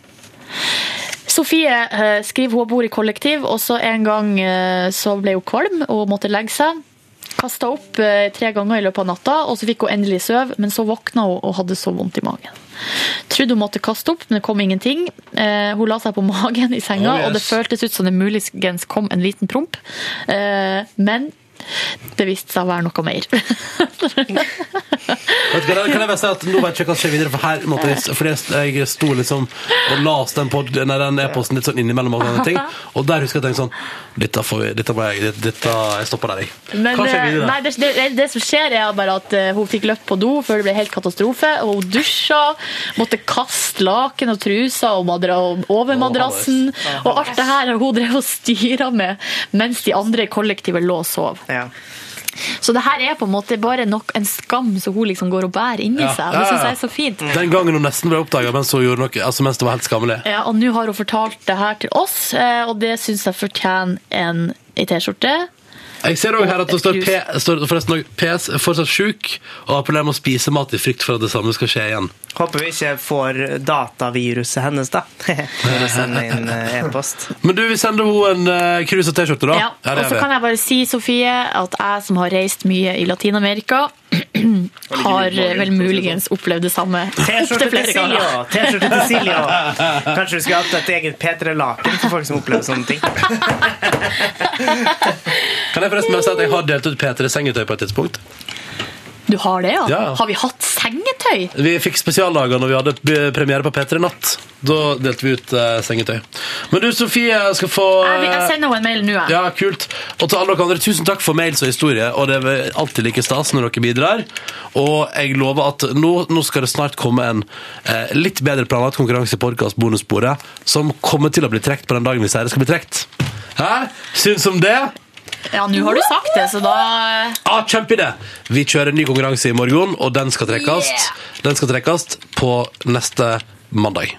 [SPEAKER 3] Sofie eh, skriver hun bor i kollektiv, og så en gang eh, så ble hun kvalm og måtte legge seg. Kasta opp eh, tre ganger i løpet av natta, og så fikk hun endelig sove, men så våkna hun og hadde så vondt i magen. Trodde hun måtte kaste opp, men det kom ingenting. Eh, hun la seg på magen i senga,
[SPEAKER 14] Oh, yes.
[SPEAKER 3] og det føltes ut som det muligens kom en liten promp. Eh, men det viste seg å være noe mer.
[SPEAKER 1] Vet du hva, kan jeg bare si at Nå vet jeg ikke hva som skjer videre, for her måtte jeg Fordi jeg- jeg sto liksom og las den pod- nei, den e-posten litt sånn innimellom. Og, sånne ting, og der husker jeg at jeg tenkte sånn Dette får vi, dette må jeg, dette, jeg stopper der, jeg.
[SPEAKER 3] Men
[SPEAKER 1] Hva skjer
[SPEAKER 3] eh,
[SPEAKER 1] videre?
[SPEAKER 3] nei, det, det, det som skjer, er bare at eh, hun fikk løpt på do før det ble helt katastrofe. Og hun dusja, måtte kaste laken og trusa og madra, og over madrassen. Og alt det her har hun drev og styra med mens de andre i kollektivet lå og sov. Så det her er på en måte bare nok en skam som hun liksom går og bærer inni
[SPEAKER 1] Ja.
[SPEAKER 3] seg. og Det
[SPEAKER 1] Ja,
[SPEAKER 3] syns
[SPEAKER 1] ja.
[SPEAKER 3] jeg er så fint.
[SPEAKER 1] Den gangen hun nesten ble oppdaga mens hun gjorde noe Altså mens det var helt skammelig.
[SPEAKER 3] Ja, og nå har hun fortalt det her til oss, eh, og det syns jeg fortjener en ei T-skjorte.
[SPEAKER 1] Jeg ser også her at det står, P, står forresten også PS fortsatt sjuk og har problemer med å spise mat i frykt for at det samme skal skje igjen.
[SPEAKER 2] Håper vi ikke får dataviruset hennes, da. Når du sender inn eh, e-post.
[SPEAKER 1] Men du, vi sender henne en eh, krus og T-skjorte, da.
[SPEAKER 3] Ja,
[SPEAKER 1] det
[SPEAKER 3] og
[SPEAKER 1] gjør
[SPEAKER 3] så
[SPEAKER 1] vi.
[SPEAKER 3] kan jeg bare si, Sofie, at jeg som har reist mye i Latin-Amerika, har
[SPEAKER 2] mye på magen,
[SPEAKER 3] vel muligens opplevd det samme
[SPEAKER 2] T-skjorte
[SPEAKER 3] opptil
[SPEAKER 2] til
[SPEAKER 3] flere
[SPEAKER 2] Silje!
[SPEAKER 3] ganger.
[SPEAKER 2] T-skjorte til Silje også. Kanskje du skulle hatt et eget P3-laken for folk som opplever sånne ting.
[SPEAKER 1] Kan jeg forresten bare si at jeg har delt ut P3 sengetøy på et tidspunkt?
[SPEAKER 3] Du har det, ja?
[SPEAKER 1] Ja, ja.
[SPEAKER 3] Har vi hatt sengetøy?
[SPEAKER 1] Vi fikk spesialdager når vi hadde p- premiere på P3 Natt. Da delte vi ut eh, sengetøy. Men du, Sofie, skal få
[SPEAKER 3] Jeg, vil- jeg
[SPEAKER 1] eh,
[SPEAKER 3] sender henne en mail nå, jeg.
[SPEAKER 1] Ja, kult. Og til alle dere andre, tusen takk for mails og historie, og det er alltid like stas når dere bidrar. Og jeg lover at nå, nå skal det snart komme en eh, litt bedre planlagt konkurranse i podcast bonussporet, som kommer til å bli trekt på den dagen vi sier det skal bli trekt. Hæ? Syns om det?
[SPEAKER 3] Ja, nå har du sagt det, så da
[SPEAKER 1] Ah, Kjempeidé! Vi kjører en ny konkurranse i morgen, og den skal trekkes, den skal trekkes på neste mandag.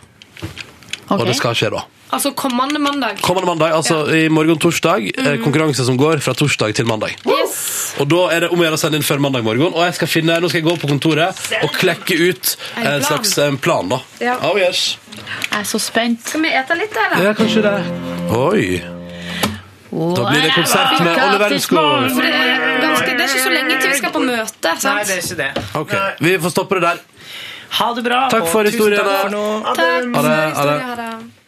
[SPEAKER 1] Og
[SPEAKER 12] Ok.
[SPEAKER 1] det skal skje da.
[SPEAKER 12] Altså kommende mandag.
[SPEAKER 1] Kommende mandag, altså i morgen torsdag, eh,
[SPEAKER 3] Mm.
[SPEAKER 1] konkurranse som går fra torsdag til mandag. Og da er det om å gjøre å sende inn før mandag morgen. Og jeg skal finne, nå skal jeg gå på kontoret og klekke ut
[SPEAKER 3] En
[SPEAKER 1] en
[SPEAKER 3] plan.
[SPEAKER 1] slags eh, plan, da.
[SPEAKER 3] Ja.
[SPEAKER 1] Oh yes.
[SPEAKER 3] Jeg er så spent. Skal vi ete litt, eller?
[SPEAKER 1] Ja, kanskje det. Oi. Da blir det konsert med Oliver Skål.
[SPEAKER 12] For det, er ganske, det er ikke så lenge til vi skal på møte. Sant?
[SPEAKER 2] Nei, det er ikke det.
[SPEAKER 1] Ok, vi får stoppe det der.
[SPEAKER 2] Ha det bra.
[SPEAKER 1] Takk for
[SPEAKER 2] og tusen
[SPEAKER 1] historiene.
[SPEAKER 2] takk for nå.
[SPEAKER 12] Takk
[SPEAKER 1] Ha det,
[SPEAKER 12] for
[SPEAKER 1] ha det.
[SPEAKER 12] historien. Ha det.